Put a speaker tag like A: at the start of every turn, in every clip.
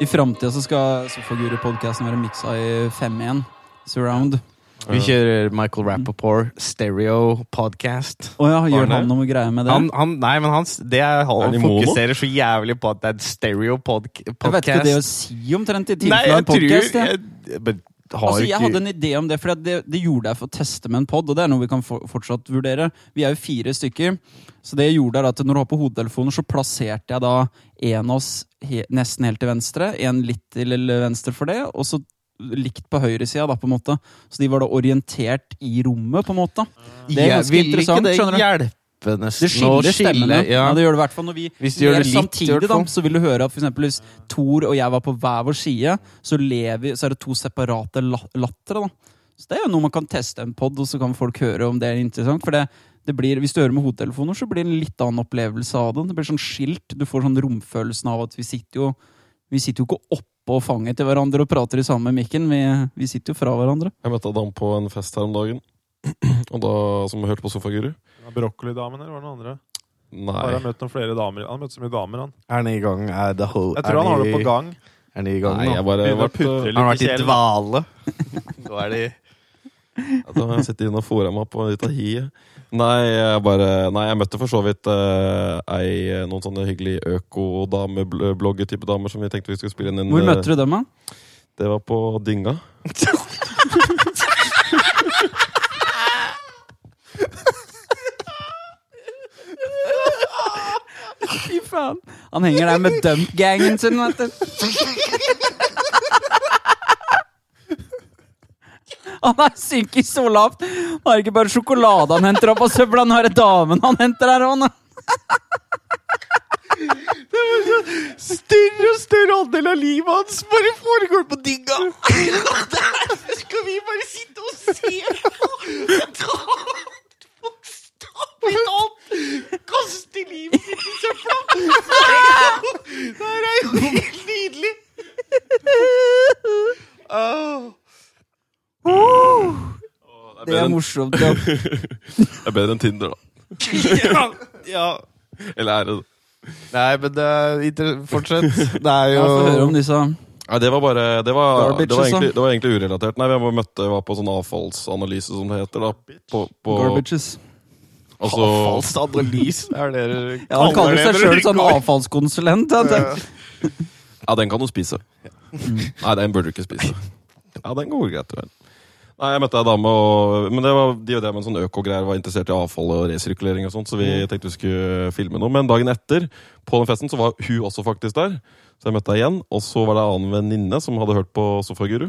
A: I framtida så skal Sofaguru-podkasten være miksa i 5-1 surround.
B: Vi kjører
A: Mhm.
B: Michael Rappaport stereo podcast.
A: Å ja, gjør
C: Arne?
A: han noe greier med det?
B: Han, han, nei, men hans, det er,
C: Er
B: han
C: det i mono?
B: fokuserer så jævlig på at det er en stereo pod podcast.
A: jeg vet ikke det å si omtrent i
B: Nei,
A: tilfelle
B: jeg
A: en
B: tror
A: podkast.
B: jeg, men har
A: Altså, jeg
B: ikke-
A: hadde en idé om det, for det, det gjorde jeg for å teste med en pod. Og det er noe vi kan for, fortsatt vurdere. Vi er jo fire stykker. Så det jeg gjorde er at når du har på hodetelefoner, så plasserte jeg da en av oss he, nesten helt til venstre, en litt til venstre for det, og så likt på høyresida, da, på en måte. Så de var da orientert i rommet, på en måte. Det er
B: Ah. Jeg
A: ganske
B: vil
A: interessant,
B: ikke
A: skjønner
B: det
A: du.
B: hjelpe nesten
A: Det skiller
B: å skille-
A: stemmene. Ja.
B: Ja.
A: det gjør det i hvert fall når vi
B: Hvis du gjør
A: ler
B: det litt, i
A: samtidig,
B: hvert
A: da,
B: fall.
A: så vil du høre at for eksempel hvis Thor og jeg var på hver vår side, så, ler vi, så er det to separate la- lattere. Da. Så det er jo noe man kan teste en pod, og så kan folk høre om det er interessant. For det, det blir, hvis du hører med hodetelefoner, så blir det en litt annen opplevelse av det. Det blir sånn skilt. Du får sånn romfølelsen av at vi sitter jo, vi sitter jo ikke oppå fanget til hverandre og prater i samme mikken. Vi, vi sitter jo fra hverandre.
C: Jeg møtte Adam på en fest her om dagen, og da, som hørte på Sofaguru.
D: Brokkolidamen eller var det noen andre?
C: Nei.
D: Har han møtt noen flere damer? Han har møtt så mye damer, han.
B: Er han i gang? Er, det ho
D: Jeg tror han har
B: er,
D: det på
B: de-
D: gang.
B: er de i gang
C: Nei,
B: nå?
C: jeg bare
D: Begynner å
C: vært,
D: putre
C: øh,
B: Har han vært i
D: Lykkekjell.
B: dvale? Nå er de
C: Da har jeg sittet inn og fôret meg på litt av hiet. Nei, jeg bare Nei, jeg møtte for så vidt eh, ei Noen sånne hyggelige økodame-blogger-type damer som vi tenkte vi skulle spille inn. eh,
A: Hvor møter du dem, da?
C: Det var på dynga.
A: Fy faen. Han henger der med dump-gangen sin, vet du. Han er psykisk så lavt. Han har ikke bare sjokolade han henter opp av søpla, han har damen han henter her òg.
B: Større og større andel av livet hans bare foregår på digga! Og Der skal vi bare sitte og se på! Ta Stopp litt opp! Kaste livet sitt i søpla! Det er jo- Det her er jo helt nydelig! Åh.
C: Det er
A: Det
C: bedre
A: er
C: enn-
A: morsomt. Ja.
C: det er bedre enn Tinder, da.
B: Ja, ja.
C: Eller er det det?
B: Nei, men det er inter- fortsett. Det er
A: Få høre om
B: jo
A: disse
C: Nei, det var bare Det var,
A: Garbage,
C: det var, egentlig,
A: altså.
C: det var egentlig urelatert. Nei, vi bare møtte var på sånn avfallsanalyse, som det heter. da På, på,
A: garbages.
C: altså,
B: Falsk analyse, er det dere
A: Ja, han kaller seg
B: dere
A: sjøl sånn
B: går.
A: avfallskonsulent. vet du.
C: Ja, den kan du spise. Nei, den burde du ikke spise. Ja, den går greit. Vel. Nei, jeg møtte ei dame, og, men det var de og det med en sånn økogreier var interessert i avfall og resirkulering og sånt, så vi tenkte vi skulle filme noe. Men dagen etter, på den festen, så var hun også faktisk der. Så jeg møtte henne igjen, og så var det en annen venninne som hadde hørt på Sofaguru.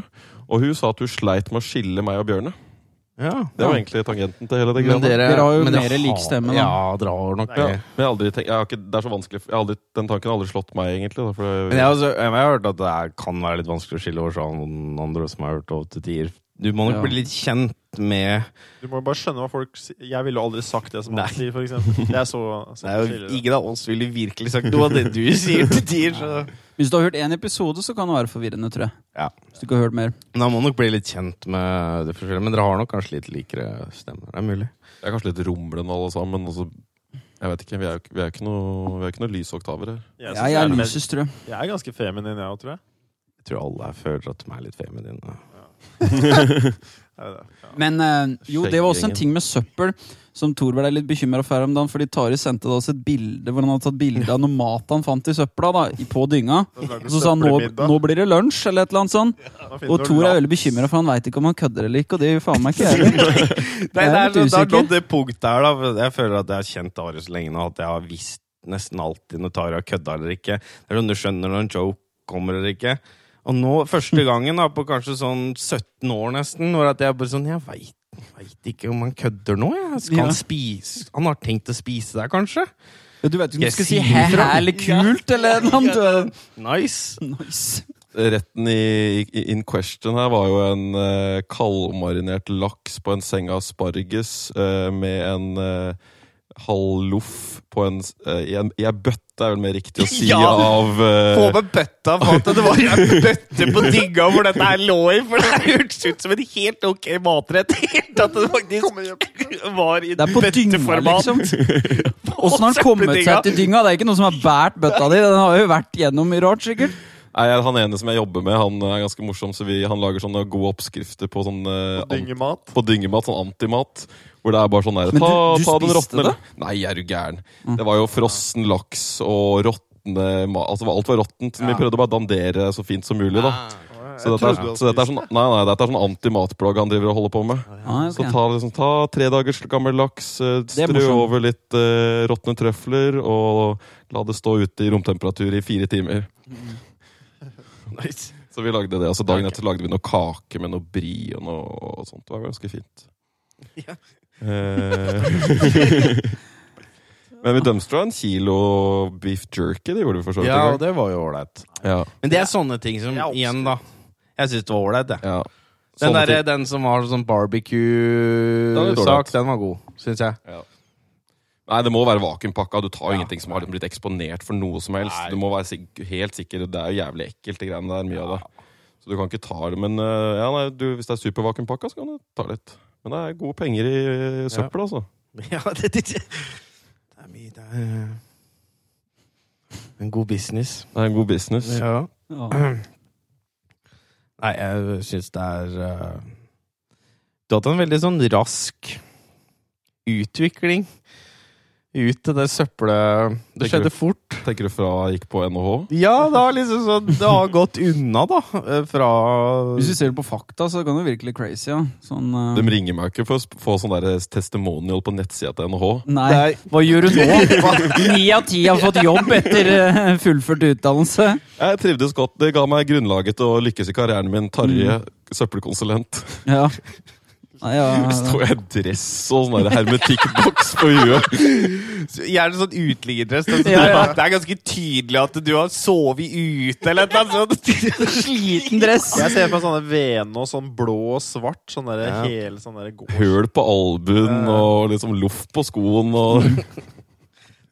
C: Og hun sa at hun sleit med å skille meg og Bjørne.
B: Ja.
C: Det var egentlig tangenten til hele det
B: Men
C: greia.
B: dere,
A: Dere har jo
B: men dere
A: mer lik stemme, da.
B: Ja, dere har nok
C: Ja,
B: det.
C: men jeg har aldri tenkt, jeg har ikke, det er så vanskelig jeg har aldri, Den tanken har aldri slått meg, egentlig. Da, for det,
B: Men jeg, har også, jeg har hørt at det er, kan være litt vanskelig å skille over fra noen andre som har hørt over til tier. Du må nok
A: Ja.
B: bli litt kjent med
D: Du må jo bare skjønne hva folk sier. Jeg ville aldri sagt det som
B: Nei.
D: han sier, for eksempel. Det er så, så
B: det er jo,
D: forskjellig, det.
B: Ingen av oss ville virkelig sagt noe av det du sier til tier. Så.
A: Hvis du har hørt én episode, så kan det være forvirrende, tror jeg.
B: Ja.
A: Hvis du ikke har hørt mer.
B: Men Da må nok bli litt kjent med det forskjellige. Men dere har nok kanskje litt likere stemmer. Det er mulig.
C: Jeg er kanskje litt rumlende alle sammen. Og så, jeg vet ikke, Vi er jo ikke- vi er ikke noe, vi er ikke noe lysoktaver her.
D: Jeg,
A: Ja, jeg er
D: synes
A: lysest, tror jeg.
D: jeg, er, jeg er ganske feminin, jeg òg, tror jeg.
B: Jeg tror alle her føler at de er litt feminine.
D: jeg vet det. Ja.
A: Men eh, jo, det var også en
C: Skjegggjengen.
A: ting med søppel som Thor ble litt bekymra for her om dagen. Fordi Tari sendte da oss et bilde hvor han hadde tatt bilde av noe mat han fant i søpla. da, i- På dynga. Og så sa han nå, nå blir det lunsj, eller et eller annet sånt.
D: Nå finner
A: Og
D: du
A: Thor er
D: lapp.
A: veldig bekymra, for han veit ikke om han kødder eller ikke. Og det gjør faen meg ikke jeg heller.
B: Nei,
A: Jeg
B: det
A: er
B: er,
A: litt
B: det er
A: usikker.
B: nådd det punktet her, da. for Jeg føler at jeg har kjent Ari så lenge nå at jeg har visst nesten alltid når Tara kødda eller ikke. Det er sånn du skjønner når en joke kommer eller ikke. Og nå, første gangen da, på kanskje sånn 17 år nesten, hvor at jeg bare sånn Jeg veit Veit ikke om han kødder nå. Jeg. Skal
A: Ja.
B: han spise Han har tenkt å spise deg, kanskje?
A: Ja, Du vet ikke om du
B: Jeg
A: skal si
B: sier
A: hæ
B: fra.
A: hæ eller kult eller noe annet. Eh,
B: Nice!
A: Nice.
C: Retten i, i in question her var jo en eh, kaldmarinert laks på en seng av asparges eh, med en eh, halv loff på en s- eh, i en- i ei bøtte, er vel mer riktig å si,
B: Ja!
C: av eh,
B: Få med bøtta! for at Det var en bøtte på digga hvor dette her lå i! For det hørtes ut som en helt ok matrett. Helt at det faktisk var i
A: Det er på dynga,
B: bøtteformat.
A: liksom. Åssen har han kommet seg til dynga? Det er ikke noe som har båret bøtta di. Den har jo vært gjennom mye rart, sikkert.
C: Nei, jeg- han ene som jeg jobber med, han er ganske morsom. Så vi, han lager sånne gode oppskrifter på sånn eh,
D: Og dyngemat.
C: an- på dyngemat, sånn antimat. Hvor det er bare sånn der,
A: Men du-
C: ta,
A: du
C: ta den
A: spiste
C: råtne
A: det? Mm.
C: Nei, er du gæren. Det var jo frossen laks og råtne ma- Altså alt var råttent. men Vi prøvde bare å dandere så fint som mulig, da.
A: Ah.
C: Så dette, er, så dette er sånn, nei, nei, dette er sånn antimatblogg han driver og holder på med.
A: Ah, ok.
C: Så ta, liksom, ta tre dagers gammel laks, eh,
A: Det er
C: strø
A: morsomt.
C: over litt uh, råtne trøfler, og la det stå ute i romtemperatur i fire timer.
B: Nice.
C: Så vi lagde det, og så dagen etter lagde vi noe kake med noe bri og noe og sånt. Det var ganske fint.
B: Ja.
C: Eh, Men vi dømstra en kilo beef jerky, det gjorde vi for så vidt.
B: Ja,
C: i
B: og
C: dag.
B: det var jo ålreit.
C: ja,
B: Men det er sånne ting som
D: Jeg er
B: Igjen, da. Jeg syns det var ålreit, jeg.
C: ja.
B: Den,
C: Sånne
B: derre-
C: ting.
B: den som var sånn
C: Den er litt
B: barbecue-sak,
C: ålreit.
B: den var god, syns jeg.
C: Nei, det må være vakuumpakka. Du tar jo ingenting som har liksom blitt eksponert for noe som helst. Du må være sik helt sikker. Det er jo jævlig ekkelt, de greiene der. Mye av det. Så du kan ikke ta det. Men eh, ja, nei, du, hvis det er supervakuumpakka, så kan du ta litt. Men det er gode penger i eh, søppel, altså.
B: Ja, det, det, det er mye Det er eh, en god business.
C: Det er en god business.
B: Ja.
A: Ja.
B: Nei, jeg syns det er eh, Du hadde en veldig sånn rask utvikling ut til det søppelet Det
C: Tenker du-
B: skjedde fort.
C: Tenker du fra jeg gikk på NHH?
B: Ja, det har liksom sånn Det har gått unna, da. eh, Fra
A: Hvis du ser det på fakta, så kan det virkelig crazy. Ja. Sånn, eh,
C: De ringer meg ikke for å sp- få sånn der testimonial på nettsida til NHH.
A: Nei.
B: Nei.
A: Hva gjør du nå? Ni av ti har fått jobb etter eh, fullført utdannelse.
C: Jeg trivdes godt. Det ga meg grunnlaget til å lykkes i karrieren min. Tarjei, søppelkonsulent.
A: Ja. Nei, ja.
C: Står jeg i dress og sånn der hermetikkboks på huet?
B: Gjerne sånn uteliggerdress. Det,
A: Ja, ja.
B: det er ganske tydelig at du har sovet ute eller et eller annet sånt.
A: Liten dress.
D: Jeg ser på sånne Venås, sånn blå og svart. Sånn der,
B: Ja.
D: hele sånn der gårds-
C: Høl på albuen og liksom loff på skoen og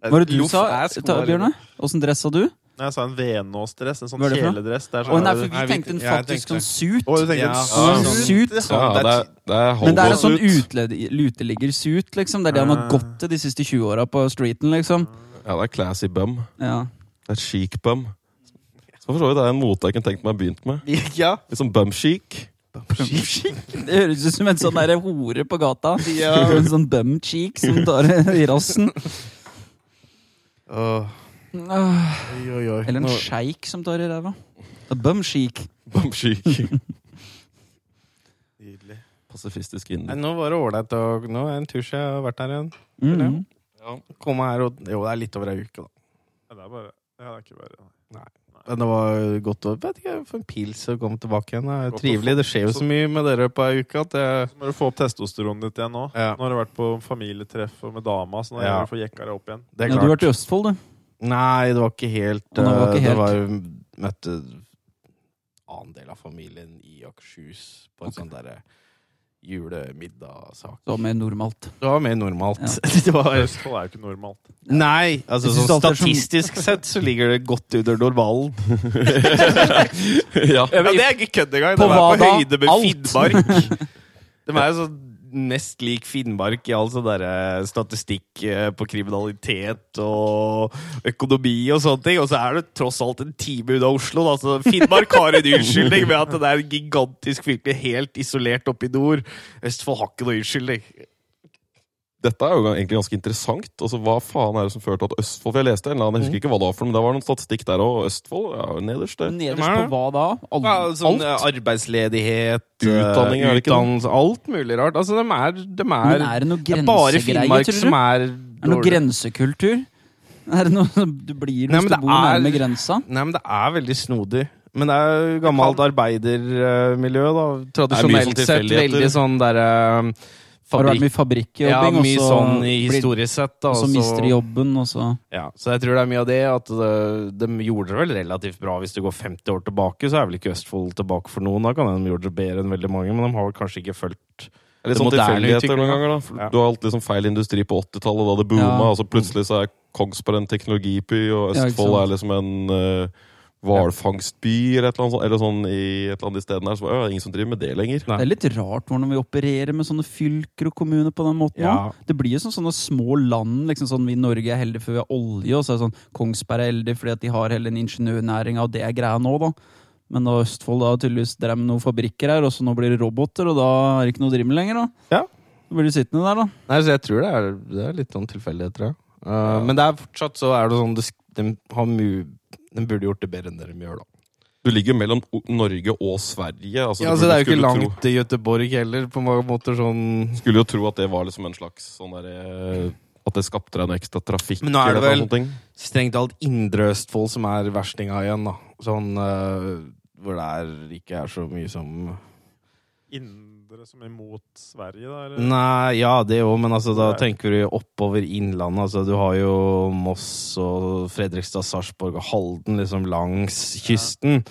A: Hva var det du
B: Loff
A: sa, eh,
B: er sko
A: ta-
B: der
A: Bjørne? Åssen dress sa du?
D: Nei, jeg sa en Venås-dress. En sånn
A: Hva er det for noe?
D: kjeledress. Det er
A: Å,
D: sånn
A: nei, for vi
B: Nei, vi-
A: tenkte en
B: ja, jeg
A: faktisk
B: tenkte-
A: sånn suit.
D: Å, du tenkte
B: Ja.
D: en
B: Ja,
D: sånn-
A: suit.
C: ja,
D: Ja, det
C: Det
D: er
C: er, det er
A: Men det er en
C: holdbås
A: sånn
C: ut.
A: utled- uteliggersuit, liksom. Det er det han har gått til de siste 20 åra på streeten, liksom.
C: Ja, det er classy bum.
A: Ja.
C: Det er chic bum. Så for så vidt er det en mote jeg kunne tenkt meg å begynt med.
B: ti- Ja.
C: Litt sånn bum chic.
A: Det høres ut som en sånn derre hore på gata. En sånn bum cheek som tar i rassen.
B: Åh,
A: Ah,
B: Oi, oi, oi.
A: Eller en
B: Nå-
A: sjeik som tar i ræva. A Bum chic.
C: Bum chic.
D: Nydelig.
C: Pasifistisk
B: Nei,
C: innen.
B: nå var det ålreit. og Nå er det en tur siden jeg har vært her igjen.
A: Mm.
B: Komme her og Jo, det er litt over ei uke, da.
D: Ja, det er bare Ja, det er ikke bare
B: Men det var godt å vet ikke, få en pils og komme tilbake igjen. Det er
D: Godt å
B: trivelig. Det skjer jo så mye med dere på ei uke at det
D: Så må du få opp testosteronet ditt igjen nå.
B: Ja.
D: Nå har du vært på familietreff og med dama, så nå
B: Ja.
D: må du få jekka deg opp igjen.
B: Det
A: Ja,
B: er klart.
A: du har vært i Østfold, du.
B: Nei, det var ikke helt
A: Nei, det var ikke
B: eh,
A: helt.
B: Det var møtte annen del av familien i Akershus på en sånn derre julemiddagssak.
A: Så mer normalt.
B: Det var mer normalt.
A: Ja.
B: det var,
D: Østfold er jo ikke normalt.
B: nei, altså
A: Jeg synes
B: sånn
A: alt er som-
B: statistisk sett så ligger det godt under normalen.
C: ja.
B: Ja, det er ikke kødd engang.
A: På
B: De er
A: hva
B: på
A: da?
B: høyde med
A: Alt.
B: Finnmark. De er jo sånn mest lik Finnmark i all sånn derre statistikk eh, på kriminalitet og økonomi og sånne ting. Og så er det tross alt en time unna Oslo, da. Så Finnmark har en unnskyldning med at det er en gigantisk fylke helt isolert oppe i nord. Østfold har ikke noe unnskyldning.
C: Dette er jo egentlig ganske interessant. Altså, Hva faen er det som fører til at Østfold For jeg leste en eller annen, jeg husker ikke hva det var for noe, men det var noen statistikk der òg. Østfold er jo nederst der.
A: Nederst
B: er
A: på
B: det?
A: hva da? Al
B: Ja, sånn
A: alt?
B: eh, arbeidsledighet, eh,
C: Utdanning, er det ikke det?
B: utdannelse, alt mulig rart. Altså, de er, de er,
A: Men er det noe
B: det er bare
A: grensegreier,
B: Finnmark
A: tror du?
B: som
A: Er
B: er
A: det noe
B: dårlig.
A: grensekultur? Er det noe som du blir hvis
B: Nei, men
A: du
B: det
A: bor
B: er-
A: nærme grensa?
B: Nei, men det er veldig snodig. Men det er jo gammelt arbeidermiljø, da.
C: mye sånn
B: Tradisjonelt sett
C: tilfeldigheter.
B: veldig sånn derre
A: Har du vært mye
B: Ja,
A: fabrikkjobbing,
B: mye
A: og så,
B: sånn i
A: blir-
B: historisk sett, da.
A: og så
B: og
A: mister du jobben, og så
B: Ja, så jeg tror det er mye av det at øh, de gjorde det vel relativt bra. Hvis du går 50 år tilbake, så er vel ikke Østfold tilbake for noen. Da kan de gjort det bedre enn veldig mange, men de har vel kanskje ikke fulgt
C: Det er Litt
B: Det
C: sånn
B: moderne
C: tilfeldigheter noen
B: utviklingen.
C: ganger. da For
B: Ja.
C: Du har hatt liksom feil industri på 80-tallet, da det booma,
A: Ja.
C: og så plutselig så er Kongsberg en teknologiby,
A: Ja,
C: og
A: ikke
C: Østfold
A: sant.
C: er liksom en eh, hvalfangstby eller et eller annet sånt, eller sånn i et eller annet de stedene her. Så, bare, «Å, det er ingen som driver med det lenger.
A: Det er litt rart hvordan vi opererer med sånne fylker og kommuner på den måten.
B: Ja.
A: også. Det blir jo som sånne små land. liksom sånn Vi i Norge er heldige for vi har olje, og så er det sånn Kongsberg er heldig fordi at de har hele den inningeniørnæringa, og det er greia nå, da. Men da Østfold da tydeligvis drev med noen fabrikker her, og så nå blir det roboter, og da er det ikke noe å drive med lenger, da.
B: Ja.
A: Da blir du sittende der, da.
B: Nei, så jeg tror det er, det er litt sånn tilfeldighet, tror jeg. Uh, Men det er fortsatt så er det sånn det, sk- de, har mu, de burde gjort det bedre enn dere gjør, da.
C: Du ligger mellom O- Norge og Sverige. Altså,
B: Ja,
C: du
B: altså, Det er jo ikke
C: skulle tro-
B: langt til Göteborg heller, på mange måter sånn
C: Skulle jo tro at det var liksom en slags sånn derre At det skapte deg noe ekstra trafikk.
B: Men nå er det
C: eller
B: vel-
C: noe sånt.
B: strengt talt Indre Østfold som er verstinga igjen, da. Sånn eh, hvor det er, ikke er så mye som
D: Indre som imot Sverige, da? Eller?
B: Nei, ja, det òg, men altså, da
D: Nei.
B: tenker du jo oppover innlandet. Altså, du har jo Moss og Fredrikstad, Sarpsborg og Halden liksom langs kysten.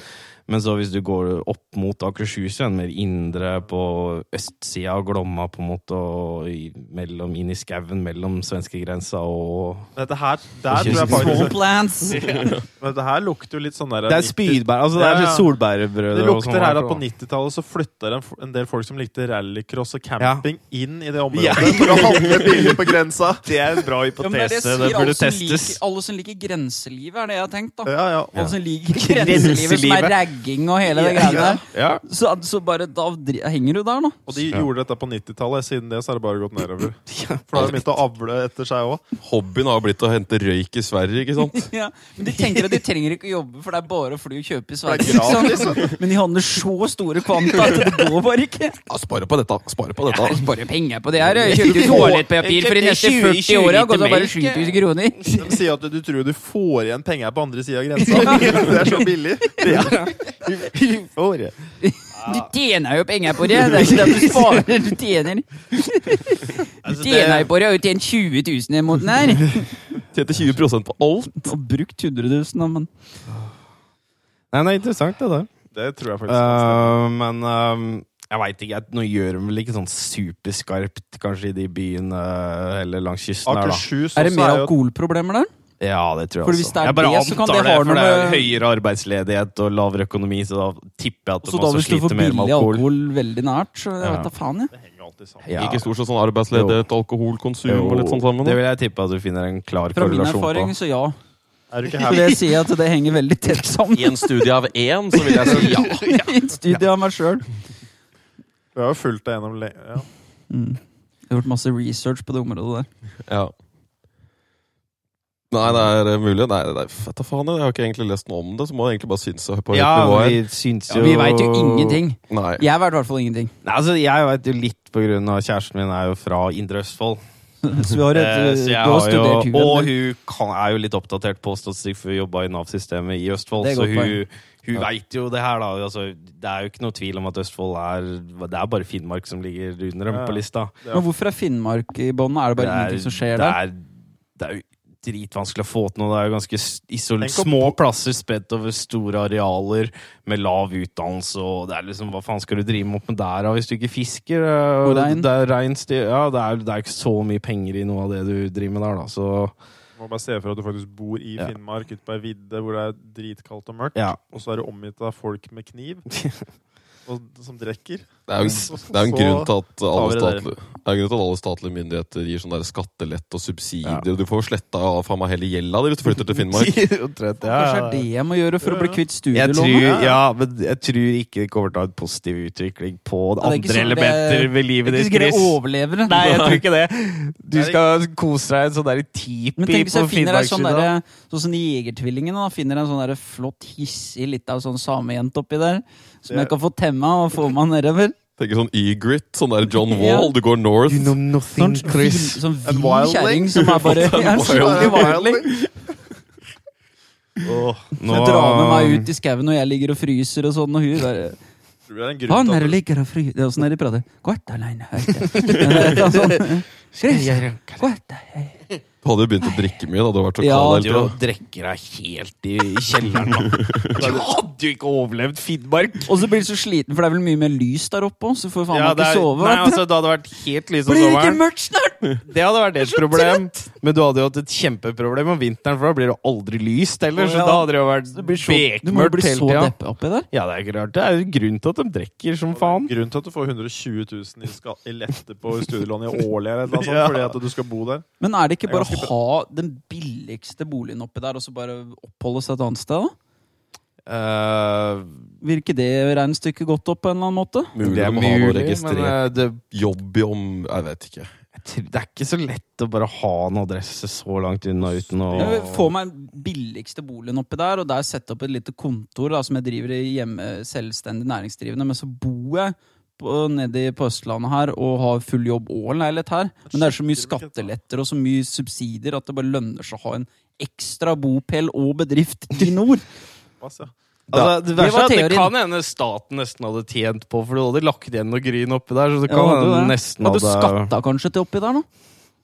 B: Men så hvis du går opp mot Akershus igjen, mer indre på østsida av Glomma, på en måte, og i, mellom, inn i skauen mellom svenskegrensa og
D: Men Dette her, der tror jeg
A: Small
D: faktisk
A: plants!
D: Men dette her lukter jo litt sånn der
B: Det er spydbær, altså det
D: Ja,
B: er
D: ja.
B: solbærbrød
D: Det
B: og sånn
D: lukter her at på
B: da.
D: 90-tallet så flytta det en, f- en del folk som likte rallycross og camping, inn i det området.
B: Ja.
D: For å handle biler på grensa. Det er en bra hypotese. det burde testes.
A: alle som liker grenselivet, er det jeg har tenkt, da.
D: Ja, ja.
A: Alle som liker grenselivet, som er ragging og hele det greiene der.
B: Ja.
A: Så, så bare da dri- henger du der, nå.
D: Og de gjorde dette på 90-tallet. Siden det så har det bare gått nedover. For da har de begynt å avle etter seg òg.
C: Hobbyen har blitt å hente røyk i Sverige, ikke sant?
A: Ja, men De tenker at de trenger ikke å jobbe, for det er bare å fly og kjøpe i Sverige.
D: Det er gratis,
A: ikke sant? Men de handler så store kvanta at det går bare ikke.
C: Ja, spare på dette! Spare på dette!
A: Bare penger på det her. Jeg kjøpte toalettpapir for de neste 40 åra, og så bare 7000 kroner.
D: De sier at du tror du får igjen penger på andre sida av grensa. Det er så billig.
B: Året.
A: Du tjener jo penger på det. Det er ikke det at du sparer, du tjener. Du
B: Altså,
A: tjener jo på det. Jeg har jo tjent 20 000 i måneden her.
C: Tjente 20 på alt!
A: Og brukt 100 000, da, men
B: Nei, det er interessant det der.
D: Det tror jeg faktisk.
B: Eh, men eh, jeg veit ikke. jeg- Nå gjør de vel ikke sånn superskarpt, kanskje, i de byene eh, eller langs
D: Sånn
B: kysten her, da.
D: Akershus
A: Er det
D: også
A: mer
D: er jo
A: alkoholproblemer der?
B: Ja, det tror jeg
A: For
B: også.
A: hvis det er
B: jeg bare
A: det, så kan det
B: antar
A: ha
B: for det er
A: noe med-
B: høyere arbeidsledighet og lavere økonomi, så da tipper jeg at de
A: Så da
B: også
A: hvis du
B: sliter
A: får
B: mer med
A: billig
B: alkohol.
A: alkohol veldig nært, så jeg
B: Ja.
A: vet da faen, jeg.
D: Det henger alltid sammen.
B: Ja.
C: Ikke stort sett sånn arbeidsledighet, alkoholkonsum og litt sånn sammen.
B: det
C: Da.
B: vil jeg tippe at du finner en klar
A: Fra min
B: korrelasjon
A: erfaring,
B: på.
A: så ja.
D: Er du ikke
A: Så
D: happy?
A: det sier jeg at det henger veldig tett sammen.
C: I en studie av én, så vil jeg si ja.
A: I et studie av meg sjøl.
D: Vi har jo fulgt deg gjennom lenge. Ja.
A: Mm. Jeg har gjort masse research på det området der.
C: ja. Nei, det er eh, mulig. Nei, det er, vet da faen, jeg har ikke egentlig lest noe om det, så må jeg egentlig bare synse på ja,
B: Ja,
C: nivå her.
B: vi syns jo
A: Vi veit jo ingenting.
C: Nei.
A: Jeg vet i hvert fall ingenting.
B: Nei, altså, jeg veit jo litt på grunn av kjæresten min er jo fra Indre Østfold.
A: Så vi har et,
B: Eh, så
A: du
B: jeg
A: har
B: har jo,
A: studert
B: og
A: huet.
B: hun kan, er jo litt oppdatert på statistikk, for hun jobba i Nav-systemet i Østfold.
A: Det er
B: Så
A: godt
B: hun, hun veit jo det her, da. Altså, det er jo ikke noe tvil om at Østfold er Det er bare Finnmark som ligger under dem
D: Ja.
B: på lista.
A: Men hvorfor er Finnmark i bånn? Er det bare ingenting som skjer
B: det
A: der?
B: er, det er jo dritvanskelig å få til noe. Det er jo ganske s- isol
D: Tenk å
B: små plasser spredt over store arealer med lav utdannelse, og det er liksom Hva faen skal du drive med opp med der, da, hvis du ikke fisker? eh,
A: Og rein.
B: Det er reinsdyr Ja, det er, det er ikke så mye penger i noe av det du driver med der, da, så
D: Må bare se for at du faktisk bor i
B: Ja.
D: Finnmark, ute på ei vidde hvor det er dritkaldt og mørkt,
B: ja.
D: og så er du omgitt av folk med kniv og, som drikker.
C: Det er jo en, det er jo en
D: Så
C: grunn til at alle
D: vi det der.
C: statlige, det er en grunn til at alle statlige myndigheter gir sånn der skattelett og subsidier. og Du får jo sletta av faen meg hele gjelda di hvis du flytter til Finnmark.
B: Trøtt, ja,
A: Kanskje
B: ja.
A: er det jeg må gjøre for å bli kvitt
B: Jeg tror,
A: studielånet?
B: ja, men jeg tror ikke det kommer til å ha en positiv utvikling på
A: Ja, det er ikke
B: andre
A: sånn det-
B: elementer ved
A: Det
B: livet
A: er
B: ditt,
A: ikke
B: Chris.
A: sikkert jeg overlever.
B: Nei, jeg tror ikke det. Du skal kose deg en sånn der
A: Men
B: tipi
A: tenk hvis
B: på
A: jeg finner ei sånn
B: Finnmarksvidda.
A: derre Sånn som de jegertvillingene, da. Finner en sånn derre flott, hissig lita sånn samejente oppi der. Som jeg kan få temma og få meg nedover.
C: Tenker sånn E-grit, sånn der John Wall, du går north.
A: Sånn
B: nothing,
A: vill sånn
D: En
A: vill kjerring
D: wildling?
A: som er bare ja, en skikkelig wildling.
B: Nå um,
A: Jeg drar med meg ut i skauen når jeg ligger og fryser og sånn, og hun bare
D: Tror du det er en grunn
A: Han
D: til
A: her
D: at du,
A: ligger og fryser Det er sånn de prater. Kvart aleine, høyt. Sånn. Chris, kvart aleine.
C: Du hadde jo begynt å drikke mye da du hadde vært så
A: Ja,
C: kald hele
B: Du
C: tiden.
B: drikker deg helt i i kjelleren. da. Du hadde jo ikke overlevd Finnmark!
A: Og så blir du så sliten, for det er vel mye mer lys der oppe òg, så får faen meg
B: det,
A: ikke
B: er-
A: sove.
B: nei, altså, det hadde vært helt lyst om
A: blir det ikke
B: sommeren.
A: mørkt snart?!
B: Det hadde vært et problem. Men du hadde jo hatt et kjempeproblem om vinteren, for da blir det aldri lyst heller. Så
A: Ja.
B: da hadde det jo vært
A: Du må jo
B: bekmørkt
A: bli
B: hele
A: så
B: tida.
A: deppe oppi der.
B: Ja, det er ikke rart. Det er jo grunnen til at de drikker som faen.
D: Grunnen til at du får 120 000 i, ska- i lette på studielån i årlig, eller noe sånt,
B: Ja.
D: fordi at du skal bo der.
A: Men er det ikke
D: Det er
A: bare
D: ganske
A: å ha den billigste boligen oppi der, og så bare oppholde seg et annet sted, da?
B: Eh,
A: Virker det regnestykket godt opp på en eller annen måte?
C: Mulig
B: det
C: de
B: er
C: må ha noe
B: mulig, men
C: registrert
B: eh, det,
C: jobb i om Jeg vet ikke.
B: jeg tror- det er ikke så lett å bare ha en adresse så langt unna uten å
A: Jeg vil Få meg den billigste boligen oppi der, og der sette opp et lite kontor da, som jeg driver i hjemme, selvstendig næringsdrivende, men så bor jeg på- nede på Østlandet her og har full jobb og en leilighet her. Men det er så mye skatteletter og så mye subsidier at det bare lønner seg å ha en ekstra bopel og bedrift i nord.
D: Pass, ja.
B: Altså, det,
A: Det
B: verste
A: var
B: er at det
A: teorien.
B: kan hende staten nesten hadde tjent på, for du hadde lagt igjen noe gryn oppi der. Så det
A: Ja,
B: kan
A: hadde
B: hende
A: det.
B: nesten
A: Hadde du
B: hadde
A: skatta kanskje til oppi der, nå?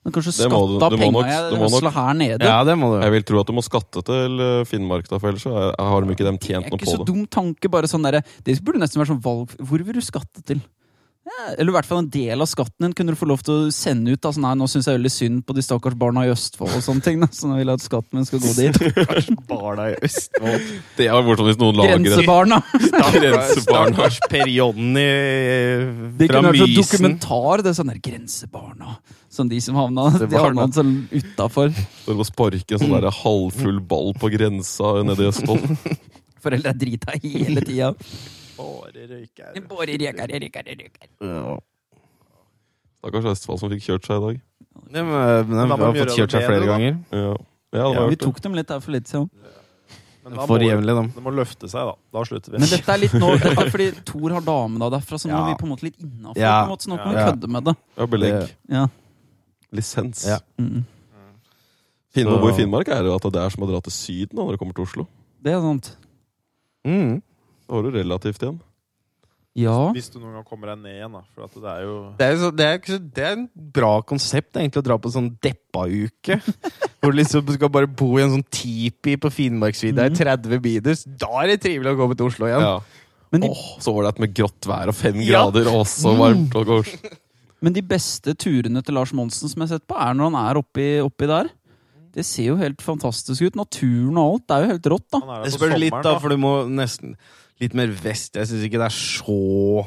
A: Men Kanskje
C: Det må du-
A: skatta
C: du må nok-
A: penga
C: du
A: jeg
C: må nok-
A: rasla her nede?
B: Ja, det må du.
C: Jeg vil tro at du må skatte til eh, Finnmark, da, for ellers så er- har de ikke dem
A: Det
C: tjent
A: er
C: noe
A: ikke
C: på
A: så
C: det.
A: dum tanke. bare sånn der, Det burde nesten være sånn valg Hvor vil du skatte til? Ja, Eller i hvert fall en del av skatten din kunne du få lov til å sende ut. da, sånn, nei, nå syns jeg veldig synd på de stakkars barna i Østfold og sånne ting. da, Så nå vil jeg at skatten min skal gå dit.
B: Barna i Østfold.
C: Det er jo morsomt hvis noen lager et
A: Grensebarna!
C: Grensebarna.
B: Stakkars Per Jonny
A: Det
B: fra
A: kunne vært sånn
B: Mysen.
A: dokumentar. det er sånn der, Grensebarna. Sånn de som havna, de havna
B: Barna.
A: sånn utafor.
C: Står og sparker en sånn der halvfull ball på grensa nede i Østfold.
A: Foreldre er drita hele tida.
D: Bare røyker.
A: Bare røyker, røyker, røyker.
B: Ja.
C: Stakkars Østfold som fikk kjørt seg i dag.
B: De, eh, de
D: da
B: har
D: må de gjøre
B: fått kjørt
D: det
B: seg flere
D: bedre, da.
B: ganger.
C: Ja, ja, det
D: Ja,
C: var
A: Vi
C: det.
A: tok dem litt der for litt siden.
D: Men da må
B: For
D: det-
B: jevnlig, de.
D: Det må løfte seg, da. Da slutter vi.
A: Men dette er litt nå dette er fordi Thor har damene av derfra, så nå
B: Ja.
A: er vi på en måte litt innafor.
B: Ja.
A: Så nå kan vi
B: Ja.
A: kødde med det.
C: Ja, belegg.
B: Det-
A: Ja.
C: Lisens.
B: Ja.
A: Mm.
C: Finn-
B: Så-
C: Hvor i Finnmark er det jo at det er som å dra til Syden da, når du kommer til Oslo?
A: Det er sant.
B: Mm.
C: Da har du relativt igjen.
A: Ja.
D: Hvis du noen gang kommer deg ned igjen, da. For at det er jo
B: Det er, jo så, det, er, ikke så- det er en bra konsept egentlig å dra på sånn deppa-uke. Hvor du liksom du skal bare bo i en sånn tipi på
A: Mhm.
B: Finnmarksvidda i 30 minus. Da er det trivelig å komme til Oslo igjen.
C: Ja.
A: Men, de,
C: Åh, så ålreit med grått vær og fem
B: Ja.
C: grader, og så varmt og kors.
A: men de beste turene til Lars Monsen som jeg har sett på, er når han er oppi, oppi der. Det ser jo helt fantastisk ut. Naturen og alt. Det er jo helt rått, da.
D: Han er der
B: Det
D: på
B: spørs litt,
D: sommeren,
B: da, for du må nesten litt mer vest. Jeg syns ikke det er så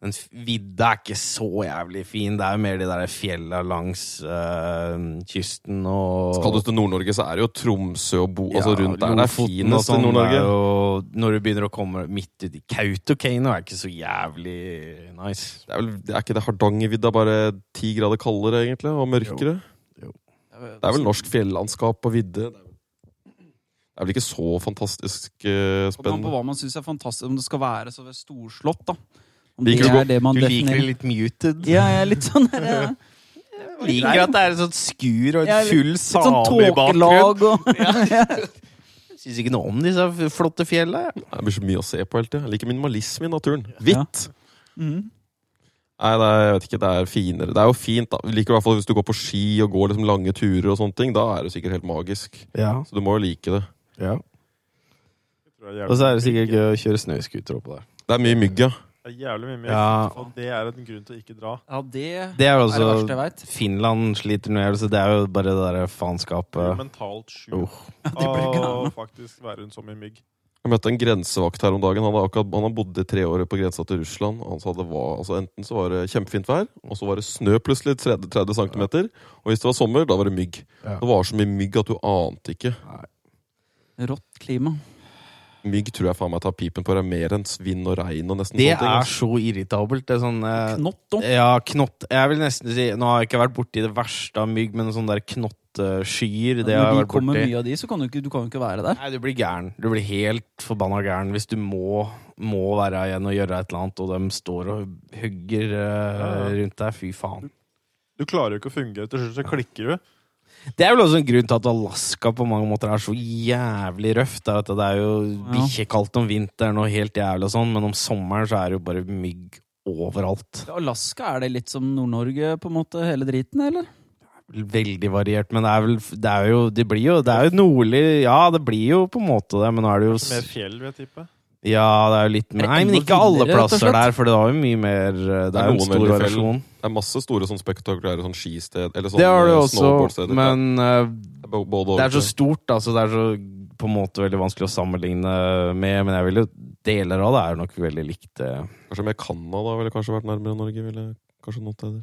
B: Den f- vidda er ikke så jævlig fin. Det er jo mer de der fjella langs eh, kysten og
C: Skal du til Nord-Norge, så er det jo Tromsø og Bo, altså
B: Ja,
C: rundt der. Det er
B: Lofoten og
C: finest i
B: sånn
C: Nord-Norge.
B: er jo- Når du begynner å komme midt uti Kautokeino, er ikke så jævlig nice.
C: Det er, vel, det er ikke det Hardangervidda bare ti grader kaldere, egentlig, og mørkere?
B: Jo.
C: Det er vel norsk fjellandskap og vidde. Det er vel- det er vel ikke så fantastisk eh,
A: Det kommer an på
C: spennende.
A: hva man syns er fantastisk. Om det skal være så storslått, da. Om det
C: Liker du
A: er
C: godt-
A: det man
B: Du liker det
A: definerer.
B: litt muted.
A: Ja, jeg er litt sånn der, ja.
B: Liker at det er et sånt skur og
A: Ja,
B: et
A: litt-
B: full
A: Litt sånn
B: same i bakgrunnen.
A: tåkelag og
B: Syns ikke noe om disse flotte fjella. jeg.
C: Det blir så mye å se på hele tida. Jeg liker minimalisme i naturen.
A: Ja.
C: Hvitt!
A: Mhm.
C: Nei, det er, jeg vet ikke, det er finere. Det er jo fint, da. Jeg Liker i hvert fall hvis du går på ski og går liksom lange turer og sånne ting. Da er det sikkert helt magisk. Så du må jo like det.
D: tror jeg,
B: Og så er det
D: jævlig-
B: sikkert gøy å kjøre snøscooter oppå der.
C: Det er mye mygg, ja.
D: Det er jævlig mye mer.
B: Ja.
D: Og det er en grunn til å ikke dra.
A: Ja, det
B: Det er
A: er det verste
B: altså
A: jeg veit.
B: Finland sliter noe jævlig, så det er jo bare det derre
D: Du blir
B: faenskapet.
D: mentalt sjuk.
B: Oh.
D: Å faktisk være en sånn i mygg.
C: Jeg møtte en grensevakt her om dagen. Han, hadde akkurat, han hadde bodd i tre år på grensa til Russland. Og han sa det var, altså Enten så var det kjempefint vær, og så var det snø plutselig 30, 30 cm. Og hvis det var sommer, da var det mygg.
B: Ja.
C: Det var så mye mygg at du ante ikke.
A: Rått klima.
C: Mygg tror jeg faen meg tar pipen på deg mer enn vind og regn og nesten
B: Det
C: sånne ting.
B: er
C: altså.
B: så irritabelt. Det er sånn eh,
A: Knott opp.
B: Ja, knott. Jeg vil nesten si Nå har jeg ikke vært borti det verste av mygg, men sånne der knotteskyer, det har
A: Når
B: jeg
A: de
B: vært
A: kommer
B: borti.
A: mye av de, så kan du ikke, du kan jo ikke være der.
B: Nei, du blir gæren. Du blir helt forbanna gæren hvis du må, må være igjen og gjøre et eller annet, og de står og hugger eh,
D: Ja, ja.
B: rundt deg. Fy faen.
D: Du klarer jo ikke å fungere. Til slutt så klikker du.
B: Det er vel også en grunn til at Alaska på mange måter er så jævlig røft. Det er at det er jo bikkjekaldt om vinteren og helt jævlig og sånn, men om sommeren så er det jo bare mygg overalt.
A: Alaska, er det litt som Nord-Norge, på en måte, hele driten, eller?
B: veldig variert, men det er vel Det er jo, det blir jo, det er jo nordlig Ja, det blir jo på en måte det, men nå er det jo s-
D: Mer fjell, vil jeg tippe.
B: Ja, det er jo litt
A: det
B: Nei, men
A: enda
B: ikke alle
A: villere, rett og
B: plasser
A: slett?
B: der, for det var jo mye mer eh, Det er jo en
C: noen
B: stor
C: veldig
B: variasjon.
C: Det er masse store sånn spektakulære sånn skisted eller sånn
B: Det har du
C: eh,
B: også,
C: snowboardsteder.
B: men eh,
C: Ja, bo- både
B: det
C: over
B: er så
C: til-
B: stort, altså. Det er så på en måte veldig vanskelig å sammenligne med, men jeg vil jo Deler av det er nok veldig likt. eh.
C: Kanskje mer Canada ville kanskje vært nærmere Norge. ville kanskje noen steder.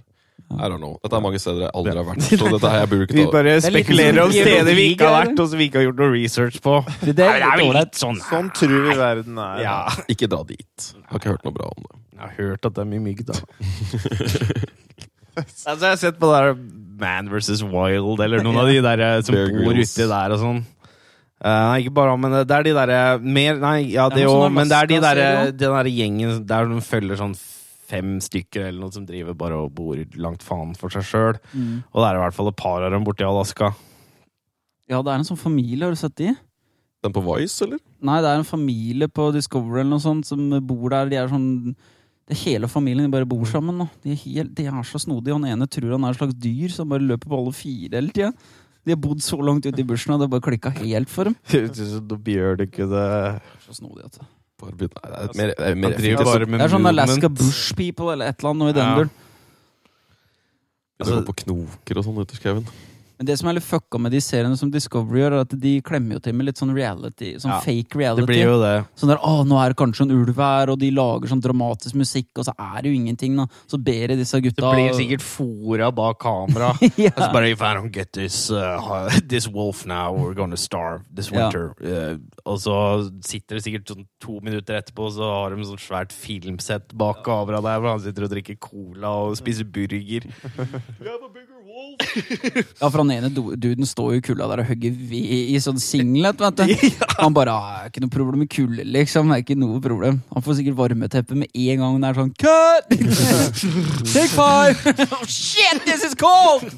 A: Ja.
C: I don't know. Dette er mange steder jeg aldri har vært. Så dette her jeg burde ikke ta
B: bare
A: Det er litt spekulerer om sånn steder vi ikke har vært,
B: og som vi ikke har gjort noe research på.
A: Det der,
B: det er vel
A: ålreit.
B: litt sånn
D: Sånn tror vi verden er.
B: Ja.
C: Ikke dra dit. Har ikke hørt noe bra om det.
B: Jeg har hørt at det er mye mygg, da. altså, jeg har sett på det der Man versus Wild, eller noen av de der eh, som
C: Bear
B: bor
C: Grylls.
B: uti der og sånn. Eh, nei, ikke bare han, men det er de derre mer Nei, ja,
A: Det
B: det
A: er noen
B: òg,
A: sånne
B: men sånn det er de derre
A: Alaska-serier
B: den derre gjengen der de følger sånn fem stykker eller noe som driver bare og bor langt faen for seg sjøl.
A: Mm.
B: Og det er i hvert fall et par av dem borti Alaska.
A: Ja, det er en sånn familie, har du sett de?
C: Den på Vice, eller?
A: Nei, det er en familie på Discovery eller noe sånt som bor der. De er sånn det er Hele familien de bare bor sammen. nå. De er, helt, de er så snodige. Han ene tror han er et slags dyr som bare løper på alle fire hele tida. De har bodd så langt ute i bushen, og det bare klikka helt for dem.
B: Høres ut som Bjørnekude
A: Så snodig, altså.
C: Barbie, nei, det er mer, det er mer
B: Han driver
C: effektivt.
B: bare med
A: Det er sånn Alaska
B: movement.
A: Bush People eller et eller annet noe i den
B: Ja.
A: duren.
C: Det går på knoker og sånn ute i skauen.
A: Men det som er litt fucka med de seriene som Discovery gjør, er at de klemmer jo til med litt sånn reality. Sånn
B: Ja,
A: fake
B: Det
A: reality.
B: blir jo det.
A: Sånn der, å, nå er det kanskje en ulv her, og de lager sånn dramatisk musikk, og så er det jo ingenting, da. Så ber de disse
B: Det
A: gutta
B: blir sikkert fora bak kamera.
A: Ja.
B: Altså bare If I don't get this, uh, this wolf now, we're gonna starve this
A: Ja.
B: winter. Eh, og så sitter det sikkert sånn to minutter etterpå, så har de sånn svært filmsett bak kamera der, hvor han sitter og drikker cola og spiser burger.
A: Ja, for han ene do- duden står jo i kulda der og hugger ved i sånn singlet, vet du. Han bare «Ah, 'Ikke noe problem med kulde, liksom. Det er ikke noe problem.' Han får sikkert varmeteppe med en gang det er sånn 'Cut! Take five! oh, shit, this is cold!'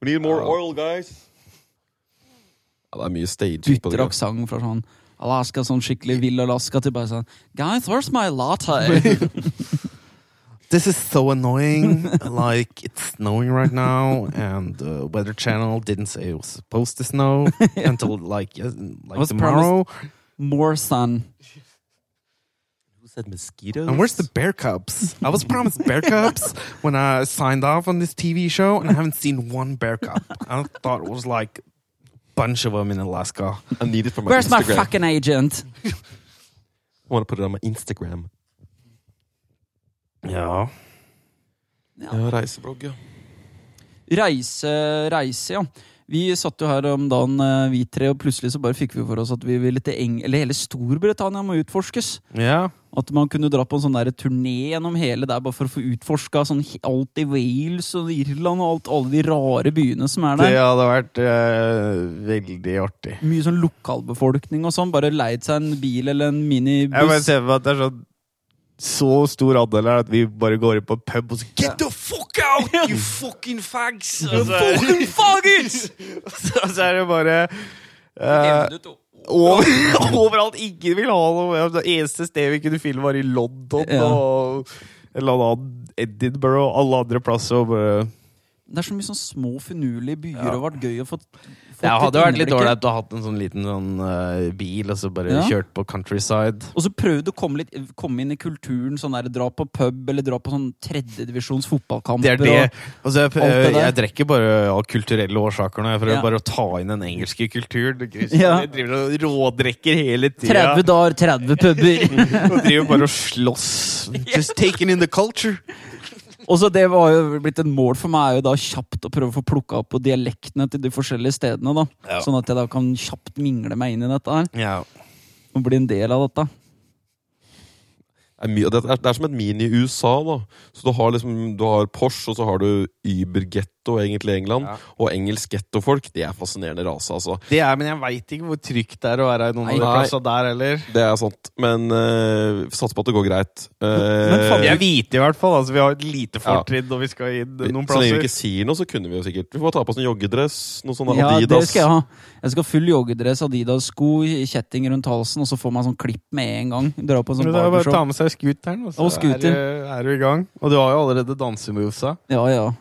C: We need more oil, guys! Ja, det er mye staging på det.
A: Bytter aksent fra sånn Alaska, sånn skikkelig vill Alaska, til bare sånn 'Guys, where's my latte?'
B: This is so annoying. Like, it's snowing right now, and the Weather Channel didn't say it was supposed to snow until like, yes, like
A: was
B: tomorrow.
A: More sun.
B: And where's the bear cubs? I was promised bear cubs when I signed off on this TV show, and I haven't seen one bear cub. I thought it was like bunch of them in Alaska.
C: I need it for my
A: Where's my
C: Instagram.
A: fucking agent?
C: I wanna put it on my Instagram.
B: Ja.
C: Ja, reiseblogg, ja.
A: Reise, reise, ja. Vi satt jo her om dagen, eh, vi tre, og plutselig så bare fikk vi for oss at vi ville til Eng... Eller hele Storbritannia må utforskes.
B: Ja.
A: At man kunne dra på en sånn der turné gjennom hele der bare for å få utforska sånn, he- alt i Wales og Irland og alt, alle de rare byene som er
B: Det
A: der.
B: hadde vært eh, veldig artig.
A: Mye sånn lokalbefolkning og sånn. Bare leid seg en bil eller en
D: Jeg bare
A: minibuss.
D: ser for meg at det er sånn så stor andel her at vi bare går inn på en pub og så
B: Get the fuck out, you fucking fags! Og så
A: Fucking faggots!
B: og så er det bare eh, over, overalt ingen vil ha noe. Det eneste stedet vi kunne filme, var i London
A: Ja.
B: og en eller annen Edinburgh og alle andre plasser. Og bare
A: Det er så mye sånn små, finurlige byer,
B: Ja.
A: og vært gøy å få, få
B: Det hadde vært litt
A: innblikk i.
B: ålreit å ha hatt en sånn liten sånn, eh, bil og så bare
A: Ja.
B: kjørt på countryside.
A: Og så prøvd å komme, litt, komme inn i kulturen. sånn der, Dra på pub eller dra på sånn tredjedivisjons fotballkamp.
B: Det er det. Altså, jeg,
A: Alt det der.
B: jeg drikker bare av kulturelle årsaker nå. Jeg prøver
A: Ja.
B: bare å ta inn den engelske kulturen.
A: Ja.
B: Jeg driver og rådrekker hele
A: Og 30
B: tida.
A: dager, 30 puber.
B: Og driver bare og slåss. Just taking in the culture.
A: og så det var jo blitt et mål for meg er jo da kjapt å prøve å få plukka opp på dialektene til de forskjellige stedene. da.
B: Ja.
A: Sånn at jeg da kan kjapt mingle meg inn i dette her,
B: Ja.
A: og bli en del av dette.
C: Det er, mye, det, er, det er som et mini-USA, da. Så du har, liksom, du har Porsche, og så har du Uber-getto, egentlig, i England.
B: Ja.
C: Og engelsk gettofolk. De er fascinerende rase, altså.
B: Det er, Men jeg veit ikke hvor trygt det er å være i noen av de
C: Nei.
B: plassene der heller.
C: Det er sant. Men uh, satser på at det går greit. Eh,
B: Jeg vet i hvert fall. Altså, vi har et lite
C: Ja.
B: fortrinn når vi skal inn
C: vi-
B: noen
C: så lenge vi
B: plasser.
C: ikke sier noe, så kunne vi jo sikkert Vi får ta på oss en joggedress. Noe sånn
A: Ja, det
C: Adidas.
A: skal jeg ha. Jeg skal ha full joggedress, Adidas-sko, kjetting rundt halsen, og så får man sånn klipp med en gang. Dra på en
B: Men
A: sånn
B: det er bare å
A: barbershop.
B: ta med seg scooteren, altså. og så
A: Og scooter.
B: er, du- er du i gang. Og du har jo allerede dansemovesa.
A: Ja, ja.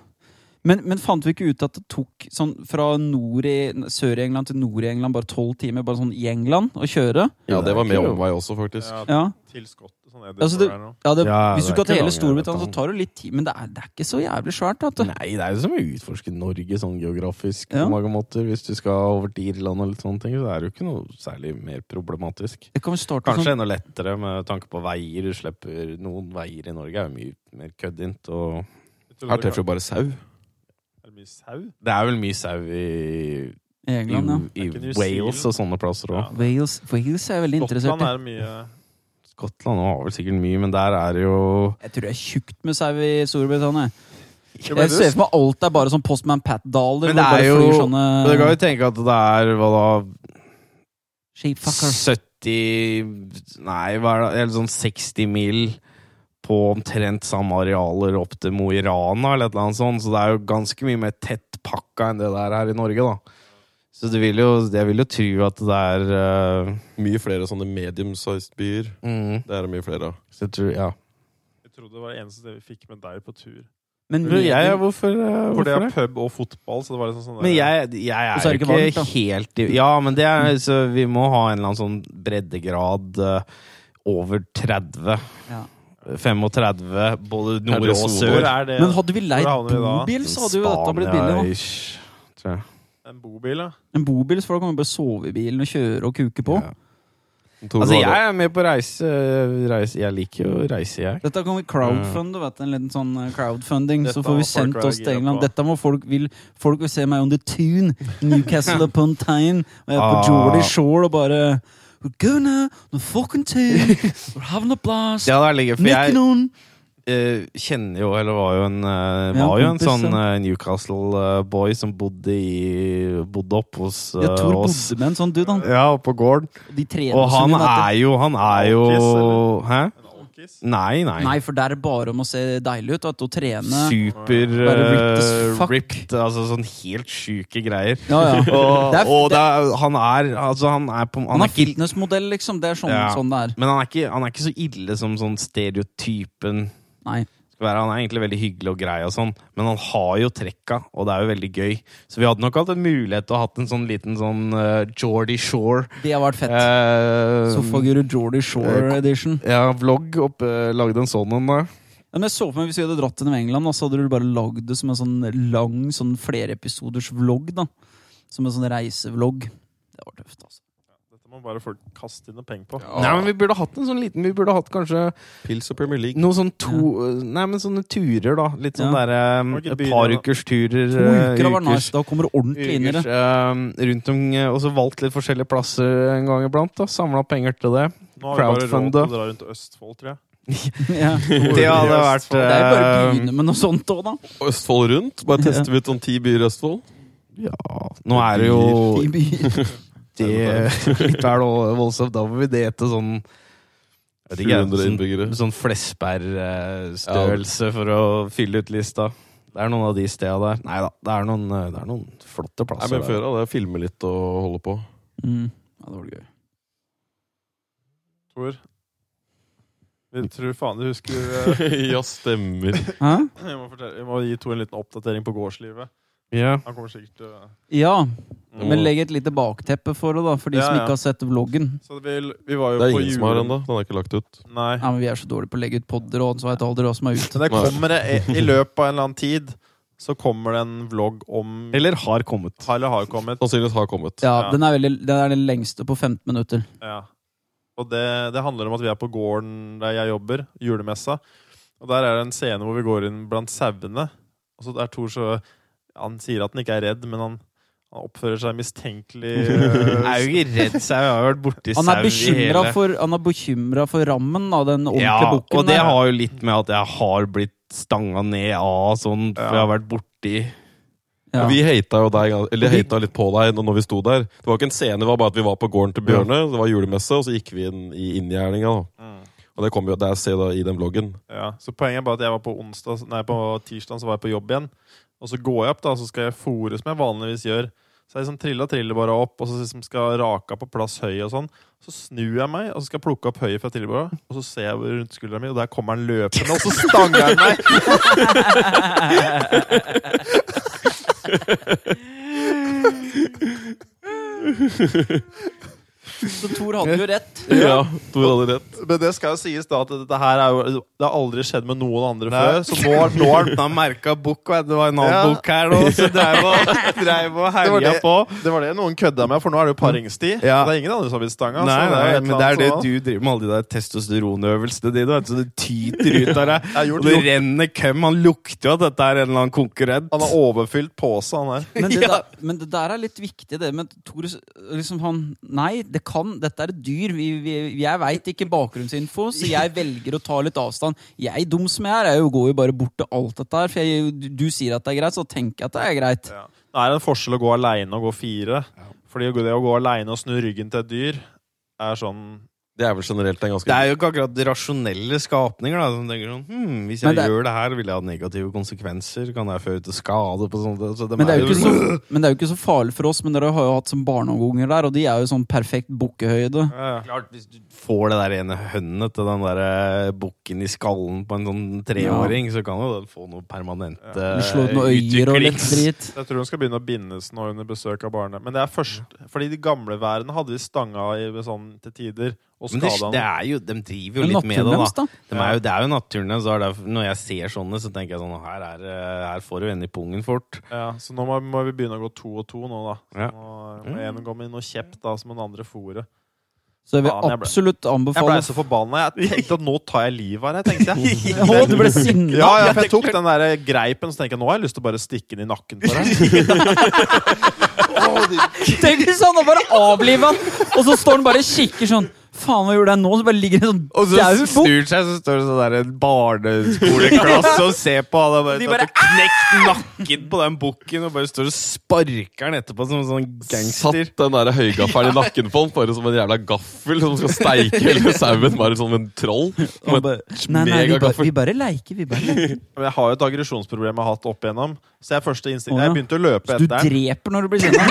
A: Men, men fant vi ikke ut at det tok sånn fra nord i, sør i England til nord i England bare tolv timer bare sånn i England å kjøre?
C: Ja, det var med
B: ikke-
C: omvei også, faktisk.
D: Ja,
A: Ja,
D: til Skott, sånn Edinburgh
A: Altså, det-
D: her nå.
A: ja, det,
B: Ja,
A: Hvis du
B: det er
A: skal til
B: ikke
A: hele
B: langt,
A: Storbritannia, så
B: jeg vet
A: tar det litt tid. Men det er, det er ikke så jævlig svært. Vet du.
B: Nei, det er jo som å utforske Norge sånn geografisk
A: Ja.
B: på mange måter. Hvis du skal over til Irland og litt sånne ting, så er det jo ikke noe særlig mer problematisk.
A: Det kan vi starte
D: Liksom-
B: Kanskje enda lettere med tanke på veier. Du slipper noen veier i Norge er jo mye mer køddint. Og
D: Jeg trodde
C: Her
D: det
C: treffer du bare sau.
D: var- Er det mye sau?
B: det er vel mye sau i,
A: sånn i England, ja.
B: i,
D: Er ikke New
B: i Wales og sånne plasser òg.
D: Ja.
A: Wales, Wales er jeg veldig interessert
D: Skottland
A: i.
D: er mye
B: Skottland har vel sikkert mye, men der er det jo
A: Jeg tror det er tjukt med sau i Storbritannia.
D: Det ble
A: Jeg ser
D: rusk.
A: for meg alt er bare sånn Postman Pat-daler.
B: Men det er jo Men
D: Eh.
B: Du kan
A: sånne
B: jo tenke at det er hva da
A: Sheepfuckers.
B: 70 Nei, hva er det? Eller sånn 60 mil på omtrent samme arealer opp til Mo i Rana, eller et eller annet sånt. Så det er jo ganske mye mer tettpakka enn det der her i Norge, da. Så det vil jo, jeg vil jo tro at det er
C: Mye flere sånne medium-sized byer.
B: eh, mm,
C: Det er det mye flere av.
B: Så jeg tror, ja.
D: Jeg trodde det var det eneste stedet vi fikk med deg på tur.
A: Men
B: Men jeg,
A: medium-
B: hvorfor, eh,
D: For
B: hvorfor
D: det er
B: det?
D: pub og fotball, så det var liksom sånn der-
B: Men jeg, jeg
A: Og så er det
B: er jo
A: ikke
B: ikke
A: varmt, da.
B: helt i- Ja, men det er, så vi må ha en eller annen sånn breddegrad eh, over 30.
A: Ja.
B: 35, både
C: Er
B: nord
C: det
B: og
C: sol?
B: sør.
D: Hvor er det
A: Men hadde vi leid
D: Hvor havner vi da?
A: bobil, så hadde jo dette blitt billig. Da.
B: Spania-ish, tror jeg.
D: en bobil, da?
A: En bobil, så folk kan jo bare sove i bilen og kjøre og kuke på.
B: Ja.
C: Tror
B: Altså,
C: du det var
B: jeg er med på reise. eh, reise. Jeg liker jo å reise, jeg.
A: Dette kan vi crowdfunde, vet du. En liten sånn eh, crowdfunding.
D: Dette
A: så får
D: må
A: vi
D: folk
A: sendt
D: være
A: oss til
D: gira
A: England.
D: på.
A: Dette må folk vil Folk vil se meg on the tune. Newcastle upon Tyne. Og jeg er på
B: Ah.
A: Geordie Shore og bare We're gonna on the fucking tune. We're having a blast.
B: Det hadde vært ligget, for
A: Nikke
B: jeg
A: noen.
B: eh, kjenner jo, eller var jo en, eh,
A: Ja,
B: var jo en
A: kompis,
B: sånn
A: ja.
B: Newcastle-boy som bodde, i, bodde opp hos eh,
A: Ja, Tor
B: oss.
A: bodde med en sånn dude, han.
B: Ja, oppe på gården.
A: De trener
B: Og
A: så
B: han
A: mye, vet
B: er jo Han er jo
D: Alkis, eller?
B: Hæ?
D: En alkis?
B: Nei,
A: du.
B: nei.
A: Nei, for der er det bare om å se deilig ut vet du, og trene.
B: Super
A: Bare ripped as
B: eh,
A: fuck.
B: ripped. Altså sånn helt sjuke greier.
A: Ja, ja.
B: Og,
A: Det er-
B: og det er, han er Altså, han er på
A: Han er
B: ikke
A: fitnessmodell, liksom. Det er sånn,
B: Ja.
A: sånn det er.
B: Men han er ikke, han er ikke så ille som sånn stereotypen
A: Nei.
B: skal være. Han er egentlig veldig hyggelig og grei, og sånn men han har jo trekka, og det er jo veldig gøy. Så vi hadde nok hatt en mulighet til å ha hatt en sånn liten sånn eh, Geordie Shore.
A: Det har vært fett.
B: eh,
A: Sofaguru Geordie Shore
B: eh,
A: edition.
B: ja, vlogg oppe. lagde en sånn en, da.
A: Ja, men jeg så for meg Hvis vi hadde dratt til England, da, så hadde du bare lagd det som en sånn lang sånn flereepisoders vlogg. da Som en sånn reisevlogg. Det var tøft, altså.
D: Dette må bare folk kaste inn noe penger på.
C: Ja.
B: Nei, men vi burde hatt en sånn liten Vi burde hatt kanskje
C: Pils og Premier League.
B: noe sånn to Nei, men sånne turer, da. Litt sånn
A: Ja.
B: derre um,
D: Må ikke
B: Et
D: begynne,
B: par
D: da.
B: ukers turer.
A: To
B: eh,
A: uker har vært
B: ukers-
A: nice. Da kommer du ordentlig inn i det.
B: Ugers, eh, rundt om, eh, og så valgt litt forskjellige plasser en gang iblant. da, Samla penger til det.
D: Nå har vi bare råd til
B: crowdfunda.
D: å dra rundt Østfold, tror jeg.
A: Ja. Det
B: Det hadde vært
A: er jo bare å
B: eh,
A: begynne med noe sånt òg, da.
C: Østfold rundt. Bare tester vi ut sånn ti byer i Østfold.
B: Ja, nå er det jo
A: I byer.
B: det, litt vel voldsomt. Da må vi det til sånn jeg vet ikke,
C: 700
B: sånn-
C: innbyggere.
B: Sånn Flesberg-størrelse for å fylle ut lista. Det er noen av de steda der. Nei da, det er noen, eh, det er noen flotte
C: Nei,
B: plasser.
C: men før av det. Filme litt og holde på.
A: Mm. Ja, det var det gøy.
D: Tor. Vi tror faen du husker eh,
C: ja, stemmer.
A: Hæ?
D: vi, må fortelle, vi må gi Tor en liten oppdatering på gårdslivet.
B: der. Ja.
D: Han kommer sikkert til å-
A: Ja,
C: Mm.
A: men legg et lite bakteppe for det, da, for de
D: Ja,
A: som
D: ja.
A: ikke har sett vloggen.
D: Så vi, vi var jo
C: Det er
D: på
C: ingen som har
D: jule-
C: den ennå. Den er ikke lagt ut.
D: Nei.
A: Ja, men Vi er så dårlige på å legge ut podder, og sånn, så vet aldri hva som er ute.
D: Men det kommer det i, i løpet av en eller annen tid, så kommer det en vlogg om
B: Eller har kommet.
D: Eller har kommet.
C: Sannsynligvis har kommet.
A: Ja,
D: Ja.
A: den er, veldig, den er den lengste på 15 minutter.
D: Ja. Og det, det handler om at vi er på gården der jeg jobber, julemessa. Og der er det en scene hvor vi går inn blant sauene. Og så er Thor så Han sier at han ikke er redd, men han, han oppfører seg
B: Jeg
D: mistenkelig.
B: er jo ikke redd sau, jeg har jo vært borti sau
A: Han er
B: i hele
A: bekymra for, han er bekymret for rammen, da, den ordentlige
B: Ja,
A: bukken.
B: og det
A: der.
B: har jo litt med at jeg har blitt stanga ned av sånn, for
D: Ja.
B: jeg har vært borti
A: Ja.
C: Vi hata jo deg, eller
A: Og vi-
C: hata litt på deg når- når vi sto der. Det var ikke en scene, det var bare at vi var på gården til Bjørne. Det var julemesse, og så gikk vi inn i inngjerninga. da.
D: Mm.
C: Og det kommer jo, det er se da i den vloggen.
D: Ja, så poenget er bare at jeg var på onsdag Nei, på tirsdag så var jeg på jobb igjen Og så går jeg opp da, så skal jeg fôre som jeg vanligvis gjør Så jeg liksom trilla trillebåra opp, og så liksom skal raka på plass høyet og sånn. Så snur jeg meg og så skal jeg plukke opp høyet fra trillebåra, og så ser jeg over rundt skuldra mi, og der kommer han løpende, og så stanger han meg!
A: Så Thor hadde jo rett.
C: Ja, Tor hadde rett.
D: Men det skal jo sies da at dette her er jo Det har aldri skjedd med noen andre
B: Nei.
D: før, så nå, har- nå har
B: Da merka bukk, og det var en annen
D: Ja.
B: bukk her nå, så dreiv og, dreiv og
D: Det var
B: herja
D: det-
B: på.
D: Det var det noen kødda med, for nå er det jo paringstid.
B: Ja.
D: Det er ingen andre som har blitt stanga.
B: Nei,
D: så
B: nei,
D: jo sånn
B: men
D: et eller
B: det er
D: annet
B: det
D: som-
B: du driver med, alle de der testosteronøvelsene dine. vet du, Så det tyter ut av deg.
D: Jeg har gjort
B: Og det
D: nok.
B: renner køm. Han lukter jo at dette er en eller annen konkurrent.
D: Han har overfylt pose, han her.
A: Men det, der, men det der er litt viktig, det med Thor liksom han, Nei, det kan, dette er et dyr. Vi, vi, jeg veit ikke bakgrunnsinfo, så jeg velger å ta litt avstand. Jeg, dum som jeg er, jeg går jo bare bort til alt dette her. For jeg, du, du sier at det er greit, så tenker jeg at det er greit.
D: Det er en forskjell å gå aleine og gå fire. Fordi det å gå aleine og snu ryggen til et dyr er sånn
C: Det er vel generelt en ganske
B: Det er jo ikke akkurat rasjonelle skapninger da, som tenker sånn hm, Hvis jeg
A: Men det-
B: gjør det her, vil jeg ha negative konsekvenser? Kan jeg føre til skade på sånt? Så de
A: Men det, er jo ikke
B: jo-
A: så, men det er jo ikke så farlig for oss, men dere har jo hatt som barneunger der, og de er jo sånn perfekt bukkehøyde.
B: Klart, hvis du liksom, får det der ene hønnet til den der eh, bukken i skallen på en sånn treåring, så kan jo den få noe eh, permanente
A: Du slår ut noen øyer og litt
B: utviklings-
A: drit.
D: Jeg tror hun skal begynne å bindes nå under besøk av barnet. Men det er først Fordi de gamle værene hadde vi stanga i sånn til tider, og
B: Men det,
D: skada
B: det er jo, de driver jo
A: Men
B: litt med det,
A: naturen
B: da.
A: deres, da?
B: De er jo, det er jo naturen deres. så er det- Når jeg ser sånne, så tenker jeg sånn Her, er, eh, her får du en i pungen fort.
D: Ja, så nå må, må vi begynne å gå to og to nå, da. Så
B: Ja.
D: Nå må en gå med noe kjepp, da, som den andre fôret.
A: Så jeg vil
D: Faen, jeg ble-
A: absolutt
D: Jeg
A: anbefale
D: blei så forbanna. Jeg tenkte at nå tar jeg livet av her, jeg, tenkte jeg.
A: Å, du ble sinna!
D: Ja, ja, for jeg tok den der greipen, så tenker jeg nå har jeg lyst til å bare stikke den i nakken på deg.
A: Tenk hvis han hadde bare avliva han, og så står han bare og kikker sånn Faen, hva gjorde jeg nå? Så bare ligger det en
B: Og
A: sånn
B: så
A: daud bukk.
B: snur seg, så står det sånn der en barneskoleklasse og ser på. Han har bare, "Ah!"
A: De
B: de
A: bare,
B: bare knekt nakken på den bukken og bare står og sparker den etterpå som en sånn gangster.
C: Satt den der høygaffelen i nakken på den, bare som en jævla gaffel som skal steike hele sauen. Bare som en troll.
A: Han bare, Nei, nei, vi bare, vi bare leker, vi bare leker.
D: Men jeg har jo et aggresjonsproblem jeg har hatt opp igjennom. Så jeg første
A: Å,
D: instinkt
A: ja.
D: Jeg begynte å løpe
A: Så du
D: etter den.
A: dreper når du blir sinna?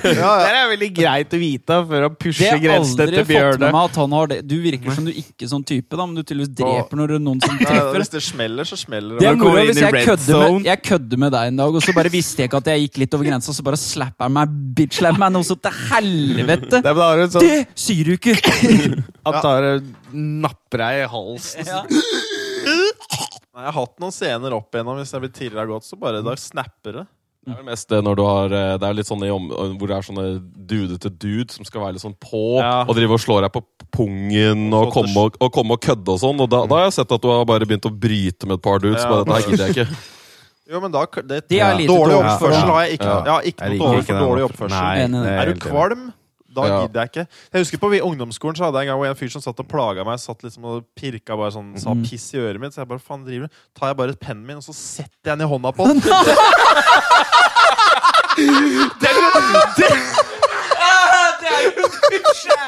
B: Det er veldig greit å vite før han
A: Det
B: pusher
A: har
B: grensen
A: aldri fått
B: etter
A: med
B: bjørnet.
A: meg at han har det. Du virker som du ikke er sånn type, da, men du tydeligvis dreper når det er noen som
D: Nei,
A: treffer.
D: Hvis det smeller, så smeller
A: Det
D: det.
A: er
B: Når du
A: moro
B: kommer inn
A: hvis
B: i
A: jeg
B: red
A: kødder, med,
B: zone.
A: jeg kødder med deg en dag, og så bare visste jeg ikke at jeg gikk litt over grensa, så bare slapper han meg, bitch-slapper meg noe så til helvete!
B: Det er, da har du en sånn,
A: Det sier du ikke!
B: han tar og napper deg i halsen.
A: Ja.
D: Nei, Jeg har hatt noen scener opp igjennom hvis jeg blir tirra godt, så bare da snapper det.
C: Det er vel mest det når du har eh, Det er jo litt sånn i om, hvor det er sånne dudete dude som skal være litt sånn på
D: Ja.
C: og drive og slå deg på pungen og
D: Og så til
C: komme og, og, komme og kødde og sånn. Og da, da har jeg sett at du har bare begynt å bryte med et par dudes.
D: Ja.
C: Bare, Nei, gidder jeg ikke.
D: Jo, men da det,
A: Det er lite
D: Dårlig
A: dårlig
D: oppførsel har jeg ikke.
C: Ja.
D: Jeg har ikke noe over for dårlig oppførsel.
A: Enig i
B: Eh,
A: det.
D: Er du kvalm? Da
C: Ja.
D: gidder jeg ikke. Jeg husker på vi- ungdomsskolen så hadde jeg en gang hvor en fyr som satt og plaga meg. Satt liksom og pirka bare sånn, sa piss i øret mitt. Så jeg bare, faen driver du? Tar jeg bare pennen min, og så setter jeg den i hånda
A: Sånn
D: på han.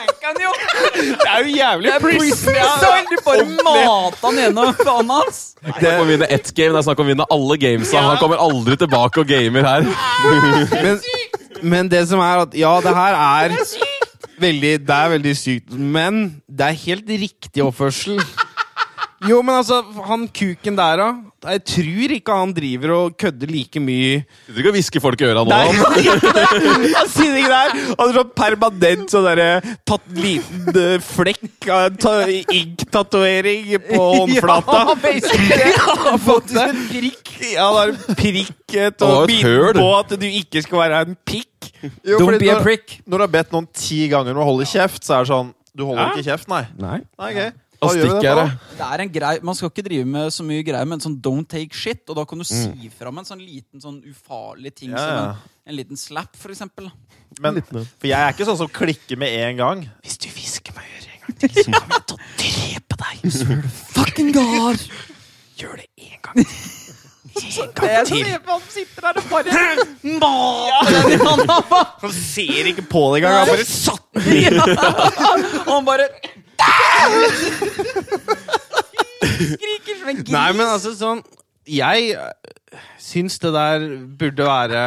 B: Det er jo jævlig
A: Du bare mata han gjennom faen hans!
C: Det er snakk om å vinne ett game, det er snakk om å vinne alle gamesa. Han kommer aldri tilbake og gamer her.
B: men, men det som er at Ja, det her er veldig, Det er veldig sykt, men det er helt riktig oppførsel. Jo, men altså, han kuken der, da. Jeg tror ikke han driver og kødder like mye.
C: Sitter ikke og hvisker folk i øra nå.
B: Nei,
C: da.
B: han gjør ikke det! Han sier ikke det her! Han er sånn permanent sånn derre Tatt liten eh, flekk av en ta- ink-tatovering på håndflata.
A: Ja, basically.
B: Han har fått en prikk. Ja, han har en prikk eh, til
C: Han
B: å
C: har et høl.
B: bite på at du ikke skal være en pikk.
D: Jo,
A: Don't
D: fordi
A: be a
D: når-
A: prick.
D: Når du har bedt noen ti ganger om å holde kjeft, så er det sånn Du holder ikke kjeft, nei?
B: Nei.
D: Nei, ok.
C: Da
D: Da gjør vi
C: stikker
D: det
C: jeg
D: da.
C: det.
A: Det er en grei, Man skal ikke drive med så mye greier, men sånn don't take shit. Og da
C: Mm.
A: kan du si fra med en sånn liten sånn ufarlig ting
D: Ja,
A: som
D: ja.
A: en, en liten slap, for eksempel.
D: Men, for jeg er ikke sånn som klikker med en gang.
B: Hvis du hvisker meg i øret en gang til, så kommer jeg til å drepe deg.
A: Fucking god!
B: Gjør det en gang til. En gang til.
A: Han sitter der og bare mater den i hånda! hva?
B: Han ser ikke på det engang. Han bare satt
A: Ja. Og han bare Skriker som en gris.
B: Nei, men altså sånn jeg eh, syns det der burde være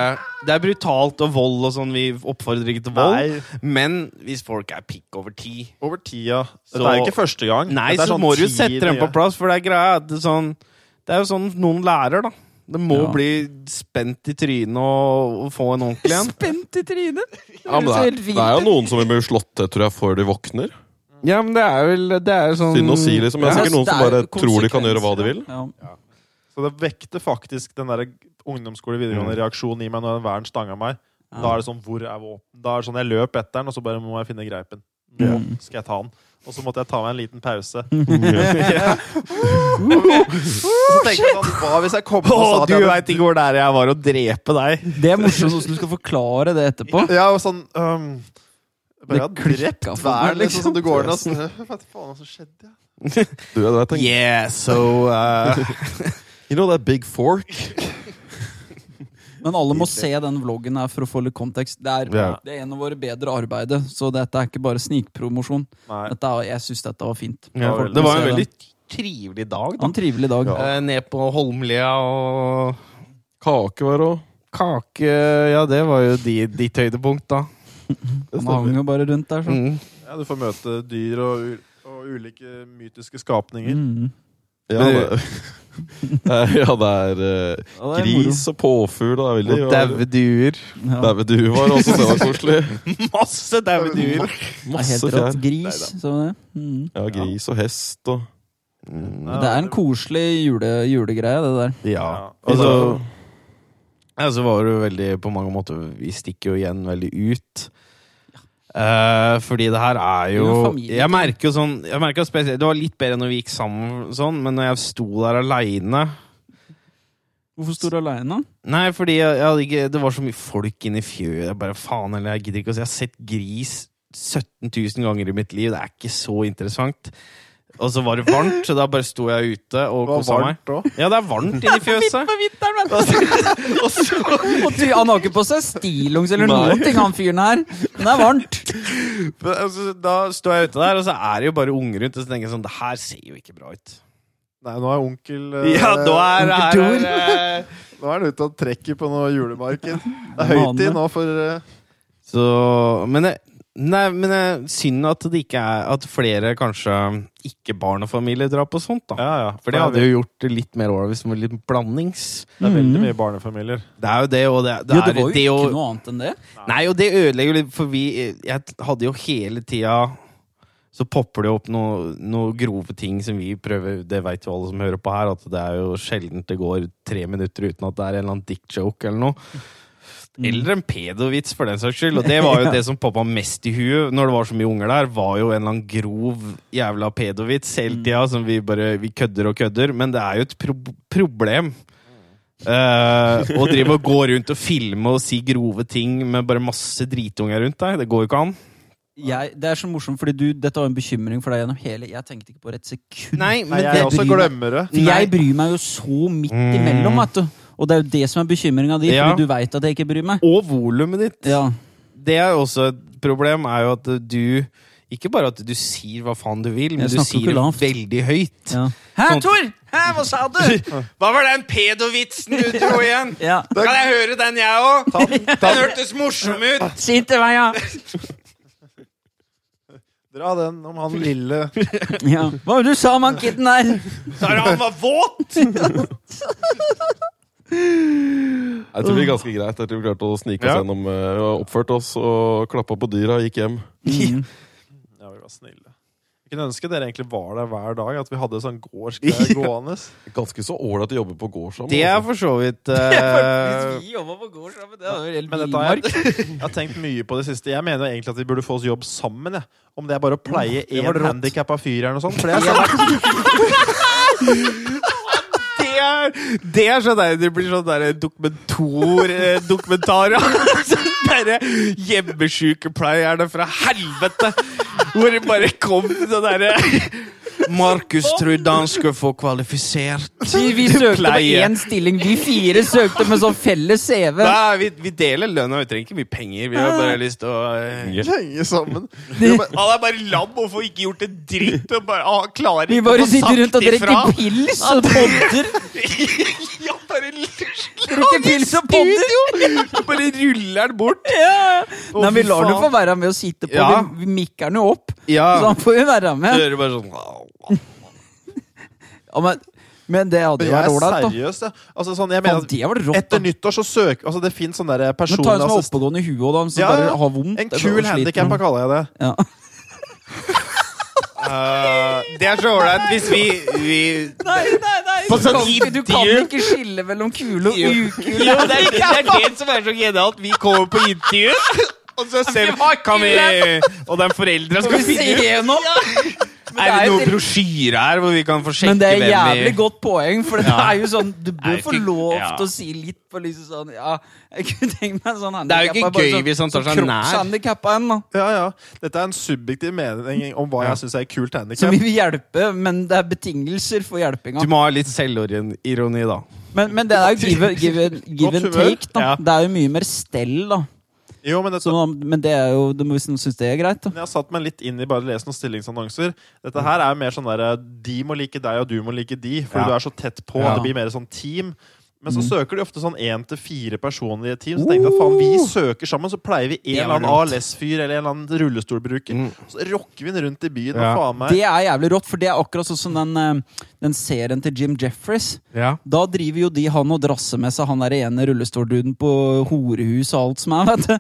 B: Det er brutalt og vold og sånn. Vi oppfordrer ikke til vold.
D: Nei.
B: Men hvis folk er pikk over ti
D: Over tida. Dette
B: Så-
D: er jo ikke første gang.
B: Nei,
D: Dette er
B: så
D: sånn
B: må du
D: ti
B: sette dem på
D: nye.
B: plass, for det er greia at det er sånn Det er jo sånn noen lærer, da. Det må
A: Ja.
B: bli spent i trynet og, og få en ordentlig en.
A: Spent i trynet! Det
C: Ja, men
A: høres
C: det, er,
A: helt
C: det er jo
A: vilt ut.
C: noen som vil bli slått til, tror jeg, før de våkner.
B: Ja, men det er vel det er sånn
C: Synd å si, liksom. men Det er
A: Ja,
C: sikkert noen
A: det
C: som
A: er
C: bare
A: jo
C: tror de kan gjøre hva de vil.
A: konsekvenser, ja.
D: Så det vekte faktisk den der ungdomsskole-videregående-reaksjonen i meg når verden stanga meg.
A: Ja.
D: Da er det sånn Hvor er våpen? Da er det sånn Jeg løp etter den, og så bare må jeg finne greipen. Nå skal jeg ta den. Og så måtte jeg ta meg en liten pause. Ja. Og så tenkte jeg sånn Hva hvis jeg kom
B: Å,
D: på og sa at
B: du
D: jeg hadde
B: veit ikke hvor det er jeg var å drepe deg!
A: Det er morsomt hvordan du skal forklare det etterpå.
D: Ja, og sånn um,
A: Det
D: Bare jeg hadde
A: klikket
D: drept
A: for meg,
D: hver, liksom.
A: liksom.
D: Sånn, du går ned og sånn Hva faen, hva som skjedde? Ja?
C: Du, det er, tenkt-
B: Yeah, so uh,
C: You know that big fork?
A: Men alle må se den vloggen her for å få litt kontekst. Det er,
C: Ja.
A: det er en av våre bedre arbeider, så dette er ikke bare snikpromosjon.
D: Nei.
A: Dette er, jeg syns dette var fint.
B: ja,
A: Folk
B: Det
A: må se
B: var en veldig
A: den.
B: trivelig dag,
A: Ha
B: da.
A: en trivelig dag.
B: Eh, ned på Holmlia og
C: Kake var òg.
B: Kake Ja, det var jo di- ditt høydepunkt, da.
A: Han hang jo bare rundt der, sånn.
B: Mm.
D: Ja, du får møte dyr og, u- og ulike mytiske skapninger.
A: Mm.
C: Ja,
B: Men-
C: det, ja, det er
A: Ja,
C: eh,
A: det er moro.
C: gris og påfugl. Det er veldig
B: Og daue duer.
A: Ja.
C: Daue duer var også, det var koselig.
B: Masse daue
A: Det
B: duer!
A: er helt
C: Masse
A: rått.
C: fjær.
A: Gris, så du det. Mm.
C: Ja, gris og hest og
D: Ja,
A: Det er en koselig jule, julegreie, det der.
B: Ja. Og så,
C: Altså-
B: ja, så var du veldig på mange måter Vi stikker jo igjen veldig ut. Eh, fordi det her er jo
A: Det er jo familie.
B: Jeg merker jo sånn jeg merker jo spesielt, Det var litt bedre når vi gikk sammen, sånn, men når jeg sto der aleine
A: Hvorfor står du aleine?
B: Nei, fordi jeg, jeg hadde ikke, det var så mye folk inne i fjøet. Jeg bare faen eller Jeg gidder ikke å se. Jeg har sett gris 17 000 ganger i mitt liv. Det er ikke så interessant. Og så var det varmt, så da bare sto jeg ute og
D: Det var
B: kosa meg.
D: varmt òg.
B: Ja, det er varmt inne i fjøset.
A: på vinteren, Og ty- han har ikke på seg stillongs eller noen ting, han fyren her. Men det er varmt.
B: Men, altså, Da står jeg ute der, og så er det jo bare unger rundt. Og så tenker jeg sånn, det her ser jo ikke bra ut.
D: Nei, nå er onkel eh,
B: Ja, nå er det her
A: Onkel Tor.
B: er, eh,
D: Nå er han ute og trekker på noe julemarked. Det er
A: Mane.
D: høytid nå for eh,
B: Så Men det Nei, men det er synd at det ikke er At flere kanskje ikke barn og familie drar på sånt, da.
D: Ja, ja.
B: For det hadde jo gjort det litt mer ålreit hvis det var litt blandings.
D: Det er
B: Mm.
D: veldig mye barnefamilier.
B: Det er jo det, og det, det,
A: Jo, det
B: er,
A: var jo
B: det
A: ikke
B: og,
A: noe annet enn det.
B: Nei, og det ødelegger jo litt, for vi Jeg hadde jo hele tida Så popper det opp noen noe grove ting som vi prøver Det vet jo alle som hører på her, at det er jo sjelden det går tre minutter uten at det er en eller annen dick-joke eller noe.
A: Mm.
B: Eller en pedovits, for den saks skyld. Og det var jo det som poppa mest i huet når det var så mye unger der, var jo en eller annen grov jævla pedovits hele
A: Mm.
B: tida som vi bare Vi kødder og kødder, men det er jo et pro problem. Eh, og drive og gå rundt og filme og si grove ting med bare masse dritunger rundt deg. Det går jo ikke an.
A: Jeg, det er så morsomt, fordi du, dette var en bekymring for deg gjennom hele Jeg tenkte ikke på det et sekund.
B: Nei, men
D: Nei,
B: det
D: jeg også
A: bryr meg.
D: glemmer det.
A: For jeg bryr meg jo så midt imellom, vet du. Og det er jo det som er bekymringa di,
B: Mm. Ja.
A: fordi du veit at jeg ikke bryr meg.
B: Og volumet ditt.
A: Ja.
B: Det er jo også et problem, er jo at du Ikke bare at du sier hva faen du vil, men
A: Jeg
B: du
A: snakker
B: sier
A: ikke
B: det
A: lavt.
B: veldig høyt.
A: ja. Hæ,
B: Sånn-
A: Tor! Hæ, hva sa du?
B: Hva var den pedovitsen du dro igjen?
A: Ja.
B: Kan jeg høre den, jeg òg? Den hørtes morsom ut!
A: Si til meg, ja.
D: Dra den om han lille
A: ja. Hva var det du sa om han kiden der?
B: Sa du han var våt?
C: Jeg tror det blir ganske greit. Jeg tror vi klarte å snike oss
B: Ja.
C: gjennom. eh, og Oppførte oss og klappa på dyra og gikk hjem.
A: Mm.
D: Ja, vi var snille. Jeg kunne ønske dere egentlig var der hver dag, at vi hadde sånn gårdsgreie gående.
C: Ganske så ålreit å jobbe på gård sammen.
B: Det er
C: altså.
B: for så vidt
A: Hvis
B: eh,
A: vi jobba på gård sammen, det hadde vært helt
D: Men dette har
A: villmark.
D: jeg, jeg har tenkt mye på det siste. Jeg mener jo egentlig at vi burde få oss jobb sammen. Jeg. Om det er bare å pleie én
B: var rått.
D: handikappa fyr eller noe sånt. For det er sånn,
B: Det er, det er sånn der, det blir sånn der dokumentor, eh, dokumentarer. Sånn derre hjemmesykepleierne fra helvete! Hvor det bare kom sånn derre Markus trodde han skulle få kvalifisert.
A: Vi, vi søkte på
B: pleier.
A: én stilling. Vi fire søkte med sånn felles CV.
B: Nei, vi, vi deler lønna, vi trenger ikke mye penger. Vi har bare lyst til å eh,
D: henge sammen.
B: Han er bare lam og får ikke gjort en dritt. Og bare, han klarer
A: Vi
B: ikke
A: bare
B: å få
A: sitter
B: sagt
A: rundt og
B: ifra.
A: drikker pils og podder.
B: Ja, bare l-
A: Rockefils og podder!
B: Bare ruller den bort.
A: Ja.
B: Å,
A: Nei, vi
B: fy
A: lar ham
B: faen.
A: få være med og sitte på.
B: Ja.
A: Vi, vi mikker han jo opp, så
B: Ja.
A: han får jo være
B: Så
A: med.
B: hører du bare sånn
A: Ja, men, men det hadde jo
D: Jeg
A: vært
D: er
A: ålreit, da.
D: seriøs, jeg. Altså, sånn, jeg
A: Faen,
D: mener,
A: det var
D: at
A: rått,
D: etter
A: da.
D: nyttår så søker Altså, det fins sånn derre
A: Men ta en som er
D: personassist...
A: oppegående i huet òg, da. Som
D: Ja, ja.
A: bare har vondt. eller
D: En kul
A: sliter med
D: handikappa
A: noe.
D: kaller jeg det.
A: Ja.
B: Eh, Det er så ålreit hvis vi, vi
A: Nei, nei, nei!
B: På
A: Du kan,
B: sånn
A: ikke- du kan
B: intervju.
A: ikke skille mellom kule og ukule.
B: Jo, det er, det er det som er så genialt. Vi kommer på intervju, og så ser vi, kan vi Og de foreldra skal finne ut.
A: gjennom!
B: Er det noen brosjyre her hvor vi kan få sjekke
A: Men det er jævlig
B: hvem vi
A: godt poeng, for det
B: Ja.
A: er jo sånn Du
B: Det er
A: bør
B: jo
A: få
B: ikke-
A: lov
B: ja.
A: til å si litt på liksom sånn Ja, jeg kunne tenkt meg en sånn
B: Det er jo ikke
A: handikappa, bare
B: gøy hvis han tar
A: sånn
B: seg nær.
A: kroppshandikappa en, da.
D: Ja, ja. Dette er en subjektiv mening om hva
B: Ja.
D: jeg syns er kult
A: Som
D: handikap.
A: vi vil hjelpe, men det er betingelser for hjelpinga.
B: Du må ha litt selvironi, da.
A: Men, men det er jo give, give, give and
D: humør.
A: take, da.
B: Ja.
A: Det er jo mye mer stell, da.
D: Jo, men dette,
A: Så, man- men det er jo, det må- hvis noen syns det er greit, da.
D: jeg har satt meg litt inn i bare å lese noen stillingsannonser. Dette her er jo mer sånn derre De må like deg, og du må like de, fordi
B: Ja.
D: du er så tett på.
A: Ja. Mm.
D: Det blir mer sånn team. Men så søker de ofte sånn én til fire personer i et team. Så tenkte
A: Oh!
D: jeg faen, vi søker sammen, så pleier vi en
B: Det var
D: eller annen
B: rått.
D: ALS-fyr eller en eller annen rullestolbruker.
B: Mm.
D: Så rocker vi den rundt i byen,
B: Ja.
D: og faen meg
A: Det er jævlig rått, for det er akkurat sånn som den, eh, den serien til Jim Jeffries.
B: Ja.
A: Da driver jo de han og drasser med seg han der ene rullestolduden på horehus og alt som er, vet du.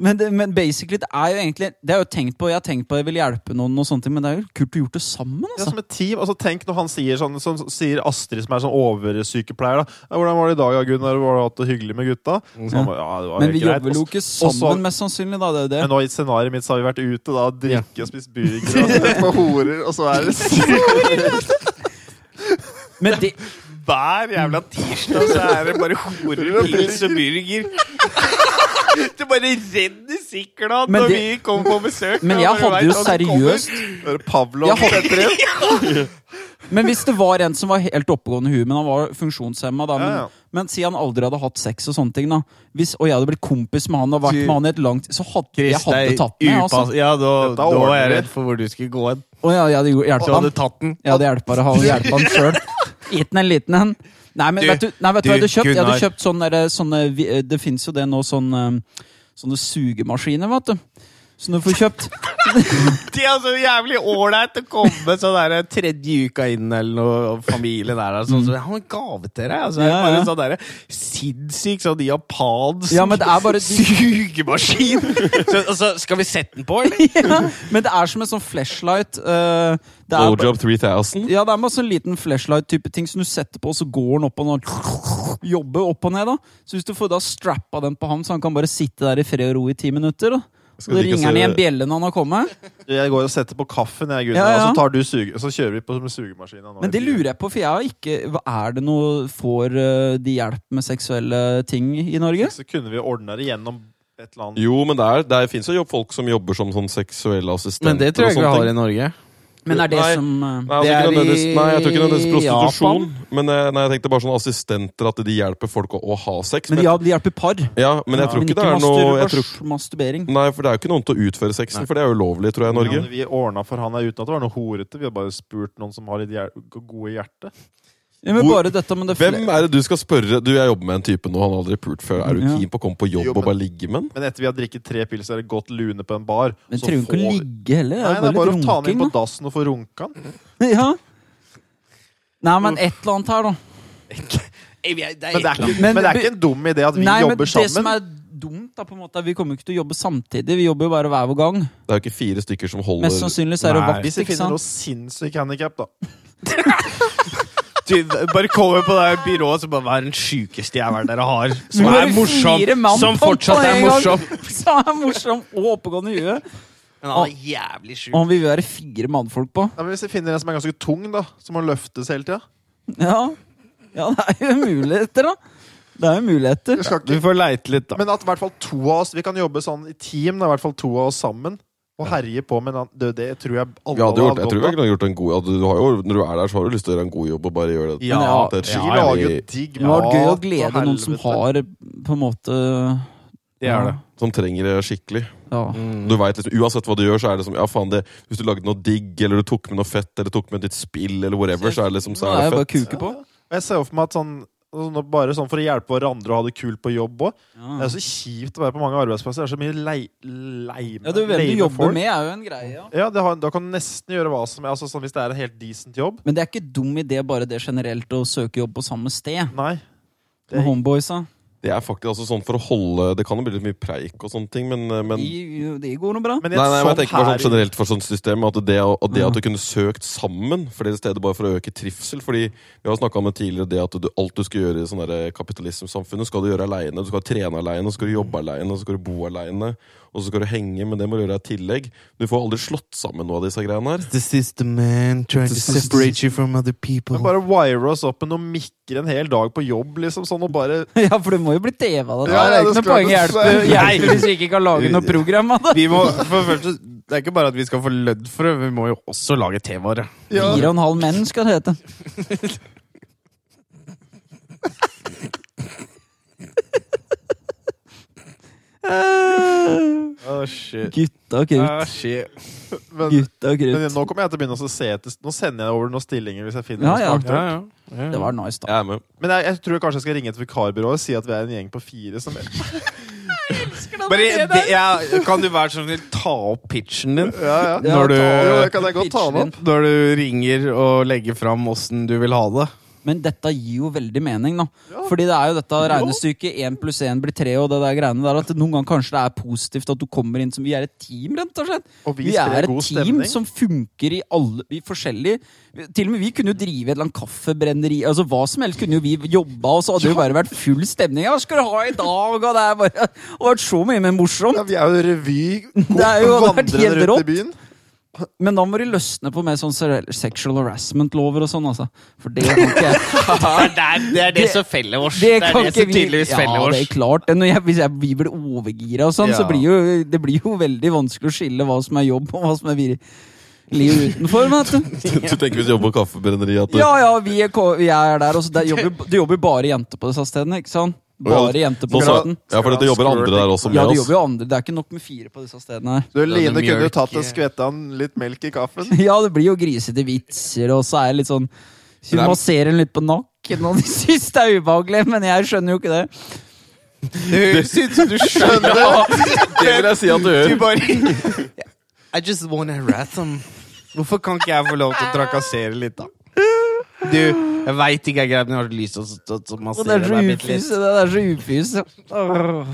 A: Men, det, men basically, det er jo egentlig Det er jo tenkt på, Jeg har tenkt på at jeg vil hjelpe noen, og sånne ting, men det er jo kult å gjort det sammen.
D: Ja,
A: altså
D: som et team. Altså, tenk når han sier sånn, sånn sier Astrid, som er sånn oversykepleier, da. Ja, 'Hvordan var det i dag, ja, Gunnar? Var det hatt det hyggelig med gutta?'
A: Mm.
D: Så han bare, ja, det var
A: Men
D: helt
A: vi
D: greit.
A: jobber jo
D: Også-
A: ikke
D: og så-
A: sammen, mest sannsynlig. da, det er jo det.
D: Men nå i scenarioet mitt så har vi vært ute, da, drikke og spist burger og sett på horer, og så er det så-
A: Men det,
B: Hver jævla tirsdag så er det bare horer og pils og burger. Det bare renner sikla
A: Men
B: når
A: det-
B: vi kommer på besøk.
A: men
B: og
A: jeg
B: bare
A: hadde jo
B: vet at du kommer.
A: seriøst
D: Nå er det
A: Jeg
D: Pavlov
A: holdt-
D: setter inn.
A: Men hvis det var en som var helt oppegående i huet, men han var funksjonshemma, da, men,
D: Ja, ja.
A: men si han aldri hadde hatt sex og sånne ting, da. Hvis, og jeg hadde blitt kompis med han og vært
B: Du-
A: med han i et langt Så hadde jeg
B: Chris, det er
A: hadde tatt med, altså.
B: upass- Ja, da,
D: Dette
B: da var jeg
D: ordner vi.
B: redd for hvor du skulle gå hen.
A: Å ja, jeg hadde jo hjulpet
B: Så
A: han.
B: hadde du tatt den.
A: Jeg hadde hjulpet han, hjulpet han sjøl. Gitt den en liten en. Nei, men
B: Du,
A: vet du, nei, vet du hva jeg
B: du,
A: hadde kjøpt? Jeg hadde
B: Gunnar.
A: kjøpt sånne, der- sånne vi- eh, Det fins jo det nå, sånne, eh, sånne sugemaskiner, vet du. Som du får kjøpt.
B: Det er så jævlig ålreit å komme sånn der tredje uka inn eller noe, og familien er der sånn så, Jeg har en gave til deg. Altså,
A: Mm.
B: det er
A: Ja,
B: bare
A: ja.
B: sånn der, sinnssyk sånn japansk
A: Ja, men det er bare
B: sugemaskin! så, og så altså, skal vi sette den på, eller?
A: ja, Men det er som en sånn flashlight. eh, det er
C: Blowjob 3000.
A: Ja, det er med sånn liten flashlight-type ting som du setter på, og så går den opp og ned. Jobber opp og ned, da. Så hvis du får da strappa den på ham, så han kan bare sitte der i fred og ro i ti minutter, da. Og
C: Skal
A: da
C: de ikke
A: ringer han i
C: se-
A: en bjelle når han har kommet.
D: Jeg går og setter på kaffen, jeg, Gunnar,
A: Ja, ja.
D: og så, tar du suge, så kjører vi på sugemaskina. nå i
A: Men det
D: byen.
A: lurer jeg på, for jeg har ikke hva Er det noe Får eh, de hjelp med seksuelle ting i Norge?
D: Så kunne vi ordna det gjennom et eller annet.
C: Jo, men det, er- det fins jo jobb- folk som jobber som sånn seksuelle assistenter.
B: Men det tror jeg
C: og
B: ikke
C: sånne
B: vi har
C: ting.
B: i Norge.
A: Men er det
C: Nei.
A: som eh,
C: Nei, altså,
B: Det
C: ikke
B: er
C: nødvendigvis-
B: i
C: nei, jeg tror ikke nødvendigvis prostitusjon.
A: Japan.
C: Men eh, nei, jeg tenkte bare sånn assistenter, at de hjelper folk å, å ha sex.
A: Men
C: Men,
A: ja, de hjelper par.
C: ja, men jeg tror
A: Men ikke
C: ikke det er noe jeg tror,
A: masturbas- masturbering.
C: Nei, for det er jo ikke noen til å utføre sexen, for det er jo ulovlig, tror jeg, i Norge.
D: Men Vi ordna for han her uten at det var noe horete. Vi har bare spurt noen som har litt hjel- gode hjerte.
A: Ja, men
C: Hvor-
A: bare dette, men det er
C: Hvem
A: flere.
C: er det du skal spørre? Du, jeg jobber med en type nå, han har aldri pult før. Er du
A: Ja.
C: keen på å komme på jobb
D: Jo,
C: og
D: men-
C: bare ligge med han?
D: Men etter vi har drikket tre pils eller gått lune på en bar
A: Men
D: så
A: trenger jo ikke å
D: får vi-
A: ligge heller.
D: Nei, det er bare å
A: litt
D: ta han inn
A: runking, da.
D: på dassen og få runka han.
A: Ja. Nei, men et eller annet her, da.
D: Men det er ikke,
A: Men-
D: men det er ikke en dum idé at vi
A: Nei, men
D: jobber
A: Det som
D: sammen.
A: er dumt, da, på en måte, er vi kommer jo ikke til å jobbe samtidig. Vi jobber jo bare hver vår gang.
C: Det er jo ikke fire stykker som holder
A: Mest sannsynlig så er det
B: Nei.
A: vakt,
D: Hvis vi
A: ikke
D: finner noe
A: sant?
D: sinnssykt handikap, da.
B: Du, bare kommer på det her byrået som bare hva er den sjukeste jeg dere har. Som
A: Vi var
B: er morsom.
A: fire mann
B: Som
A: på- på
B: fortsatt er
A: en gang.
B: morsom.
A: Som er morsom og oppegående i huet.
B: Men han er jævlig sjuk.
A: Og han vil vi være fire mannfolk på.
D: Nei, men hvis vi finner en som er ganske tung, da, som må løftes hele tida
A: Ja. ja, det er jo muligheter, da. Det er jo muligheter.
B: Du får leite litt, da.
D: Men at i hvert fall to av oss Vi kan jobbe sånn i team, da, i hvert fall to av oss sammen. Og herje på med en annen Det, det tror jeg alle
C: Vi hadde gjort,
D: hadde
C: jeg tror
D: godt
C: jeg
D: av.
C: kunne gjort en god du, du har jo, Når du er der, så har du lyst til å gjøre en god jobb og bare gjøre det.
B: Ja,
A: Ja,
C: det er
D: Vi
C: skikkelig-
D: lager jo digg
A: Det var gøy å
D: mat, og
A: glede noen som
D: helvete.
A: har på en måte
B: Det er det.
C: Som trenger det skikkelig.
A: Ja.
B: Mm.
C: Du
A: Mm.
C: vet liksom, Uansett hva du gjør, så er det liksom Ja, faen, det Hvis du lagde noe digg, eller du tok med noe fett, eller tok med et nytt spill, eller whatever, så er det liksom
A: Det
C: så
A: er jo
C: er det
A: bare å
C: fett.
A: kuke på.
D: Og Jeg ser jo for meg at sånn altså, nå bare sånn for å hjelpe hverandre og ha det kult på jobb òg. Det
A: Ja.
D: er så kjipt å være på mange arbeidsplasser. Det er så mye lei... lei
A: ja, du, hvem du
D: leime
A: jobber
D: folk.
A: med, er jo en greie. Ja.
D: Ja, det har, da kan du nesten gjøre hva som er. Altså, sånn, hvis det er en helt decent jobb.
A: Men det er ikke dum idé bare det generelt å søke jobb på samme sted.
D: Nei.
A: Med homeboysa.
C: Det er faktisk altså sånn for å holde Det kan jo bli litt mye preik og sånne ting, men, eh, men
A: De, de går noe bra.
D: Men i
C: Nei,
D: et
C: nei, men jeg tenker
D: sånt
C: bare sånn
D: her-
C: generelt for sånt system At det, å- at det
A: Ja.
C: at du kunne søkt sammen flere steder bare for å øke trivsel Fordi vi har snakket om det tidligere Det at du, alt du skal gjøre i sånn der kapitalismsamfunnet Skal du gjøre alene, du skal trene alene Så skal du jobbe alene, så skal du bo alene Og så skal du henge, men det må du gjøre i tillegg Du får aldri slått sammen noe av disse greiene her
B: The system man trying to separate you from other people.
D: Men bare wire oss opp med noen mikker en hel dag på jobb, liksom. Sånn og bare
A: Ja, for du må jo bli TV av det.
D: Ja,
A: der. det er
D: ja,
A: ikke
D: det
A: noe poeng
D: skal
A: hjelper,
D: du-
A: hjelper hvis vi ikke kan lage noe program av det.
B: Vi må, for det første, det er ikke bare at vi skal få lødd for det, vi må jo også lage T-vare.
A: Fire og en halv menn skal det hete. Eh,
D: Å, shit.
A: Gutta krutt.
B: Ah, shit.
D: Men,
A: Gutta
D: men
A: krutt.
D: nå kommer jeg til å begynne å se etter Nå sender jeg over noen stillinger hvis jeg finner
A: Ja,
D: noen
A: ja.
D: som er aktuelle.
A: Det var nice, da.
C: Jeg er med
D: Men jeg, jeg tror kanskje jeg skal ringe et vikarbyrå og si at vi er en gjeng på fire som
B: Bare, det, jeg, kan du være så snill ta opp pitchen din
D: Ja, ja.
A: Ja,
B: når,
A: ta-
D: Jo, det
B: du,
D: kan jeg godt ta med opp.
B: når du ringer og legger fram åssen du vil ha det?
A: Men dette gir jo veldig mening, da. Fordi det er jo dette regnestykket én pluss én blir tre, og det der greiene der at noen ganger kanskje det er positivt at du kommer inn som Vi er et team, rett og slett.
D: Og vi
A: Vi
D: sprer
A: er et
D: god
A: team
D: stemning.
A: som funker i alle i forskjellige Til og med vi kunne jo drive et eller annet kaffebrenneri. Altså Hva som helst kunne jo vi jobba, og så hadde det jo bare vært full stemning. Ja, Hva skal du ha i dag? Og det er bare og vært så mye mer morsomt.
D: Ja, vi er jo revy.
A: Det er jo- det har vært
D: vandrende
A: helt
D: rundt
A: rått.
D: i byen.
A: Men da må de løsne på mer sånn sexual harassment-lover og sånn, altså. For det kan ikke jeg.
B: Det er det, er
A: Det-
B: som feller oss.
A: Det kan ikke vi
B: feller
A: Ja, det er klart. det. Når jeg, hvis jeg, vi blir overgira og sånn, så
B: Ja.
A: blir jo, det blir jo veldig vanskelig å skille hva som er jobb og hva som er virkelig utenfor. Vet du.
C: Du tenker hvis du jobber på kaffebrenneri at du,
A: Ja, ja, vi er, ko- vi er der. Også, der jobber, det jobber bare jenter på disse stedene, ikke sant?
C: Å,
A: Bare
C: ja,
A: jenter på
C: Nå sa-
A: staten.
C: Ja, for det jobber andre der også med
A: Ja, det
C: oss
A: jobber jo andre. Det er ikke nok med fire på disse stedene her.
D: Du, Line
B: noe
D: kunne jo
B: mjølk eh.
D: tatt
B: i-
D: og skvetta en litt melk i kaffen.
A: Ja, det blir jo grisete vitser, og så er det litt sånn Hun
C: Men det er-
A: masserer en litt på nakken, og de syns det er ubehagelig, men jeg skjønner jo ikke det.
B: Det syns du skjønner
C: Det vil jeg si at du
B: Du
C: gjør
B: bare I just wanna harass them. Hvorfor kan ikke jeg få lov til å trakassere litt, da? Du, jeg veit ikke jeg er greit, men jeg har lyst til å stå- stå-
A: Og det
B: massere
A: er så
B: deg bitte litt.
A: ufyse. Det er så ufyse. Åh.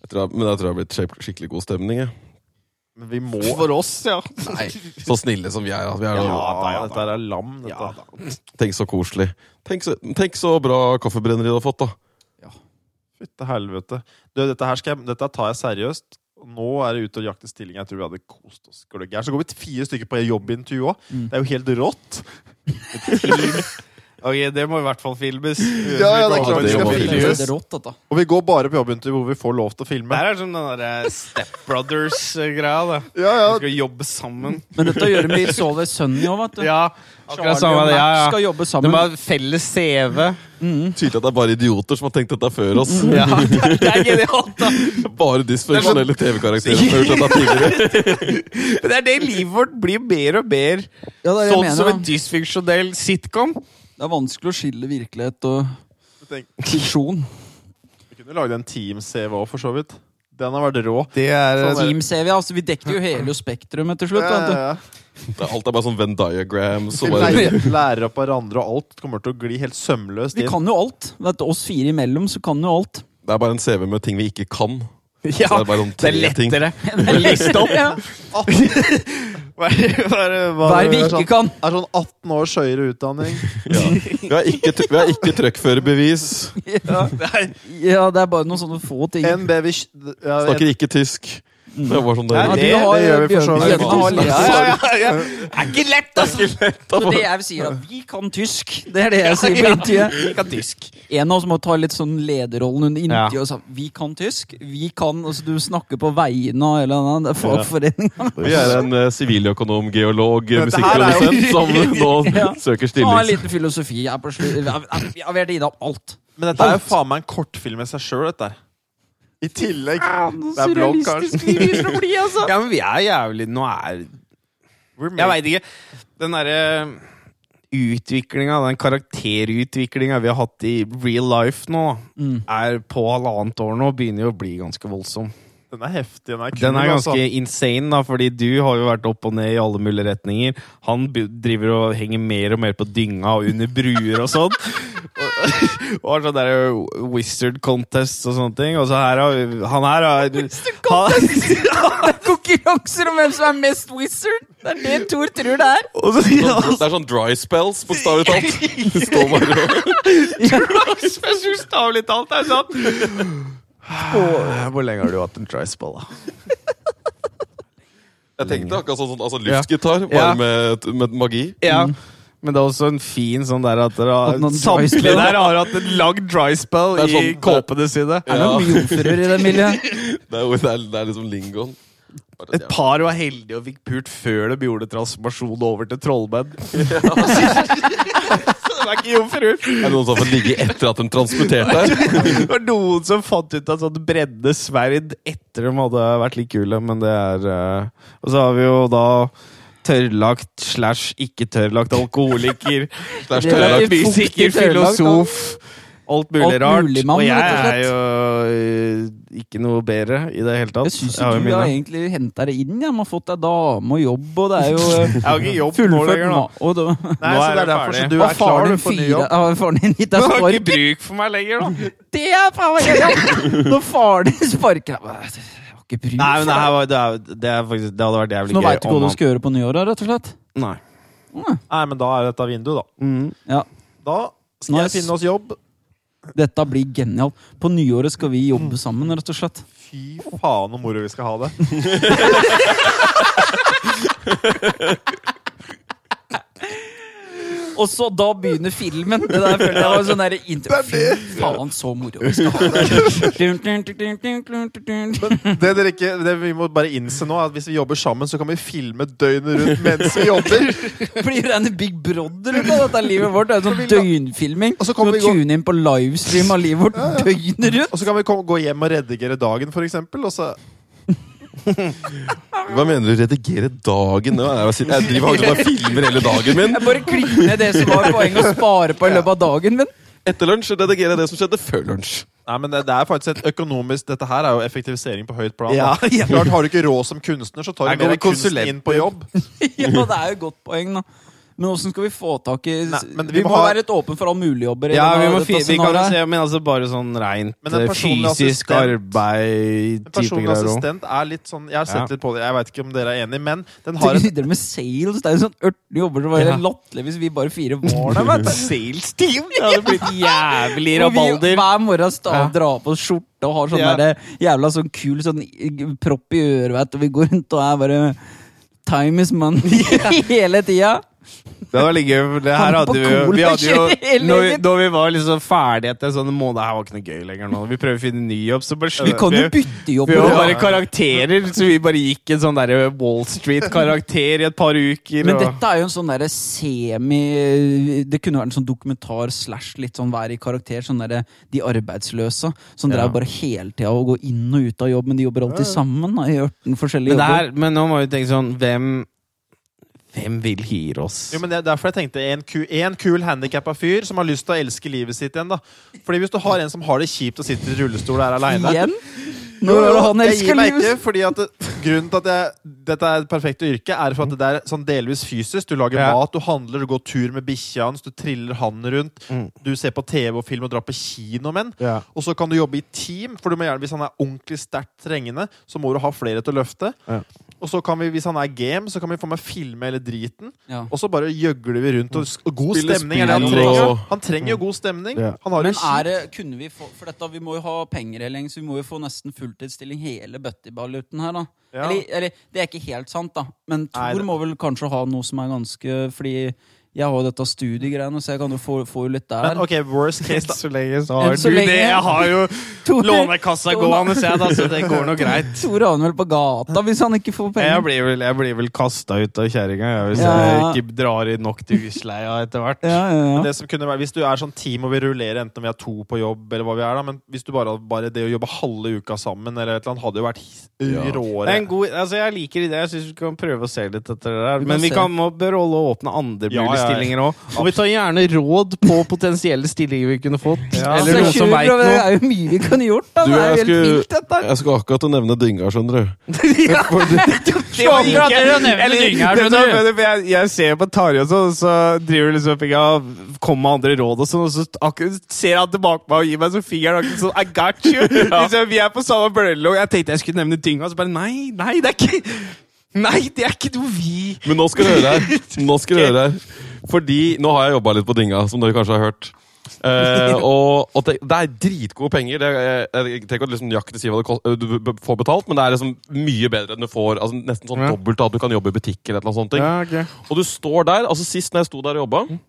C: Jeg tror jeg- Men jeg tror jeg har blitt skik- skikkelig god stemning jeg.
D: Men vi må
B: For oss, ja.
C: Så snille som vi er, at vi er
D: Ja,
B: da, ja,
D: dette her er lam, dette.
B: Ja,
C: Tenk så koselig. Tenk så, tenk så bra kaffebrenneri du har fått, da.
D: Fytte helvete. Du, dette her skal jeg, dette tar jeg seriøst. Nå er det ute og jakte stilling. Jeg tror vi hadde kost oss gløggæren. Så går vi til fire stykker på jobbintervju òg.
A: Mm.
D: Det er jo helt rått.
B: Ok, det må i hvert fall filmes.
D: Ja, ja, det er
C: klart det skal
A: Det
C: filmes.
A: er rått, dette.
D: Og vi går bare på jobbintervju hvor vi får lov til å
B: Det
D: filme.
B: her er som den der eh, Step Brothers-greia. da
D: Ja,
B: Vi
D: ja.
B: skal jobbe sammen.
A: Men dette gjør det blir så ved Sunny òg, vet du.
B: Ja, akkurat
A: Charlie og
B: samme
A: Mac
B: det. Ja, ja.
A: skal jobbe
B: De
A: sammen.
B: har felles CV.
C: Tydelig at det er bare idioter som har tenkt dette før oss.
B: Ja, det er genialt, da. sånn-
C: Bare dysfunksjonelle TV-karakterer som har gjort dette tidligere.
B: Det er det livet vårt blir mer og mer
A: Ja, det, er det, jeg
B: sånn som
A: mener,
B: en
A: da.
B: dysfunksjonell sitcom.
A: det er vanskelig å skille virkelighet og
D: Tenk,
A: fiksjon.
D: Vi kunne lagd en Team-CV òg, for så vidt. Den har vært rå.
B: Det er
D: Sånn er det.
A: Team ser vi, altså. Vi dekket jo hele spektrumet til slutt.
D: Ja,
A: Vet du.
D: ja, ja.
C: Det er- Alt er bare sånn Venn diagrams.
D: Vi
C: Og bare,
D: lærer, lærer opp hverandre, og alt kommer til å gli helt sømløst
A: Vi
D: inn.
A: kan jo alt. Vet du, oss fire imellom, så kan jo alt.
C: det er bare en CV med ting vi ikke kan.
B: Ja,
C: det er bare om
B: det er
C: tre ting.
B: lettere å liste opp.
A: Ja.
B: Bare- bare-
A: Hva
B: bare-
A: er det vi ikke kan?
D: Er sånn 18 års høyere utdanning.
C: Ja. Vi har ikke, tr- vi har ikke trøkkførerbevis.
A: Ja.
B: Nei,
A: ja, det er bare noen sånne få ting.
D: NBV ja,
C: Snakker ikke tysk.
B: Mm.
C: Det er bare sånn
A: Ja,
C: der.
A: du
D: det- det
A: har,
D: gjør vi for så vidt.
A: Bjørn- Bjørn har-
B: ja, ja, ja. Det er ikke lett, altså!
A: Så det jeg sier, at vi kan tysk. Det er det jeg sier på intervjuet.
B: Vi kan tysk.
A: En av oss må ta litt sånn lederrollen under intervjuet.
B: Ja.
A: og sa, Vi kan tysk. vi kan, altså Du snakker på vegne av hele den fagforeninga.
C: Vi er en eh, siviløkonom, geolog,
D: Men dette her er jo-
C: musikkprodusent som nå
A: Ja.
C: søker
A: Ha en
C: stilling.
A: liten filosofi her på slutt. Vi har vært innom alt.
D: Men dette er jo faen meg en kortfilm i seg sjøl, dette her. I tillegg.
A: Ah,
D: Det er blogg, kanskje.
A: vi begynner å bli, altså.
B: Ja, men vi er jævlig Nå er
D: We're
B: Jeg veit
D: made-
B: ikke. Den derre utviklinga, den karakterutviklinga vi har hatt i real life nå,
A: Mm.
B: er på halvannet år nå, begynner jo å bli ganske voldsom.
D: Den er heftig. Den er kul.
B: Den er
D: altså.
B: ganske insane, da, fordi du har jo vært opp og ned i alle mulige retninger. Han bu- driver og henger mer og mer på dynga og under bruer og sånn. Og- Og har sånn der wizard contests og sånne ting. Og så her har han her har, han,
A: Konkurranser om hvem som er mest wizard! Det er det Thor tror det er!
B: og så, ja,
C: Sånn- Det er sånn dry spells, bokstavelig talt. Det står bare og
B: Bokstavelig talt, det er sant! Hvor lenge har du hatt en trispell, da?
C: Jeg tenkte akkurat sånn, sånn altså, luftgitar,
B: Ja.
C: bare med, med magi.
B: Ja. Men det er også en fin sånn der at dere
A: Hatt noen
B: har
A: dry
B: Samtlige
A: spell.
B: der har hatt en lang dry spell
C: Det er
B: i
C: sånn-
B: kåpene sine.
A: Er det
C: Ja.
A: noen jomfruer i det miljøet?
C: Det er, jo- det er, det er liksom lingoen. Bare
B: Et
C: det.
B: par var heldige og fikk pult før de gjorde transformasjon over til trollmenn. Så det var ikke jomfruer.
C: Er det noen som har fått ligge etter at de transporterte her?
B: Det var noen som fant ut av sånt breddende sverd etter de hadde vært litt kule, men det er eh, Og så har vi jo da tørrlagt slash ikke tørrlagt alkoholiker.
C: Slash
A: Det er
C: tørrlagt.
A: fuktig
B: Musiker,
A: tørrlagt, da.
B: filosof. Alt mulig
A: Alt
B: rart.
A: mulig mann,
B: og jeg
A: rett og
B: er
A: slett.
B: jo eh, ikke noe bedre i det hele tatt.
A: Jeg syns
B: har
A: ikke
B: jo
A: du
B: mine.
A: har egentlig henta det inn. Jeg Man har fått deg dame og jobb, og det er jo eh,
B: Jeg har ikke jobb nå
A: fullført
B: lenger, da.
A: ma- og da-
B: Nå er
D: Nei, så det er
B: det
D: derfor så
B: ferdig.
D: du
A: Hva
D: er klar du, for ny
A: fire-
D: jobb.
A: Ja, faren din gitt
B: Du
A: deg
B: har
A: spark.
B: ikke bruk for meg lenger, da.
A: Det er faen meg greia! Når faren din sparker deg bare, Jeg har ikke bruk
B: Nei, men
A: for
B: det,
A: deg.
B: her var, det, er, det, er faktisk, det hadde vært
A: Så
B: jævlig
A: Nå veit du
B: gøy
A: ikke hva
B: om
A: du skal gjøre på nyåret, rett og slett.
B: han Nei.
A: Åh,
D: Nei, men da er dette vinduet, da.
B: Mm.
A: Ja.
D: Da skal
A: Nice.
D: jeg finne oss jobb.
A: Dette blir genialt. På nyåret skal vi jobbe sammen, rett og slett.
D: Fy faen, så moro vi skal ha det.
A: Og så da begynner filmen! Det der føler jeg var sånn der intro. Fy faen, så moro vi skal ha det.
D: Det dere ikke, det vi må bare innse nå, er at hvis vi jobber sammen, så kan vi filme døgnet rundt mens vi jobber.
A: Blir det en Big Brother ut av dette livet vårt? Det er sånn døgnfilming.
D: Og så
A: Du
D: kommer
A: må
D: vi i gang-
A: tune inn på livestream av livet vårt døgnet rundt.
D: Og så kan vi kom, gå hjem og redigere dagen, for eksempel. Og så,
C: Hva mener du redigere dagen? Hva er det Jeg sitter- jeg driver og bare filmer hele dagen min.
A: Jeg bare klipper ned det som var poenget å spare på i løpet av dagen min.
C: Etter lunsj redigerer jeg det som skjedde før lunsj.
D: nei, men det, det er faktisk et økonomisk Dette her er jo effektivisering på høyt plan.
B: Ja,
D: da. Klart, Har du ikke råd som kunstner, så tar
B: Her
D: du
B: går
D: mer
B: det
D: kunsten
B: konsulenter.
D: inn på jobb.
A: Ja, det er jo et godt poeng, da. Men åssen skal vi få tak i
D: Nei, men
A: Vi,
D: vi
A: må
D: må ha-
A: være litt åpne for alle mulige jobber. i
B: Ja,
A: denne-
B: vi, må
A: dette
B: fi, vi kan jo
A: scenarioet.
B: se, men altså bare sånn rent
D: Men en
B: eh,
D: personlig
B: fysisk
D: assistent- En
B: arbeid-type
D: personlig
B: greier òg.
D: assistent er litt sånn Jeg har sett
B: Ja.
D: litt på det, jeg vet ikke om dere er enig, men den
A: Du
D: har en
A: driver med sales. Det er jo sånn ørtende jobber. Det var
B: Ja.
A: helt latterlig hvis vi bare fire var der. vet du.
B: Sales team! Det hadde blitt jævlig
A: Og vi
B: rabalder.
A: hver morgen sta,
B: Ja.
A: drar på oss skjorte og har sånn
B: Ja.
A: der, jævla sånn kul sånn i- propp i øret, vet du. Vi går rundt og er bare Time is money hele tida.
B: Det var litt gøy. for Det
A: Han
B: her
A: er på
B: hadde vi, jo- vi hadde
A: cola
B: jo
A: hele
B: når, vi-
A: tiden.
B: når vi var liksom ferdig etter en sånn måned Det her var ikke noe gøy lenger nå. Vi prøver å finne ny jobb, så bare
A: Vi kan jo
B: slutter vi.
A: bytte jobber.
B: Vi var
A: da.
B: bare karakterer, så vi bare gikk en sånn der Wall Street-karakter i et par uker.
A: Men
B: og-
A: dette er jo en sånn derre semi Det kunne vært en sånn dokumentar slash litt sånn hver i karakter. Sånn derre De arbeidsløse. Som
B: Ja.
A: drev bare hele tida og går inn og ut av jobb, men de jobber alltid sammen. Da, I ørten forskjellige
B: men, det
A: jobber.
B: her, men nå må vi tenke sånn Hvem Hvem vil hyre oss?
D: Jo, men det er derfor jeg tenkte En, ku, en kul handikappa fyr som har lyst til å elske livet sitt igjen. da Fordi Hvis du har en som har det kjipt og sitter i rullestol og er aleine
A: Igjen? Nå er det han
D: jeg gir
A: elsker
D: meg
A: livet!
D: ikke, fordi at det, grunnen til at jeg, dette er et perfekt yrke, er for at det er sånn delvis fysisk. Du lager
B: Ja.
D: mat, du handler, du går tur med bikkja hans, du triller han rundt.
A: Mm.
D: Du ser på TV og film og drar på kino med han.
B: Ja.
D: Og så kan du jobbe i team, for du må gjerne, hvis han er ordentlig sterkt trengende, så må du ha flere til å løfte.
B: Ja.
D: Og så kan vi, hvis han er game, så kan vi få med å filme hele driten.
A: Ja.
D: Og så bare gjøgler vi rundt. Og, s- og god
C: Spille
D: stemning er det han
C: spill
D: trenger.
C: og-
D: Han trenger jo god stemning.
B: Ja.
D: Han har
A: Men
D: det
A: er
D: kjipt.
A: det, kunne vi få For dette, vi må jo ha penger hele gjengen, så vi må jo få nesten fulltidsstilling hele bøttiballuten her, da.
D: Ja.
A: Eller, eller det er ikke helt sant, da. Men
D: Nei,
A: Tor
D: det-
A: må vel kanskje ha noe som er ganske Fordi jeg har jo dette studiegreiene, så jeg kan jo få, få jo litt der.
D: Men ok, worst case, da.
B: så lenge så har
A: Enn så
B: du
A: lenge.
B: det. Jeg har jo
A: Tor-
B: lånekassa
A: Tor-
B: gående, så jeg, da, så det går nå greit.
A: Tore har han vel på gata hvis han ikke får
B: Jeg
A: penger.
B: blir vel, jeg blir vel kasta ut av kjerringa jeg, hvis
A: Ja.
B: jeg ikke drar inn nok til husleia etter hvert.
A: Ja, ja, ja.
D: Det som kunne være, hvis du er sånn team og vil rullere, enten om vi er to på jobb, eller hva vi er da, men hvis du bare, bare det å jobbe halve uka sammen, eller et eller annet, hadde jo vært his-
C: Ja.
B: Det
D: råere.
B: er en god, altså jeg liker ideen. Jeg syns vi kan prøve å se litt etter det der.
A: Vi kan
B: Men vi
A: se.
B: kan må bør holde åpne andre
D: Ja,
B: mulige
D: ja,
B: stillinger òg. Og vi tar gjerne råd på potensielle stillinger vi kunne fått.
D: Ja.
B: Eller
A: Så
B: noen som
A: kjør,
B: veit
A: bror, Altså, Det
B: noe.
A: er jo mye vi kunne gjort, da. det er
C: Du,
A: jo
C: jeg
A: helt
C: skulle-
A: vilt, dette.
C: Jeg skal akkurat til å nevne dynga, skjønner du.
A: Ja.
B: Det var ikke- Eller- Det- det-
A: Eller-
B: det- for Jeg, jeg ser på Tarjei, og sånn, så, så driver liksom ikke av- Kommer med andre råd og sånn, og så akkurat ser han tilbake på meg og gir meg så fingeren akkurat sånn I got you! Liksom, vi er på samme bølgelengde, og jeg tenkte jeg skulle nevne dynga, og så bare nei, nei, det er ikke Nei, det er ikke noe vi
C: Men nå skal du høre her. Nå skal du høre her. Fordi nå har jeg jobba litt på Dinga, som dere kanskje har hørt. Eh, og og det, det er dritgode penger. Det, jeg, jeg tenker at liksom nøyaktig si hva det kost, du b- får betalt, men det er liksom mye bedre enn du får. Altså Nesten sånn
B: Ja.
C: dobbelt av at du kan jobbe i butikk. eller et eller annet sånt ting.
B: Ja, ok.
C: Og du står der, altså Sist når jeg sto der og jobba,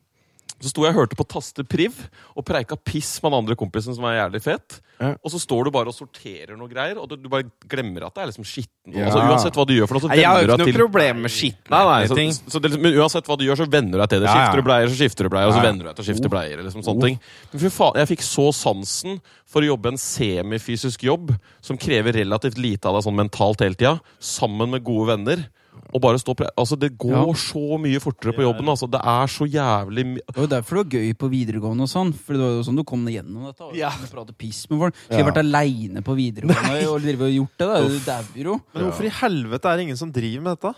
C: så sto jeg og hørte på Taste Priv og preika piss med den andre kompisen som er jævlig fet.
B: Ja.
C: Og så står du bare og sorterer noe greier, og du, du bare glemmer at det er liksom skitten.
B: Ja.
C: Altså Uansett hva du gjør, for noe, så
B: Nei, Jeg har
C: venner
B: jo ikke
C: du deg
B: noe
C: til
B: problem med skitne
C: Nei, nei, så,
B: Eh, ting.
C: så det, er liksom- men uansett hva du gjør, så venner du deg til det.
B: Ja, ja.
C: Skifter du bleier, så skifter du bleier, og
B: Ja,
C: så
B: Oh. ja.
C: venner du deg til å skifte bleier. eller liksom sånne ting. Men fy faen, jeg fikk så sansen for å jobbe en semifysisk jobb som krever relativt lite av deg sånn mentalt hele tida, sammen med gode venner. Og bare stå på, altså Det går
A: Ja.
C: så mye fortere på jobben. altså Det er så jævlig my
A: Det var jo derfor det var gøy på videregående og sånn. For det var jo sånn du kom deg gjennom dette. Og
B: Ja.
A: kunne prate piss med folk. Skulle jeg vært aleine på videregående og drive og gjort det, da. Du dauer jo.
D: Men hvorfor i helvete er det ingen som driver med dette?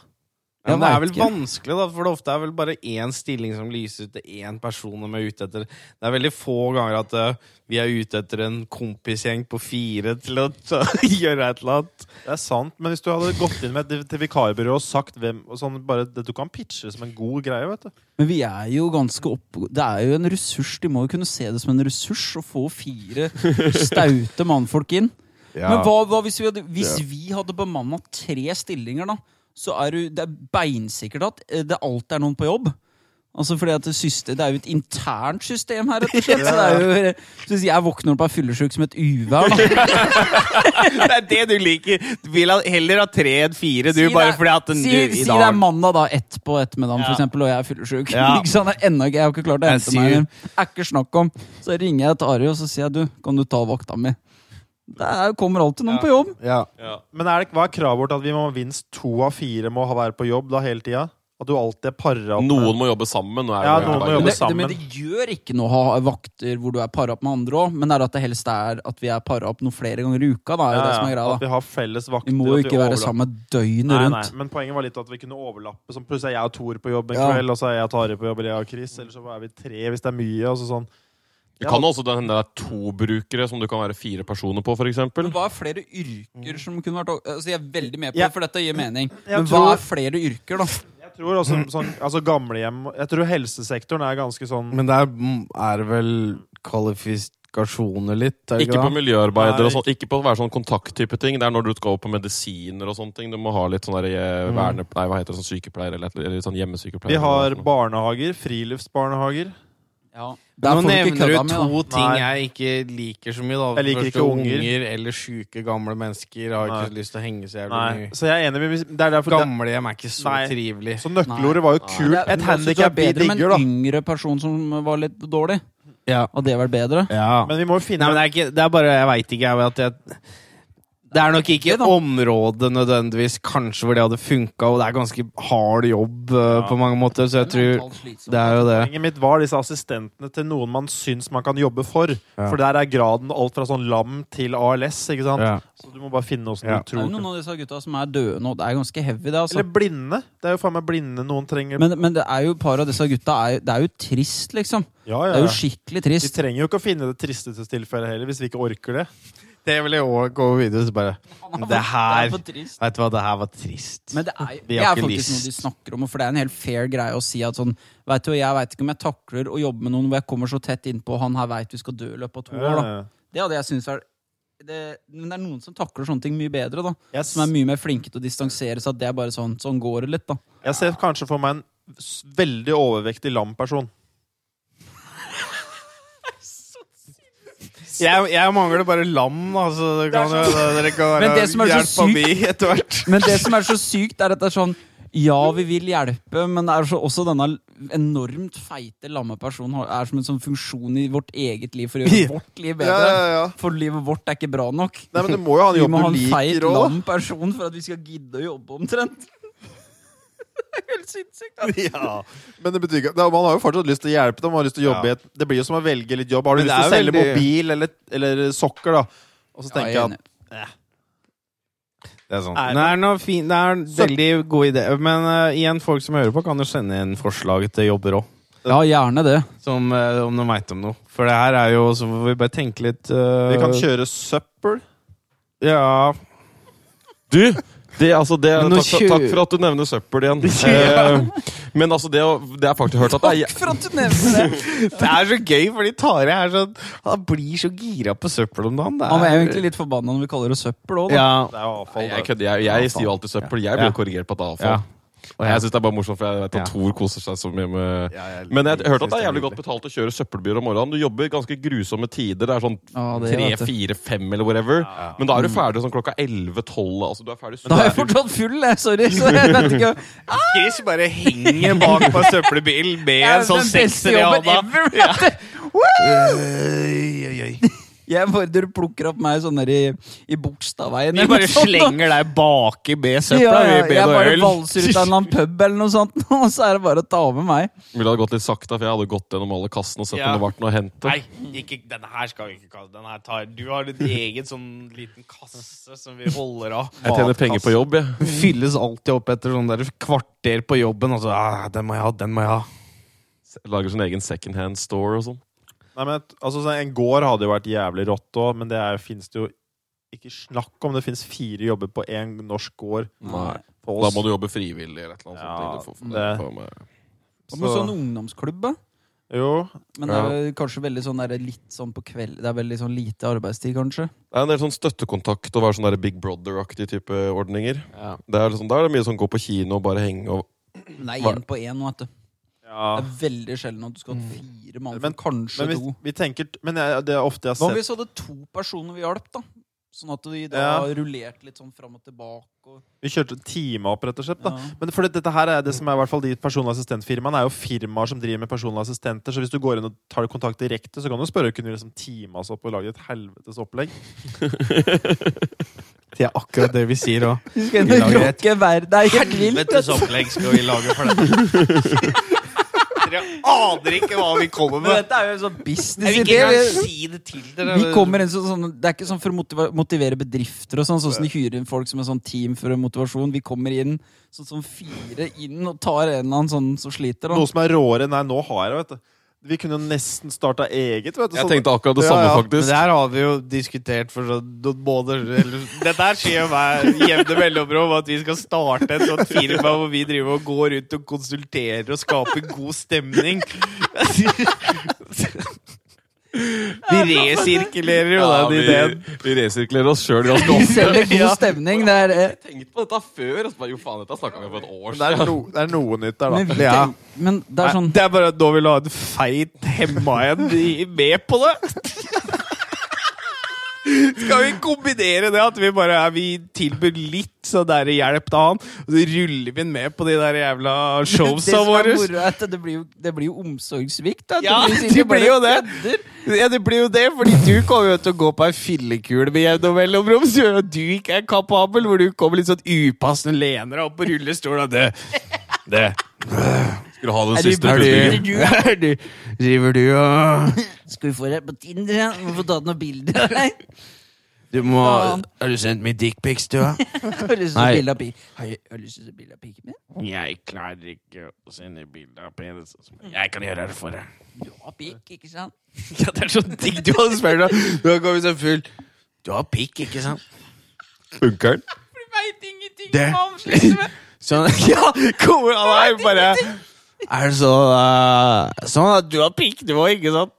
B: Ja,
A: Jeg
B: men det er vel
A: vet ikke.
B: vanskelig, da, for det ofte er vel bare én stilling som lyser ut til én person de er ute etter. Det er veldig få ganger at eh, vi er ute etter en kompisgjeng på fire til å ta, gjøre et eller annet.
D: Det er sant, men hvis du hadde gått inn med et- til vikarbyrå og sagt hvem og sånn, bare, det, Du kan pitche det som en god greie, vet du.
A: Men vi er jo ganske opp... Det er jo en ressurs. De må jo kunne se det som en ressurs å få fire staute mannfolk inn. Men hva, hva hvis vi hadde, hvis vi hadde bemanna tre stillinger, da? Så er du, det er beinsikkert at eh, det alltid er noen på jobb. Altså fordi at det, syste, det er jo et internt system her, rett og slett. Så det er jo, så hvis jeg våkner opp og er fyllesyk som et uvær, da
B: Det er det du liker! Du vil ha- heller ha tre enn fire, du,
A: Si
B: bare
A: det-
B: fordi at den,
A: si,
B: du,
A: si
B: i
A: det er
B: dag
A: mandag, da, ett på ettermiddagen,
B: Ja.
A: for eksempel, og jeg er fyllesyk.
B: Ja.
A: Ikke sant? Jeg, er ennå ikke- jeg har ikke klart å
B: Jeg
A: hente meg
B: sier-
A: hjem. Er ikke snakk om. Så ringer jeg til Ari og så sier jeg, du, kan du ta vakta mi? Det er, kommer alltid noen på jobb.
D: Men er det, hva er kravet vårt? At vi må minst to av fire må ha være på jobb da hele tida? At du alltid er para opp?
C: Noen må jobbe sammen. og er
D: Ja,
C: jo
D: noen
C: jævla-
D: må
A: Men
D: jobbe
A: det, det,
D: sammen.
A: men det gjør ikke noe å ha vakter hvor du er para opp med andre òg, men det er at det helst er at vi er para opp noen flere ganger i uka. Da, er jo det som er greia, da.
D: At vi har felles vakter.
A: Vi må jo
D: at vi
A: ikke være
D: overlapper.
A: sammen døgnet
D: Nei,
A: rundt.
D: nei, men poenget var litt at vi kunne overlappe. Sånn, plutselig er jeg og Tor på jobb en
A: Ja.
D: kveld, og så er jeg og Tare på jobb, eller jeg og Chris. Eller så er vi tre hvis det er mye. Og så sånn.
C: Det kan også hende det er to brukere som du kan være fire personer på, f.eks.
A: Men Hva er flere yrker som kunne vært altså, Jeg er veldig med på
D: Ja.
A: det, for dette gir mening.
D: Jeg
A: Men hva
D: tror-
A: er flere yrker, da?
D: Jeg tror også sånn, altså gamlehjem Jeg tror helsesektoren er ganske sånn
B: Men der er det vel kvalifikasjoner litt, er
C: Ikke på miljøarbeider
D: Nei.
C: og sånn. Ikke på å være sånn kontakttype ting. Det er når du skal over på medisiner og sånne ting. Du må ha litt sånn der, eh, verne... Nei, hva heter det? Sånn sykepleier eller, et- eller sånn hjemmesykepleier.
D: Vi har
C: eller noe sånt.
D: barnehager. Friluftsbarnehager.
A: Der får
B: Nå
A: du ikke
B: nevner du
A: kødda med, da.
B: to ting
D: Nei.
B: jeg ikke liker så mye. da
D: Jeg liker
B: Først
D: ikke unger.
B: Eller sjuke, gamle mennesker. Har ikke
D: Nei.
B: lyst til å henge så jævlig
D: Nei.
B: mye.
D: Så jeg er enig med Det er derfor det,
B: Gamlehjem er ikke så
D: Nei.
B: trivelig.
D: Så nøkkelordet var jo kult.
A: Det er- men jeg
D: Et
A: synes det er
D: handikap vi
A: bedre med
D: digger, da.
A: en yngre person som var litt dårlig.
B: Ja.
A: Hadde det vært bedre?
B: Ja.
D: Men vi må jo finne
B: Nei, men det er, ikke, det er bare Jeg veit ikke. Jeg vet at jeg, det er nok ikke et område nødvendigvis kanskje hvor det hadde funka, og det er ganske hard jobb øh, på mange måter, så jeg tror Det er jo det.
D: Poenget mitt var disse assistentene til noen man syns man kan jobbe for. For der er graden alt fra sånn lam til ALS. ikke sant?
B: Ja.
D: Så du må bare finne åssen
B: Ja.
D: du
A: Det er jo
D: tror.
A: noen av disse gutta som er døde nå. Det er ganske heavy, det. altså
D: Eller blinde. Det er jo faen meg blinde noen trenger.
A: men, men det er jo et par av disse gutta er, jo- Det er jo trist, liksom.
D: ja,
A: Det
D: ja,
A: er jo
D: ja.
A: skikkelig
D: Vi
A: trist.
D: trenger jo ikke å finne det tristeste tilfellet heller, hvis vi ikke orker det.
B: Det vil jeg òg gå videre så bare Det her
A: Det er for trist.
B: Vet du hva, det her var trist.
A: Men det er,
B: Vi
A: det
B: har
A: er
B: ikke
A: faktisk noe de
B: lyst.
A: snakker om, og for det er en helt fair greie å si at sånn Vet du, jeg veit ikke om jeg takler å jobbe med noen hvor jeg kommer så tett innpå, han her veit vi skal dø i løpet av to år, da. Det hadde jeg syntes vært det, Men det er noen som takler sånne ting mye bedre, da.
D: Jeg,
A: Som er
D: s-
A: mye mer flinke til å distansere seg. At det er bare sånn, sånn går det litt, da.
D: jeg ser kanskje for meg en s- veldig overvektig lam person.
B: Jeg, jeg mangler bare lam, da, så det kan, dere
A: sånn.
B: kan
A: Men det som er så
B: hjelpe
A: sykt-
B: forbi etter hvert.
A: Men det som er så sykt, er at det er sånn Ja, vi vil hjelpe, men det er så, også denne enormt feite lamme personen har- er som en sånn funksjon i vårt eget liv for å gjøre vårt liv bedre. For livet vårt er ikke bra nok.
D: Nei, men du må jo ha en
A: Vi
D: jobb
A: må ha
D: du
A: en feit,
D: liker òg.
A: lam person for at vi skal gidde å jobbe, omtrent. Helt sinnssykt. da.
E: Ja.
D: Men det betyr ikke da, Man har jo fortsatt lyst til å hjelpe dem. Man har lyst til å jobbe
E: Ja.
D: i et, det blir jo som å velge litt jobb. Har du
E: Men
D: lyst til å
E: det er
D: selge
E: veldig-
D: mobil eller, eller sokker, da? Og så
A: Ja,
D: tenker
A: jeg er
D: jeg
A: enig.
D: at
E: Det er sånn.
D: Er det-
E: Det er, noe fin, det er en
D: Så-
E: veldig god idé. Men eh, igjen, folk som hører på, kan jo sende inn forslag til jobber òg.
A: Ja, gjerne det.
E: Som eh, om de veit om noe. For det her er jo Så får vi bare tenke litt eh,
D: vi kan kjøre søppel.
E: Ja.
C: Du! Det, altså, det,
A: Men nå
C: takk, for,
A: kjø-
C: takk for at du nevner søppel igjen. Eh, men altså, det, å- det er faktisk hørt at det er,
A: For at du nevner det!
E: Det er så gøy, fordi Tare er sånn Han blir så gira på søppel om dagen. Det
A: Han er jo egentlig litt forbanna når vi kaller det søppel òg, da.
E: Ja.
D: Det er jo avfall.
C: jeg,
D: det.
C: jeg, kødder, jeg, jeg sier jo alltid søppel. Jeg blir
E: Ja.
C: jo korrigert på at det er
E: Ja.
C: avfall. Og jeg syns det er bare morsomt, for jeg vet at
E: Ja.
C: Thor koser seg så mye med
D: Ja, jeg-
C: Men jeg hørte
D: synes
C: at det er jævlig
D: hyggelig.
C: godt betalt å kjøre søppelbier om morgenen. Du jobber ganske grusomme tider. Det er sånn
A: Ja, det er
C: tre,
A: det, vet du.
C: fire, fem eller whatever. Men da er
E: Mm.
C: du ferdig sånn klokka 11-12. Altså, du er ferdig
A: Da er jeg fortsatt full, jeg. Sorry. Så jeg vet ikke
E: Chris bare henger bak på søppelbilen med
A: Jeg
E: sånn
A: er den beste jobben ever! vet du. Jeg fordrer plukker opp meg sånn der i, i Bogstadveien.
E: Vi
A: eller
E: bare
A: noe sånt, da.
E: slenger deg baki med søpla.
A: Ja, ja,
E: vi
A: jeg
E: med
A: bare
E: noe øl.
A: valser ut av en eller annen pub eller noe sånt, og så er det bare å ta med meg.
C: Ville det gått litt sakte, for jeg hadde gått gjennom alle kassene og sett
E: Ja.
C: om det var noe å hente.
E: Nei, ikke, denne her skal vi ikke kalle den her tar. Du har din egen sånn liten kasse som vi holder av.
C: Jeg tjener penger på jobb, jeg.
E: Den fylles alltid opp etter sånn der kvarter på jobben. Og så, ah, den må jeg ha, den må jeg ha.
C: Lager sin egen second hand store og sånn.
D: Nei, men, et- altså, sånn, En gård hadde jo vært jævlig rått òg, men det er, finnes det jo ikke snakk om. Det finnes fire jobber på én norsk gård
C: Nei.
D: på
C: Da
D: oss.
C: må du jobbe frivillig eller et eller
D: Ja,
C: annet. sånt. Det får-
D: det-
C: får meg-
A: Hva med sånn ungdomsklubb, da?
D: Jo.
A: Men det er jo kanskje veldig sånn der, litt sånn på kveld Det er veldig sånn lite arbeidstid, kanskje.
C: Det er en del sånn støttekontakt og være sånn der Big Brother-aktig type ordninger.
E: Ja.
C: Det er liksom, da er det mye sånn gå på kino og bare henge og
A: Nei,
C: Hva-
A: én på én, vet du.
D: Ja.
A: Det er veldig sjelden at du skal ha fire mann,
D: Men-
A: kanskje
D: Men vi,
A: to.
D: vi tenker Men jeg, det er ofte jeg
A: Hva
D: har
A: om vi
D: sett
A: så hadde to personer vi hjalp, da? Sånn at vi da
D: Ja.
A: rullerte litt sånn fram og tilbake. Og,
D: Vi kjørte en time opp, rett og slett. da
A: ja.
D: Men for det, dette her er det som er i hvert fall de personlige assistentfirmaene er jo firmaer som driver med personlige assistenter. Så hvis du går inn og tar kontakt direkte, så kan du spørre kunne du liksom time oss opp og lage et helvetes opplegg.
E: Det er akkurat det vi sier òg.
A: Vi skal inn og
E: lager et
A: rokke verden. Det er helt vilt!
E: Helvetes opplegg skal vi lage for dette. Dere aner ikke hva vi kommer
A: Men
E: med.
A: dette er jo en sånn
E: Jeg vil
A: businessidé.
E: ikke engang
A: Vi-
E: si det til dere.
A: Vi kommer inn som sånn, Det er ikke sånn for å motiva- motivere bedrifter og sånn, sånn som de hyrer inn folk som en sånn team for motivasjon. Vi kommer inn sånn som fire inn og tar en eller annen sånn som sliter. Da.
D: Noe som er råere. Nei, nå har jeg det, vet du. Vi kunne jo nesten starta eget, vet du.
C: Jeg
D: sånn-
C: tenkte akkurat det
D: Ja,
C: samme,
D: ja.
C: faktisk.
E: Men det her har vi jo diskutert for sånn noen måneder eller, Dette her skjer jo hver jevne mellomrom, at vi skal starte et sånt firma hvor vi driver og går rundt og konsulterer og skaper god stemning. Vi resirkulerer jo
C: Ja,
E: den ideen.
C: vi, vi resirkulerer oss sjøl ganske
A: Vi
C: ofte.
A: selger god stemning. Det er, eh,
C: Tenkt på dette før. og så bare, jo faen, dette snakka vi om for et år
D: Det er, no, det er noe nytt der,
A: men,
D: da.
A: vi,
E: Ja.
A: tenk- men det er sånn
E: Det er bare at nå vil du ha en feit hemma en i- med på det. Skal vi kombinere det at vi bare er, vi tilbyr litt så der hjelp til han, og så ruller vi den med på de der jævla
A: det som
E: showsa
A: er
E: våre?
A: moro er at det blir jo, det blir jo omsorgssvikt. da.
E: Ja,
A: sikkert
E: det blir jo
A: bare
E: det.
A: kødder.
E: Ja, det blir jo det, fordi du kommer jo til å gå på ei fyllekule med jevn og mellomrom, så gjør jo at du ikke er kapabel, hvor du kommer litt sånn upassende lener deg opp på rullestolen og det Det
C: Skulle ha den
A: Er du-
C: siste
A: er du-
C: pustingen.
E: er du, driver du og
A: Skal vi få deg på Tinder? ja? Vi får ta noen bilder av deg.
E: Du må
A: Ja.
E: Har du sendt meg dickpics, du?
A: Har
E: da?
A: du lyst til å
E: Nei.
A: se bilde av pi- Har jeg- har du lyst til å se bilde av piken min?
E: Jeg klarer ikke å sende bilde av penis.
B: altså.
E: Jeg kan gjøre det for deg.
A: Du har pikk, ikke sant?
E: Ja, det er så digg du hadde spurt deg. Du har kommet så full. Du har pikk, ikke sant?
C: Funker den?
A: Du veit ingenting
E: Det-
A: om hva han sliter med.
E: Sånn, ja, kommer han her bare Er det sånn eh, Sånn at du har pikk, du òg, ikke sant?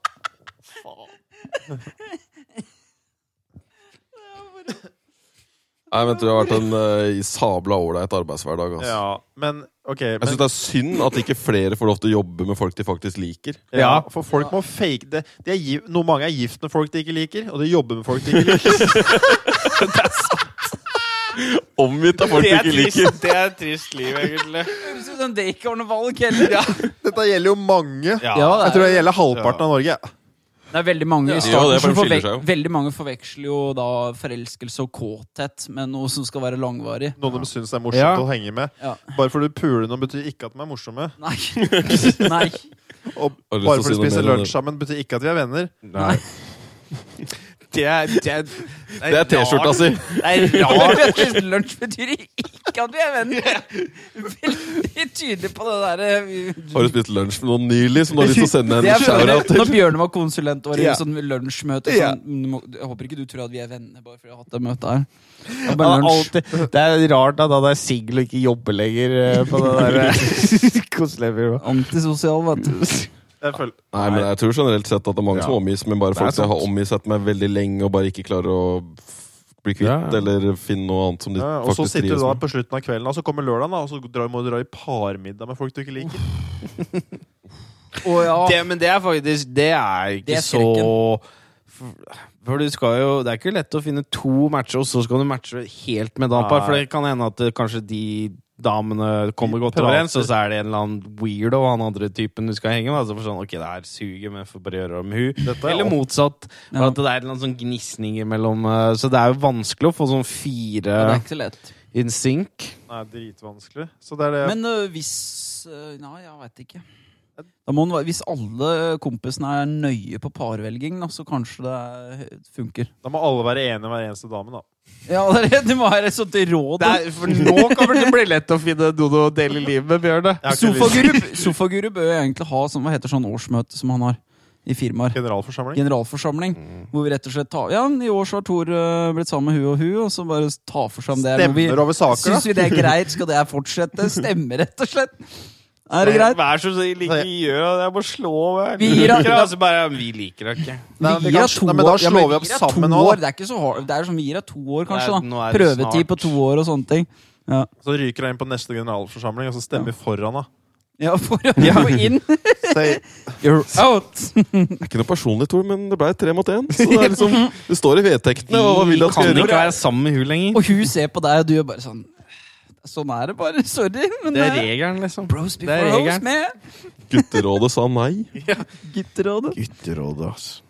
C: Nei, men jeg tror det har vært en uh, sabla ålreit arbeidshverdag. Altså.
D: Ja, men OK.
C: Jeg
D: Men,
C: syns det er synd at ikke flere får lov til å jobbe med folk de faktisk liker.
D: ja, for folk må fake det. De er, gi- noe mange er gift med folk de ikke liker, og de jobber med folk de ikke liker.
C: Omgitt av folk du ikke liker.
E: det er et trist liv, egentlig.
A: Høres ut som det ikke var noe valg heller.
D: Dette gjelder jo mange.
A: Ja, det
D: Jeg
A: er-
D: tror det gjelder halvparten av Norge.
A: Det er veldig mange
C: Ja,
A: i
C: det gjør
A: starten
C: det, for
A: som
C: de skiller
A: forve-
C: seg jo.
A: Veldig mange forveksler jo da forelskelse og kåthet med noe som skal være langvarig.
D: Noen de syns er morsomt
B: Ja.
D: å henge med.
A: Ja.
D: Bare fordi du puler noen, betyr ikke at de er morsomme.
A: Nei. Nei.
C: Har du lyst til å
D: Og
C: si
D: bare fordi
C: noe
D: vi spiser
C: mer om
D: lunsj
C: det?
D: sammen, betyr ikke at vi er venner.
A: Nei.
B: Det er, det er,
C: Det er T-skjorta si!
B: Det er
A: Men
B: rart.
A: vi har spist lunsj betyr ikke at vi er venner. Veldig tydelig på det
C: Har
A: derre
C: du spist lunsj med noen nylig som du har lyst til å sende
A: Det
C: en
A: jeg føler,
C: shout-out til?
A: når Bjørne var konsulent og i
B: Ja.
A: sånn lunsjmøte
B: Ja.
A: sånn, "Du må- Jeg håper ikke du tror at vi er venner bare fordi jeg har hatt det møtet her. Det var
B: Det
A: bare
B: er,
A: lunsj.
B: alltid, det er rart da, da det er singel og ikke jobber lenger eh, på det der eh, koselebyrået.
A: Antisosial, vet du.
D: Jeg føler,
C: Nei, men jeg tror generelt sett at det er mange
B: Ja.
C: som omgis med bare
B: Det er
C: folk som har
B: sant.
C: omgis med veldig lenge, og bare ikke klarer å f- bli kvitt
B: Ja.
C: eller finne noe annet som de
D: ja, og så
C: faktisk
D: sitter du
C: trives
D: da
C: med.
D: på slutten av kvelden, og så kommer lørdagen, da, og så drar, må du dra i parmiddag med folk du ikke liker.
A: Å ja.
B: Det, men det er faktisk Det er ikke
A: Det er
B: så for du skal jo, Det er ikke lett å finne to matcher, og så skal du matche helt med et annet par.
D: Nei.
B: For det kan hende at eh, kanskje de damene kommer godt
D: prater.
B: overens, og så er det en eller annen weirdo, han andre typen du skal henge med. Altså for sånn, ok, det her suger, men jeg får bare gjøre det med hun.
D: Dette er
B: Eller
D: opp-
B: motsatt.
A: Ja.
B: For at det er en eller annen sånn gnisning imellom. eh, Så det er jo vanskelig å få sånn fire
A: Det er ikke så lett.
B: in sync.
D: Nei, dritvanskelig. Så det er det.
A: Men øh, hvis øh, Nei, jeg veit ikke. Da må den, være- hvis alle kompisene er nøye på parvelging, da, så kanskje det er- øh, funker.
D: da må alle være enige om hver eneste dame, da.
A: Ja, det, er- det må være et sånt råd.
B: Det er, for nå kommer det til å bli lett å finne noen å dele livet med, Bjørne.
D: Jeg har ikke lyst-
A: Sofaguru, sofaguru bør jo egentlig ha sånn, hva heter sånn årsmøte som han har i firmaer.
D: Generalforsamling. Mm.
A: Generalforsamling. Hvor vi rett og slett tar Ja, i år så har Tor øh, blitt sammen med hun og hun, og så bare ta for seg om det er noe vi
D: Stemmer over saker,
A: Syns
D: da.
A: vi det er greit? Skal det her fortsette? Stemmer, rett og slett. Er det greit?
B: Vær så snill, ikke gjør det. Jeg må slå meg.
A: Vi gir
B: liker
A: deg-
B: det. Altså bare, vi liker det ikke.
A: Vi
D: Nei, vi
A: gir
D: kan-
A: deg to
D: Nei, men da
A: år. Ja,
D: slår vi
A: gir
D: opp
A: deg
D: sammen
A: to
D: nå, da.
A: år. Det er ikke så hard. Det er som vi gir deg to år, kanskje.
B: Nei,
A: da
B: nå er det
A: Prøvetid på
B: snart.
A: to år og sånne ting. Ja,
D: Så ryker jeg inn på neste generalforsamling, og så stemmer vi foran, da.
A: ja for å gå inn.
D: Say,
A: You're out!
C: Det er ikke noe personlig, Tor, men det ble tre mot én. Så det, er liksom, det står i vedtektene hva man vil at skal
B: kan ikke
C: gjøre.
B: være sammen med hun lenger.
A: Og hun ser på deg, og du gjør bare sånn Sånn er det bare. Sorry. Men
B: Det er regelen, liksom.
A: Bros
B: det er
A: before hoes
B: regelen.
A: med
C: Gutterådet sa nei.
A: gitterrådet.
B: Gutterådet, ass.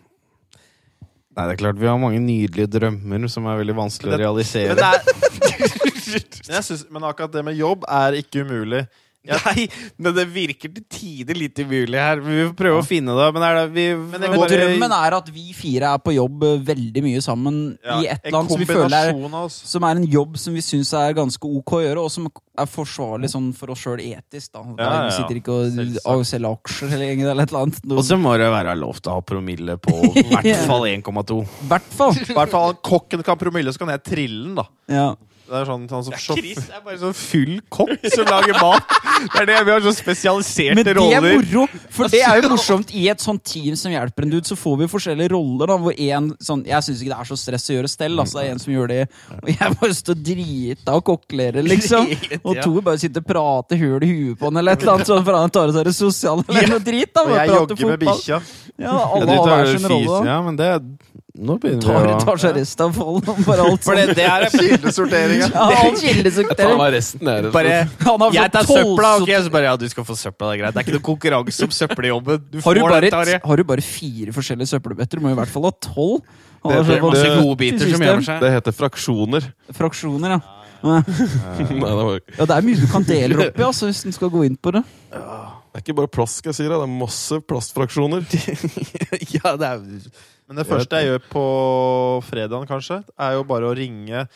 B: Nei, det er klart vi har mange nydelige drømmer som er veldig vanskelig å
D: Men det-
B: realisere.
D: men, det er, men, jeg synes, men akkurat det med jobb er ikke umulig.
B: Nei, men det virker til tider litt umulig her. Vi får prøve å finne det. Men er det vi
D: jeg
A: Og
D: går-
A: drømmen er at vi fire er på jobb eh, veldig mye sammen
D: Ja,
A: i et
D: en
A: eller annet som vi føler er
D: kombinasjon av oss.
A: som er en jobb som vi syns er ganske ok å gjøre, og som er forsvarlig sånn for oss sjøl etisk. da
D: Ja, ja, ja.
A: Vi sitter ikke og, og selger aksjer eller gjengen eller et eller annet.
B: Og
A: Noe,
B: så må det være lov til å ha promille på i hvert fall 1,2.
A: I hvert fall!
D: I hvert fall kokken kan promille, så kan jeg trille den, da.
A: Ja.
D: Det er sånn, han som sjåfør-
B: er bare sånn full kokk som lager mat. Det er det vi har så spesialiserte
A: Men det er moro! For det er jo morsomt i et sånt team som hjelper en dude. Så får vi forskjellige roller. da Hvor en, sånn, Jeg syns ikke det er så stress å gjøre stell. Altså, det er en som gjør det, og jeg bare står drita og kokkelere, liksom. Og to bare sitter og prater høl i huet på han eller et eller annet. Sånn, for han tar seg det sosiale eller noe drit. da
D: Og
A: bare
D: jeg
A: prater
D: jogger med
A: fotball.
D: bikkja.
A: Ja, alle har hver sin rolle. da.
B: Ja, men det Nå
A: tar,
B: begynner vi å
A: tar seg resten av folden for alt sånn.
B: For det, det her er
D: Kildesorteringa.
A: Ja, alt
C: Jeg tar
A: kildesorterer.
C: meg resten, jeg. rett og
B: bare
C: slett.
A: Han har
B: Jeg
A: fått
B: tar søpla,
A: tolv-
B: ok? Så bare ja, du skal få søpla, det er greit. Det er ikke noe konkurranse om søppeljobben. Du
A: Har du,
B: får
A: bare,
B: den, Tarjei.
A: har du bare fire forskjellige søppelbøtter, må i hvert fall ha tolv. Han
B: Det
A: har så
B: er masse
A: vanskelig
B: godbiter som
A: system.
B: gjemmer seg.
C: Det heter fraksjoner.
A: Fraksjoner, ja. Nei.
C: Nei, det, var,
A: ja. Det er mye du kan dele opp i, altså, hvis en skal gå inn på det.
C: det er ikke bare plask jeg sier, det er masse plastfraksjoner.
B: ja, det er
D: Men det første jeg gjør på fredagen, kanskje, er jo bare å ringe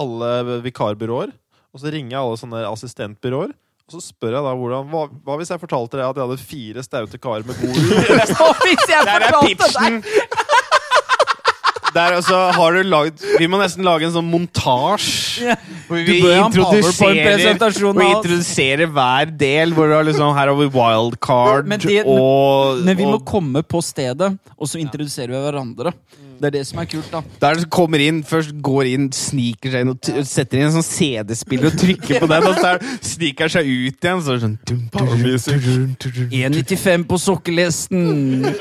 D: alle vikarbyråer. Og så ringer jeg alle sånne assistentbyråer. Og så spør jeg da hvordan Hva, hva hvis jeg fortalte deg at jeg hadde fire staute karer med god hud?
A: Så hvis jeg
B: Der er
A: fortalte deg
B: pitchen! Der altså, har du lagd Vi må nesten lage en sånn montasje.
A: Ja.
B: Hvor
A: Du
B: vi
A: bør ha en
B: introduserer,
A: PowerPoint-presentasjon
B: hvor vi
A: av oss.
B: introduserer hver del. Hvor du har liksom, her har vi wildcard
A: Men det-
B: og,
A: Men vi må
B: og
A: komme på stedet, og så introduserer vi hverandre.
B: Mm.
A: Det er det som er kult, da.
B: Der som kommer inn, først går inn, sniker seg inn og t setter inn en sånn CD-spiller og trykker på den, og så er- sniker han seg ut igjen. Så er det sånn dum, dum,
C: Power music.
A: 1,95 på sokkelhesten.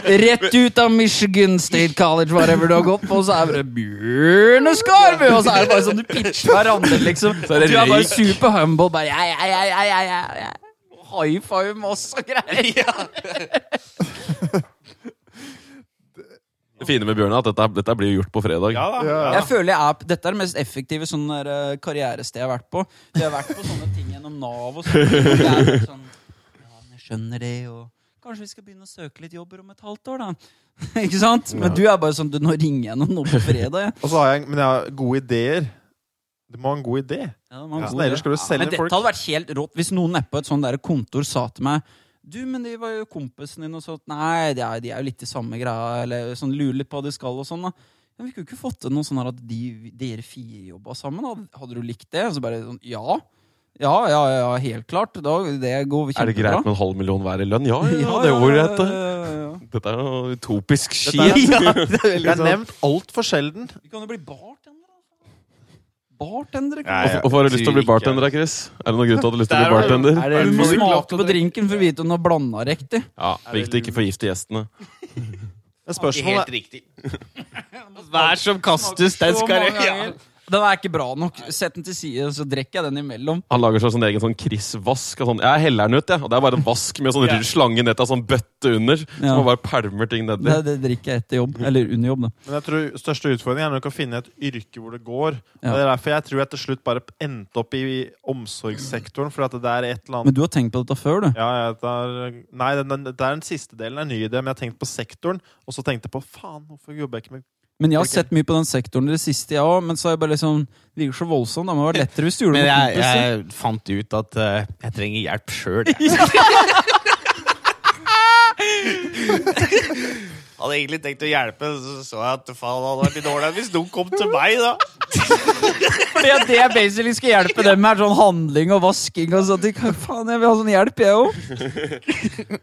A: Rett ut av Michigan State College, whatever du har gått på, og så er det Bjørne Skarbu! Og så er det bare sånn du pitcher hverandre, liksom. Du
B: er
A: er
B: det
A: bare
B: røyk.
A: super humble. Bare, ja, ja, ja, ja, ja, ja, ja. High five med oss og greier.
C: Det fine med Bjørn er at dette, dette blir gjort på fredag.
B: Ja da.
D: Ja.
A: Jeg føler jeg er, Dette er det mest effektive sånn der, eh, karrierestedet jeg har vært på. Jeg har vært på sånne ting gjennom Nav og sånn. hvor det er litt sånn ja, men jeg skjønner det, og Kanskje vi skal begynne å søke litt jobber om et halvt år, da. Ikke sant? Men du er bare sånn du, Nå ringer jeg noen nå på fredag, jeg.
D: Og så har jeg, men jeg har gode ideer. Du må ha en god idé.
A: Ja, det var en god
D: Ja. Så ellers
A: idé.
D: skal du selge
A: men dette
D: folk.
A: hadde vært helt rått hvis noen nede på et sånt der kontor sa til meg du, men de var jo kompisen din og sånt. Nei, de er, de er jo litt i samme greia, eller sånn lurer litt på hva de skal og sånn, da. Men vi kunne ikke fått til noe sånn her at de, dere fire jobba sammen. Hadde, hadde du likt det? Og så bare sånn, ja. Ja, ja, ja, helt klart. Da, det går kjempebra.
C: Er det greit med en halv million hver i lønn? Ja, ja,
A: Ja,
C: det går
A: ja,
C: greit. det.
A: ja, ja, ja.
C: Dette er jo utopisk
D: er-
C: skit.
A: Ja, det er
D: Det
A: veldig
D: er
A: sånn.
D: nevnt altfor sjelden.
A: Vi kan jo bli altså. bartender, da. Bartender, ikke
B: Nei,
A: sant?
B: jeg
C: Hvorfor har du lyst til å bli
B: tror ikke-
C: bartender, da, Chris? Er det noen grunn til at du har lyst til å
B: Der
C: bli
B: var det-
C: bartender?
D: Er det
A: Du må
D: lurt?
A: smake på drinken for å vite om du har blanda riktig.
C: Ja, Viktig å ikke forgifte gjestene.
D: Men spørsmålet er
B: riktig. Hver som kastes, den
A: Så
B: skal
A: mange ganger. Den er ikke bra nok. Sett den til side, så drikker jeg den imellom.
C: Han lager seg sånn egen sånn Chris-vask. og Sånn, jeg heller den ut, jeg. Og det er bare en vask med sånn rød slange nett av sånn bøtte under.
A: Ja.
C: Så man bare pælmer ting
A: Det,
C: nedi.
A: det drikker jeg etter jobb. Eller under jobb, da.
D: Men jeg tror største utfordringen er nok å finne et yrke hvor det går.
A: Ja.
D: Og Det er derfor jeg tror jeg til slutt bare endte opp i omsorgssektoren. For at det er et eller annet
A: Men du har tenkt på dette før, du.
D: ja, jeg, det er, Nei, den, den, det er den siste delen er en ny idé, men jeg har tenkt på sektoren. Og så tenkte jeg på faen, hvorfor jobber jeg ikke med
A: Men jeg har
D: Ok.
A: sett mye på den sektoren i det siste, jeg òg. Men så har jeg bare liksom Det virker så voldsomt. Det må være lettere hvis du gjorde det
E: Men
A: med
E: jeg,
A: kompiser.
E: jeg fant ut at eh, jeg trenger hjelp sjøl.
B: Hadde egentlig tenkt å hjelpe, så så jeg at faen, det hadde vært litt ålreit hvis noen kom til meg, da.
A: Fordi at det jeg basically skal hjelpe dem med, er sånn handling og vasking og sånt. Hva Faen, jeg vil ha sånn hjelp, jeg òg.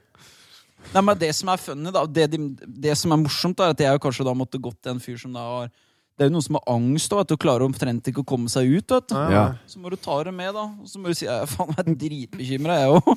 A: Nei, men det som er funny, da, det, de, det som er morsomt, er at jeg jo kanskje da måtte gått til en fyr som da har Det er jo noen som har angst òg, at du klarer omtrent ikke å komme seg ut. vet du.
D: Ja.
E: Ja.
A: Så må du ta det med, da. Og så må du si «Jeg er faen, jeg er dritbekymra, jeg òg.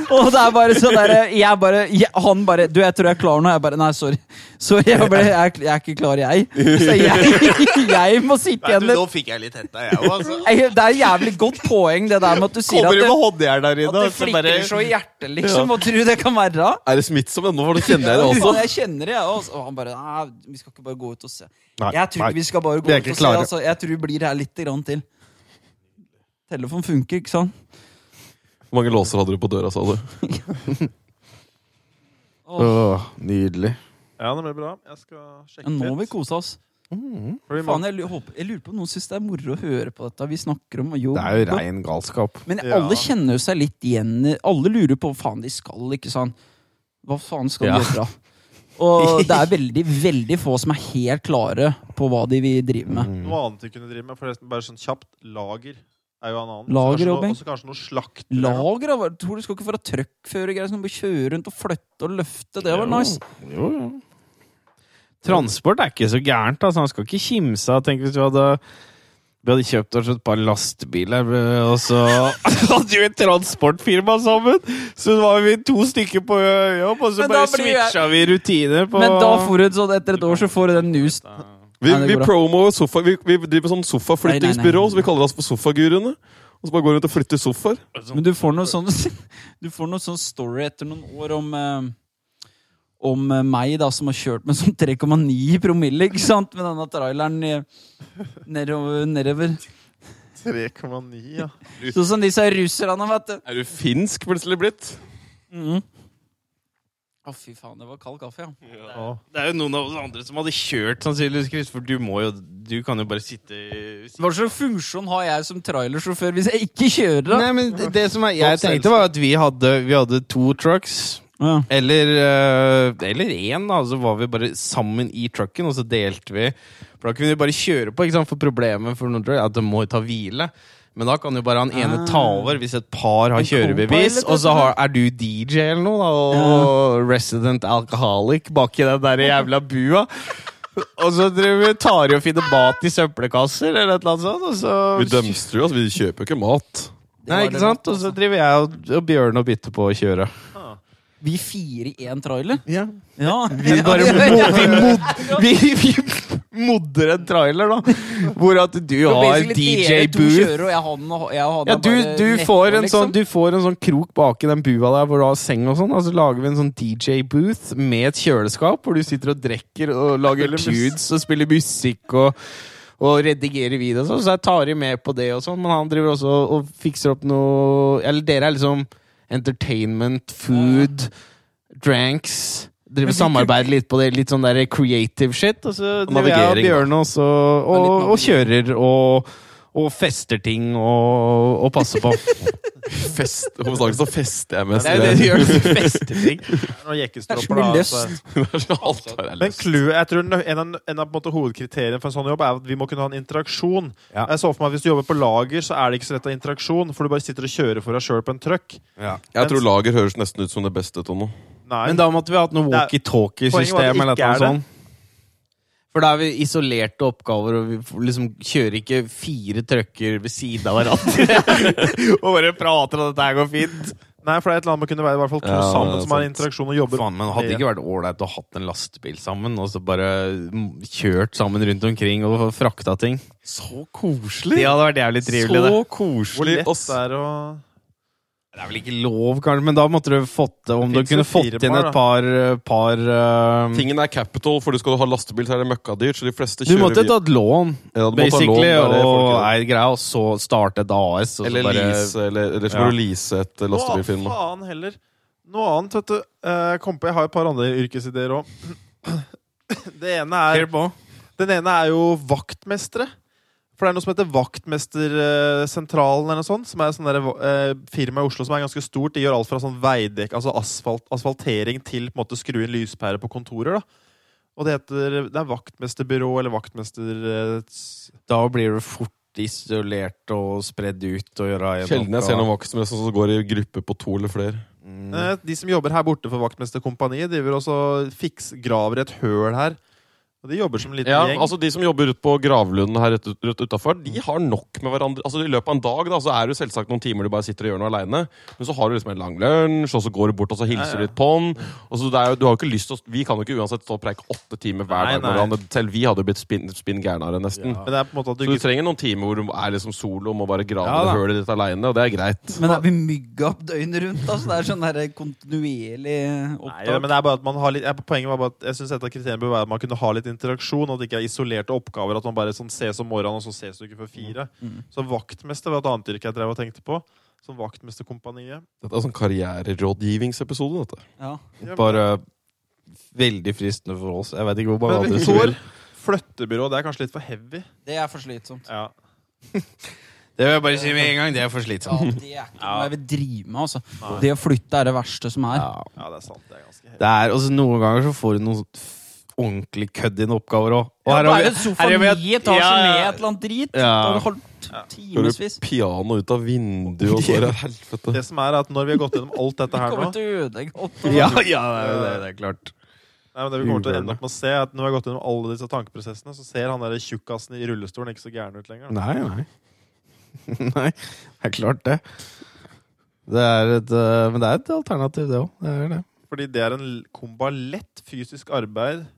A: og det er bare sånn derre Jeg bare jeg, Han bare Du, jeg tror jeg er klar nå. Jeg bare Nei, sorry. Sorry, jeg, bare, jeg, er, jeg er ikke klar, jeg. Så jeg, jeg må sitte igjen med
B: nå fikk jeg litt hetta, jeg òg, altså.
A: Nei, Det er et jævlig godt poeng, det der med at du sier at
B: Kommer du
A: det,
B: med håndjern der
A: at det
B: inne? og så bare-
A: flikker så i hjertet, liksom. Og tror det kan være.
C: Er det smittsomt? Nå for da kjenner jeg
A: Ja,
C: det også.
A: Jeg kjenner det, jeg også. Og han bare Nei, vi skal ikke bare gå ut og se.
D: Nei,
A: jeg tror
D: nei.
A: ikke vi skal bare
D: Vi
A: gå
D: er
A: ut
D: ikke
A: og
D: klare.
A: se. Altså, jeg tror vi blir her litt grann til. Telefon funker, ikke sant?
C: Hvor mange låser hadde du på døra, sa du?
E: Åh, nydelig.
D: Ja, det blir bra. Jeg skal
A: Ja,
E: Øh,
D: sjekke
A: nå har vi
D: litt.
A: kosa oss.
D: Fordi man-
A: Faen, jeg, lu- håper, jeg lurer på om noen syns det er moro å høre på dette. Vi snakker om jobb.
E: Det er jo rein galskap.
A: Men
D: Ja.
A: alle kjenner jo seg litt igjen. i- Alle lurer på hva faen de skal, ikke sant? Hva faen skal de gjøre? Og det er veldig, veldig få som er helt klare på hva de vil drive
E: Mm.
A: med.
D: Noe annet du kunne drive med, forresten, bare sånn kjapt. Lager er jo en annen.
A: Lagerjobbing?
D: Og så kanskje noe slakt.
A: Lager, da? Tror du skal ikke være trøkkfører? Skal bare kjøre rundt og flytte og løfte? Det var nice.
B: Jo, jo. Transport er ikke så gærent. Altså. Han skal ikke kimse. av. Tenk hvis du hadde, vi hadde kjøpt oss et par lastebiler, eh, og så hadde vi et transportfirma sammen! Så var vi to stykker på jobb, og så
A: Men da
B: bare
A: blir jeg-
B: switcha vi rutiner på
A: Men da får du sånn etter et år så får du den news.
C: Vi,
A: Nei, det
C: vi
A: går bra.
C: promoer sofa, vi, vi driver med sånn
A: Nei, nei,
C: sofaflyttingsbyrå,
A: nei.
C: så vi kaller oss for Sofaguruene. Og så bare går rundt og flytter sofaer.
A: Men du får noe sånn Du får noe sånn story etter noen år om eh, om eh, meg, da, som har kjørt med sånn 3,9 i promille, ikke sant? Med denne traileren eh, nedover. nedover.
D: 3,9, ja.
A: Sånn som disse russerne, vet du.
C: Er du finsk plutselig blitt?
A: Mhm. Å, fy faen, det var kald kaffe, ja.
D: Å.
B: Det er jo noen av oss andre som hadde kjørt, sannsynligvis, Chris, for du må jo Du kan jo bare sitte, sitte.
A: Hva slags funksjon har jeg som trailersjåfør hvis jeg ikke kjører? da?
B: Nei, men det som jeg, jeg tenkte, var at vi hadde, vi hadde to trucks.
A: Ja.
B: Eller eh, Eller én, da. Så var vi bare sammen i trucken, og så delte vi. For da kunne vi bare kjøre på, ikke sant? for problemet for noen truck er at de må ta hvile. Men da kan jo bare han ene
A: Ah.
B: ta over hvis et par har
A: En
B: kjørebevis.
A: co-pilot,
B: Og så har, er du DJ eller noe, da, og resident alcoholic baki den der jævla bua. Og så driver vi tar i og finner mat i søppelkasser, eller et eller annet sånt. Og så
C: Vi dømster jo, altså. Vi kjøper jo ikke mat.
A: Det
B: Nei,
A: var
B: ikke
A: det
B: sant?
A: rått,
B: Og så
A: altså.
B: driver jeg og, og Bjørn og bytter på å kjøre.
A: Vi fire i én trailer?
B: Ja.
A: Ja.
B: Vi bare mo vi, mod vi, vi
E: modder en trailer, da. Hvor at du
A: Så
E: har
A: basically dere to
E: DJ-booth.
A: kjører, og jeg har den, og jeg har den
E: Ja,
A: er bare
E: du, du,
A: netto,
E: får en
A: liksom.
E: sånn, du får en sånn krok bak i den bua der hvor du har seng og sånn. Og så lager vi en sånn DJ-booth med et kjøleskap hvor du sitter og drikker og lager
D: Spiller
E: tunes og spiller musikk og, og redigerer video og sånn. Så jeg tar i med på det og sånn. Men han driver også og fikser opp noe Eller dere er liksom entertainment, food, dranks. Driver samarbeider litt på det, litt sånn der creative shit. Og så driver jeg og
C: navigering, da.
E: Bjørn også og, og kjører og og fester ting og, og passer på.
C: Fest, hovedsakelig så fester jeg mest.
E: Det er jo det du gjør. Du fester ting.
D: Noen
A: Det er så
D: jekkestropper,
A: mye
D: da. altså.
A: lyst.
C: Alt har jeg
D: Men
C: lyst.
D: clue, jeg tror en av, en av på en måte, hovedkriteriene for en sånn jobb er at vi må kunne ha en interaksjon.
B: Ja.
D: Jeg så for meg at Hvis du jobber på lager, så er det ikke så lett av interaksjon, for du bare sitter og kjører for deg sjøl på en truck.
B: Ja.
C: Jeg tror lager høres nesten ut som det beste, Tonno.
D: Nei.
E: Men da måtte vi hatt noe
D: Det Poenget var at
E: walkietalkie-system
D: det
E: eller
D: ikke
E: noe
D: er det.
E: sånt. For da er vi isolerte oppgaver, og vi får liksom kjører ikke fire trøkker ved siden av hverandre. og bare prater og dette her går fint.
D: Nei, for det er et eller annet med å kunne være i hvert fall to
C: Ja,
D: sammen
C: det er
D: som har
C: sant.
D: interaksjon og jobber.
E: Faen, men hadde det ikke vært ålreit å hatt en lastebil sammen, og så bare mm, kjørt sammen rundt omkring og frakta ting?
C: Så
E: Det
C: koselig!
E: hadde vært jævlig trivelig, det.
C: så
D: Hvor
C: koselig!
D: lett
C: ass.
D: det er å
E: Det er vel ikke lov, kanskje, men da måtte du fått det Om du
D: Det finnes
E: kunne
D: jo
E: fått
D: fire
E: inn
D: par,
E: et par, par eh,
C: Tingen er capital, for du skal ha lastebil, så er det møkkadyrt. Så de fleste
E: Du
C: kjører
E: måtte
C: bil.
E: tatt lån,
C: Ja, du må ta lån,
E: basically,
C: det er det
E: og
C: folk gjør.
E: er greia, og så starte et AS. Og
C: Eller
E: så bare,
C: lease, eller, eller så må
E: Ja.
C: du lease et eh,
D: Å,
C: lastebilfirma.
D: faen heller. Noe annet, vet du. Eh, kom på, jeg har et par andre yrkesideer òg. Det ene er Den ene er jo vaktmestere. For det er noe som heter Vaktmestersentralen, eller noe sånt, som er et sånn der, eh, firma i Oslo som er ganske stort. De gjør alt fra sånn veidekk, altså asfalt, asfaltering, til på en måte skru inn lyspærer på kontorer. da. Og det heter det er vaktmesterbyrå eller vaktmester... eh, s-
E: Da blir du fort isolert og spredd ut og gjøre
C: Sjelden jeg ser noen vaktmester som går i gruppe på to eller flere.
D: Eh, De som jobber her borte for Vaktmesterkompaniet, driver også og fiks, graver et høl her. Og de jobber som en liten
C: Ja,
D: gjeng.
C: altså De som jobber ute på gravlunden her rett, rett utafor, de har nok med hverandre. Altså I løpet av en dag da, så er det jo selvsagt noen timer du bare sitter og gjør noe aleine. Men så har du liksom en lang lunsj, og så går du bort og så hilser
D: Ja,
C: du
D: ja.
C: litt på den. Og så det er jo, du har jo ikke lyst til å, Vi kan jo ikke uansett stå og preike åtte timer hver
D: Nei,
C: dag med
D: nei.
C: hverandre. Selv vi hadde jo blitt spinn, spinn gærnere, nesten.
D: Men det er på en måte at du
C: Så du
D: ikke
C: trenger noen timer hvor du er liksom solo og må bare grave
E: Ja, da.
C: det hølet ditt aleine, og det er greit.
A: Men er vi mygga opp døgnet rundt? Altså, det er sånn der kontinuerlig
D: Nei, ja,
A: opptak.
D: men det er bare at man har litt jeg- Poenget var bare at jeg synes et av kriteriene bør være at man kunne ha litt interaksjon, og at det ikke er isolerte oppgaver. At man bare sånn ses om morgenen, og så ses du ikke før fire.
A: Mm.
D: Så vaktmester var et annet yrke jeg drev og tenkte på. Som vaktmesterkompaniet.
C: Dette er sånn karriererådgivningsepisode, dette.
A: Ja.
D: Ja,
E: Bare veldig fristende for oss. Jeg vet ikke hvor mange
D: Men
E: andre som
D: Thor,
E: vil.
D: flyttebyrå, det er kanskje litt for heavy.
A: Det er for slitsomt.
D: Ja.
E: Det vil jeg bare si med en gang. Det er for slitsomt.
A: Ja, det er ikke noe jeg vil drive med. Altså. Det å flytte er det verste som er.
E: Ja.
D: Ja, det er sant. Det er ganske heavy.
E: Det er, altså, noen ganger så får du noen sånn f- ordentlig kødd i noen oppgaver òg. Og her har
A: det er
E: vi-
A: en
E: her
A: sofa
E: har
A: ni
E: vi et-
A: etasjer
E: Ja,
A: med
E: ja.
A: et eller annet drit. Da
E: Ja.
A: har du holdt
C: Hører
A: timevis.
C: du piano ut av vinduet, og så er det helvete.
D: Det som er at Når vi har gått gjennom alt dette
A: Vi
D: her nå
A: kommer til å ødelegge alt.
E: Ja, ja, det er jo det, det er klart.
D: Nei, men det vi kommer til å ende opp med å se er at Når vi har gått gjennom alle disse tankeprosessene, så ser han der tjukkasen i rullestolen ikke så gæren ut lenger.
E: Nei, nei. nei, det er klart det. Det er et, øh, men det er et alternativ, det òg. Det er det.
D: Fordi det er en l- kombo av lett fysisk arbeid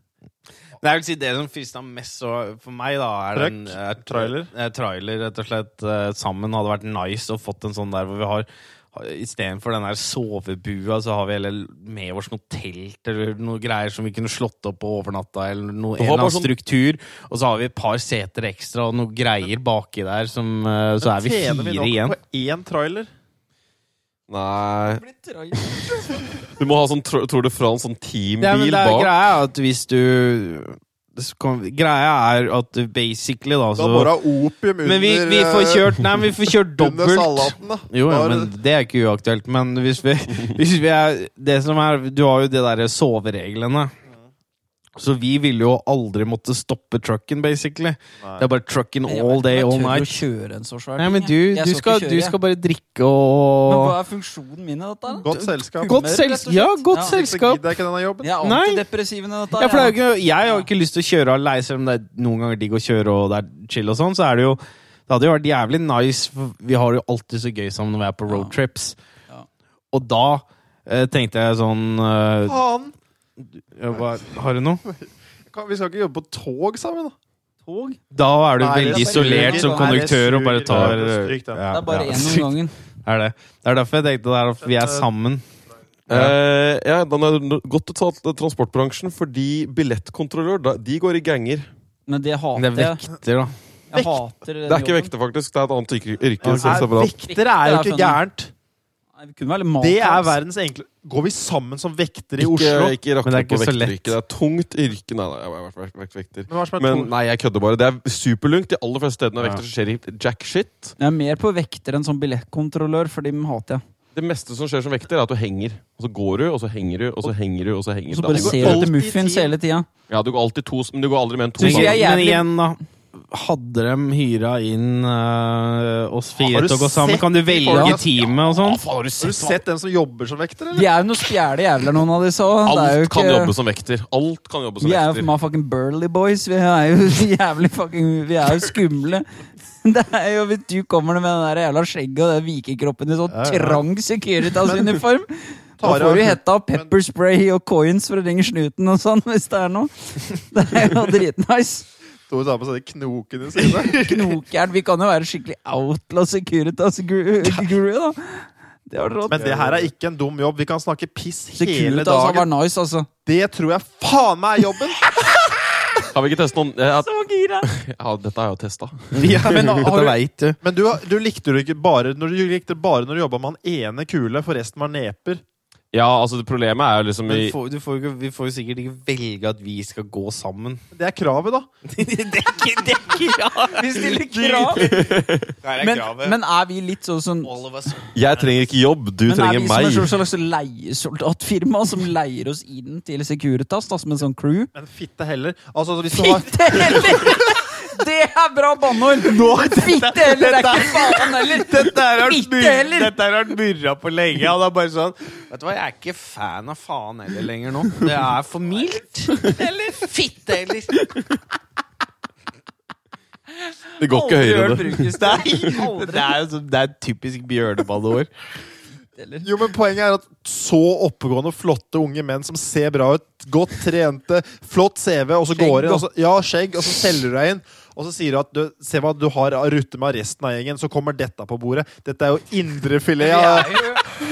E: Men jeg vil si det som frista mest så- for meg, da, er
D: Trøkk,
E: den eh,
D: trailer.
E: eh, trailer, rett og slett. eh, sammen hadde vært nice å fått en sånn der hvor vi har Istedenfor den der sovebua, så har vi heller med oss noe telt eller noe greier som vi kunne slått opp på overnatta, eller noe, en
C: har
E: eller annen
C: bare sånn-
E: struktur. Og så har vi et par seter ekstra og noe greier baki der, som, eh, så er vi
D: Tjener
E: fire
D: vi nok
E: igjen.
D: på én trailer?
C: Nei
A: Nei.
C: Du må ha sånn Tro- Tour de France, sånn teambil
E: Ja, men det er
C: bak.
E: greia er at hvis du det skal- Greia er at du basically,
D: Da
E: da, så
D: bora opium under eh,
E: Men vi, vi får kjørt Nei, men vi får kjørt
D: Under
E: dobbelt.
D: salaten, da.
E: Jo, jo,
D: Da er
E: men
D: det-
E: det er ikke uaktuelt. Men hvis vi, hvis vi er Det som er Du har jo de derre sovereglene. Så vi ville jo aldri måtte stoppe trucken, basically.
D: Nei.
E: Det er bare trucken all day, all night.
A: Kjøre en så svær
E: Nei, men
A: ting,
E: du,
A: jeg. Jeg
E: du,
A: skal
E: skal,
A: ikke
E: du
A: kjøre, jeg.
E: skal bare drikke
A: Men
E: og
A: hva er funksjonen min i dette? da?
D: Godt selskap.
E: Godt
A: humør, rett og
E: selskap.
A: slett?
E: Ja, godt
A: Ja.
D: Så
E: selskap.
D: gidder jeg ikke denne jobben.
A: Jeg er
E: Nei.
A: antideppressiv i dette.
E: Ja, for det er jo
A: jeg.
E: ikke, jeg har jo ikke lyst til å kjøre alene, selv om det er noen ganger digg å kjøre og det er chill og sånn. Så er det jo Det hadde jo vært jævlig nice. for Vi har det jo alltid så gøy sammen når vi er på roadtrips.
A: Ja.
E: Og da eh, tenkte jeg sånn eh,
D: Faen!
E: ja, hva, Har du noe?
D: Kan- Vi skal ikke jobbe på tog sammen, da.
A: tog.
B: Da er du
D: Nei, det er
B: veldig
D: så
B: isolert
D: lurt.
B: som
D: Nei, det er
B: konduktør og bare
D: sjukt.
B: tar
D: Det er strykt, da.
B: ja,
A: Det er bare
B: ja.
A: én om gangen.
B: Er det. det er derfor jeg tenkte det er at vi er sammen.
C: Eh, ja, den er no- godt å ta til transportbransjen, fordi billettkontrollør da- de går i ganger.
A: Men det hater
B: Det er
A: jeg.
B: vekter, da.
A: Jeg hater den
C: Det er ikke
A: jobben.
C: vekter, faktisk. Det er et annet yrke. yrke
D: Nei,
C: som er separat.
D: Vektere er jo ikke gærent.
A: Nei, vi kunne være litt mat,
D: Det er
A: altså.
D: verdens enkle Går vi sammen som vektere i Oslo?
C: Ikke, ikke rakk
B: Men det er
C: opp på
B: ikke så lett.
C: vekteryrket. Det er tungt yrke. Nei, nei, jeg har vært vært- vært vekter.
D: Men hva som er
C: Men
D: to-
C: nei, jeg kødder bare. Det er superlungt. De aller fleste stedene er vekter, så skjer det jack shit.
A: Jeg er mer på vekter enn sånn billettkontrollør, for dem hater jeg.
C: Det meste som skjer som vekter, er at du henger. Og så går du, og så henger du, og så henger du. og så henger
A: Og så
C: du.
A: bare
C: Det er
A: ser
C: alltid-
A: du etter
D: alltid
A: muffins
D: tid.
A: hele tida.
C: Ja, du går alltid to, men du går aldri mer enn to
A: Synes
C: ganger.
A: jeg
B: Men
A: jævlig-
B: igjen, da. Hadde de hyra inn øh,
E: eh,
B: oss fire
D: Har du
B: til å gå sammen?
D: sett
B: Kan du
D: de
B: velge
D: folka?
B: time og sånn?
C: Faen, har du
D: Har du sett dem som jobber som vekter, eller?
A: De er jo noen spjæle jævler, noen av disse òg. Det er jo
C: Alt kan jobbe
A: ikke
C: som vekter. Alt kan jobbe som
A: Vi er jo
C: vekter.
A: motherfucking burly boys. Vi er jo jævlig fucking Vi er jo skumle. Det er jo Hvis du kommer med den der jævla skjegget og den vikingkroppen i sånn
D: Ja, ja.
A: trang Securitas-uniform, da
D: Tara-
A: får du hetta og pepper spray og coins for å ringe snuten og sånn, hvis det er noe. Det er jo dritnice.
D: Tore tar på seg de knokene sine.
A: Knokjern. Vi kan jo være skikkelig outlaw Securitas-guru, da. Det var rått.
D: Men det her er ikke en dum jobb. Vi kan snakke piss hele
A: Securitas hadde
D: dagen.
A: vært nice, altså.
D: Det tror jeg faen meg er jobben!
C: Har vi ikke testet noen? Jeg,
A: Så gira!
C: ja, dette har jeg jo testa.
D: Men,
E: Dette
D: har du,
E: veit du.
D: men du, du likte det ikke bare når du, likte det bare når du jobba med han ene kule, for resten var neper.
C: Ja, altså det problemet er jo liksom i,
B: får, du får, jo ikke- vi får jo sikkert ikke velge at vi skal gå sammen.
D: Det er kravet, da.
A: Vi stiller krav. Men, men er vi litt sånn sånn
C: Jeg trenger ikke jobb, du
A: Men er
C: trenger
A: vi som
C: meg.
A: et slags slags leiesoldatfirma som leier oss inn til Securitas da, som en sånn crew?
D: Men fitte heller. Altså, hvis du har
A: Fitte heller! Det er bra banneord! Fitte heller er ikke faen heller!
B: Dette her har
A: vært Ikke mur- heller. dette
B: vært murra på lenge. Han er bare sånn
E: Vet du hva, jeg er ikke fan av faen heller lenger nå. Det er for mildt. Eller fitte, eller.
C: Det går ikke høyere enn det.
E: Det er jo sånn- det er et typisk bjørnebanneord.
D: Jo, men Poenget er at så oppegående, flotte unge menn som ser bra ut, godt trente, flott CV, og så går inn, og så, ja, skjegg, og så selger du deg inn. Og så sier du at du, se hva du har av rutte med resten av gjengen, så kommer dette på bordet. Dette er jo indrefilet. Ja.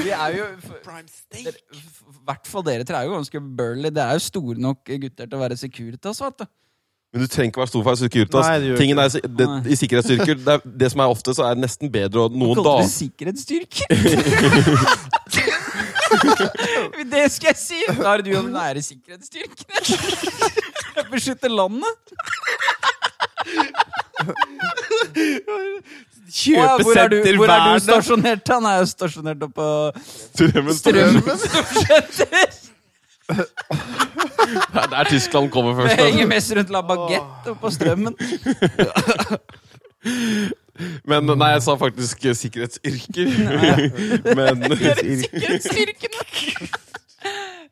A: Vi er jo I hvert fall dere tre er jo ganske burly. Dere er jo store nok gutter til å være Securitas. Vet du.
C: Men du trenger ikke være stor for å være Securitas.
D: Nei, det gjør
C: Tingen er, det,
A: Nei.
C: I sikkerhetsstyrker det, er, det som er ofte, så er det nesten bedre å noen
A: Kaller det
C: dager
A: sikkerhetsstyrker! det skal jeg si! Da er du jo den nære sikkerhetsstyrken. Beskytte landet. Å, ja, hvor er du-
B: Kjøpesenter
A: Hvor er du
B: Verden.
A: stasjonert? Han er jo stasjonert oppe på
C: Strømmen.
A: Strømmen storsenter.
C: Det er der Tyskland kommer først. da.
A: Henger mest rundt La Baguette oppe på Strømmen.
C: Men nei, jeg sa faktisk eh, sikkerhetsyrker. men,
A: Sikkerhetsstyrkene!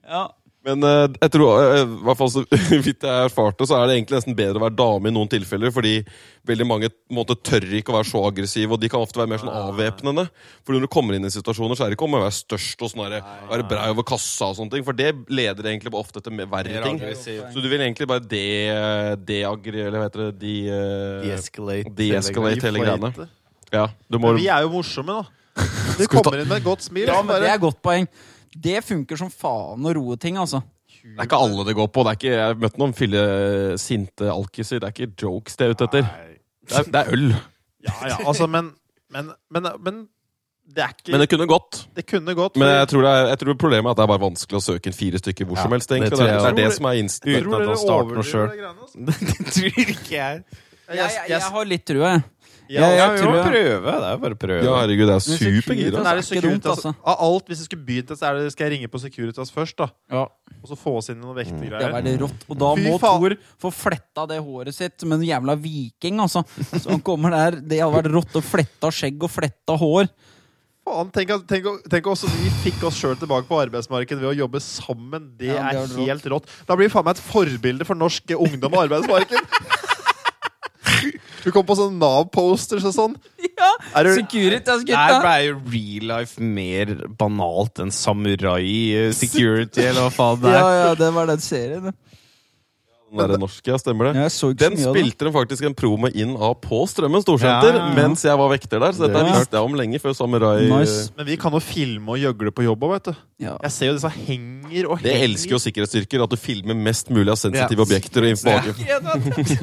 A: Ja.
C: men eh, jeg tror, eh, i hvert fall så vidt jeg erfarte, så er det egentlig nesten bedre å være dame i noen tilfeller. Fordi veldig mange på en måte, tør ikke å være så aggressive, og de kan ofte være mer sånn
D: Ah.
C: avvæpnende. For når du kommer inn i situasjoner, så er det ikke om å være størst og sånn derre, være brei over kassa og sånne ting. For det leder egentlig bare ofte til mer verre ting. Så du vil egentlig bare de- deagri... Eller hva heter det? De, eh,
E: Escalate.
C: De-escalate hele greiene.
D: Deflate.
C: Ja, du må
D: Men vi er jo morsomme, da. Du
C: Skal vi ta-
D: kommer inn med et godt smil.
A: ja,
D: så
A: men det
D: bare-
A: er et godt poeng. Det funker som faen å roe ting, altså.
C: Det er ikke alle det går på. Det er ikke, jeg har møtt noen fille sinte alkiser. Det er ikke jokes det er ute etter.
D: Nei.
C: Det er, det er øl.
D: Ja, ja, altså, men Men, men, men det er ikke
C: Men det kunne gått.
D: Det kunne gått.
C: Men
D: for-
C: jeg tror, det er, jeg tror problemet er at det er bare vanskelig å søke inn fire stykker hvor som helst. egentlig.
B: det
C: Det,
B: tror jeg
C: er- det er det
D: også.
C: som er
D: Tror
C: instinktet.
B: uten at
D: dere
B: han starter noe
D: overdriver
B: selv.
D: det greiene, altså?
B: Det tror ikke jeg.
A: Jeg, jeg,
D: jeg-
A: jeg har litt trua, jeg.
D: Ja,
A: jeg- jeg
D: ja,
B: Vi
D: jo.
A: tror
B: må
A: jeg-
B: prøve. Det er jo bare å prøve.
C: Ja, herregud, det
A: Men
C: er
A: Securitas-
C: supergira.
D: Men er det
A: Det er ikke dumt,
D: Securitas
A: altså.
D: Av alt, hvis jeg skulle begynt et, så er det, skal jeg ringe på Securitas først, da.
A: Ja.
D: Og så få oss inn i noen
A: Det er
D: vektegreier.
A: veldig rått. Og da
D: Fy
A: må
D: faen.
A: Thor få fletta det håret sitt med en jævla viking, altså. Så han kommer der. Det hadde vært rått å fletta skjegg og fletta hår.
D: Faen, tenk, at- tenk, å- tenk også vi fikk oss sjøl tilbake på arbeidsmarkedet ved å jobbe sammen. Det
A: Ja,
D: er
A: det er
D: helt rått. Da blir vi faen meg et forbilde for norsk ungdom og arbeidsmarked. Du kom på sånne Nav-posters og sånn.
A: Ja,
D: Er du-
A: Securitas,
B: Der
A: gutta!
B: ble jo real life mer banalt enn samurai eh, security, eller hva faen det
A: Ja,
B: er.
A: ja, det var den serien.
C: Den der norske, ja, stemmer det?
A: Jeg så ikke
C: Den
A: så mye av det.
C: spilte de faktisk en promo inn av på Strømmen storsenter
D: Ja, ja, ja.
C: mens jeg var vekter der. Så dette
A: Det er
C: visste jeg om lenge før Samurai
A: Nice.
D: Men vi kan jo filme og gjøgle på jobb òg, vet du.
A: Ja.
D: Jeg ser jo disse henger og
C: Det
D: henger.
C: elsker jo sikkerhetsstyrker, at du filmer mest mulig av sensitive objekter. og informasjon.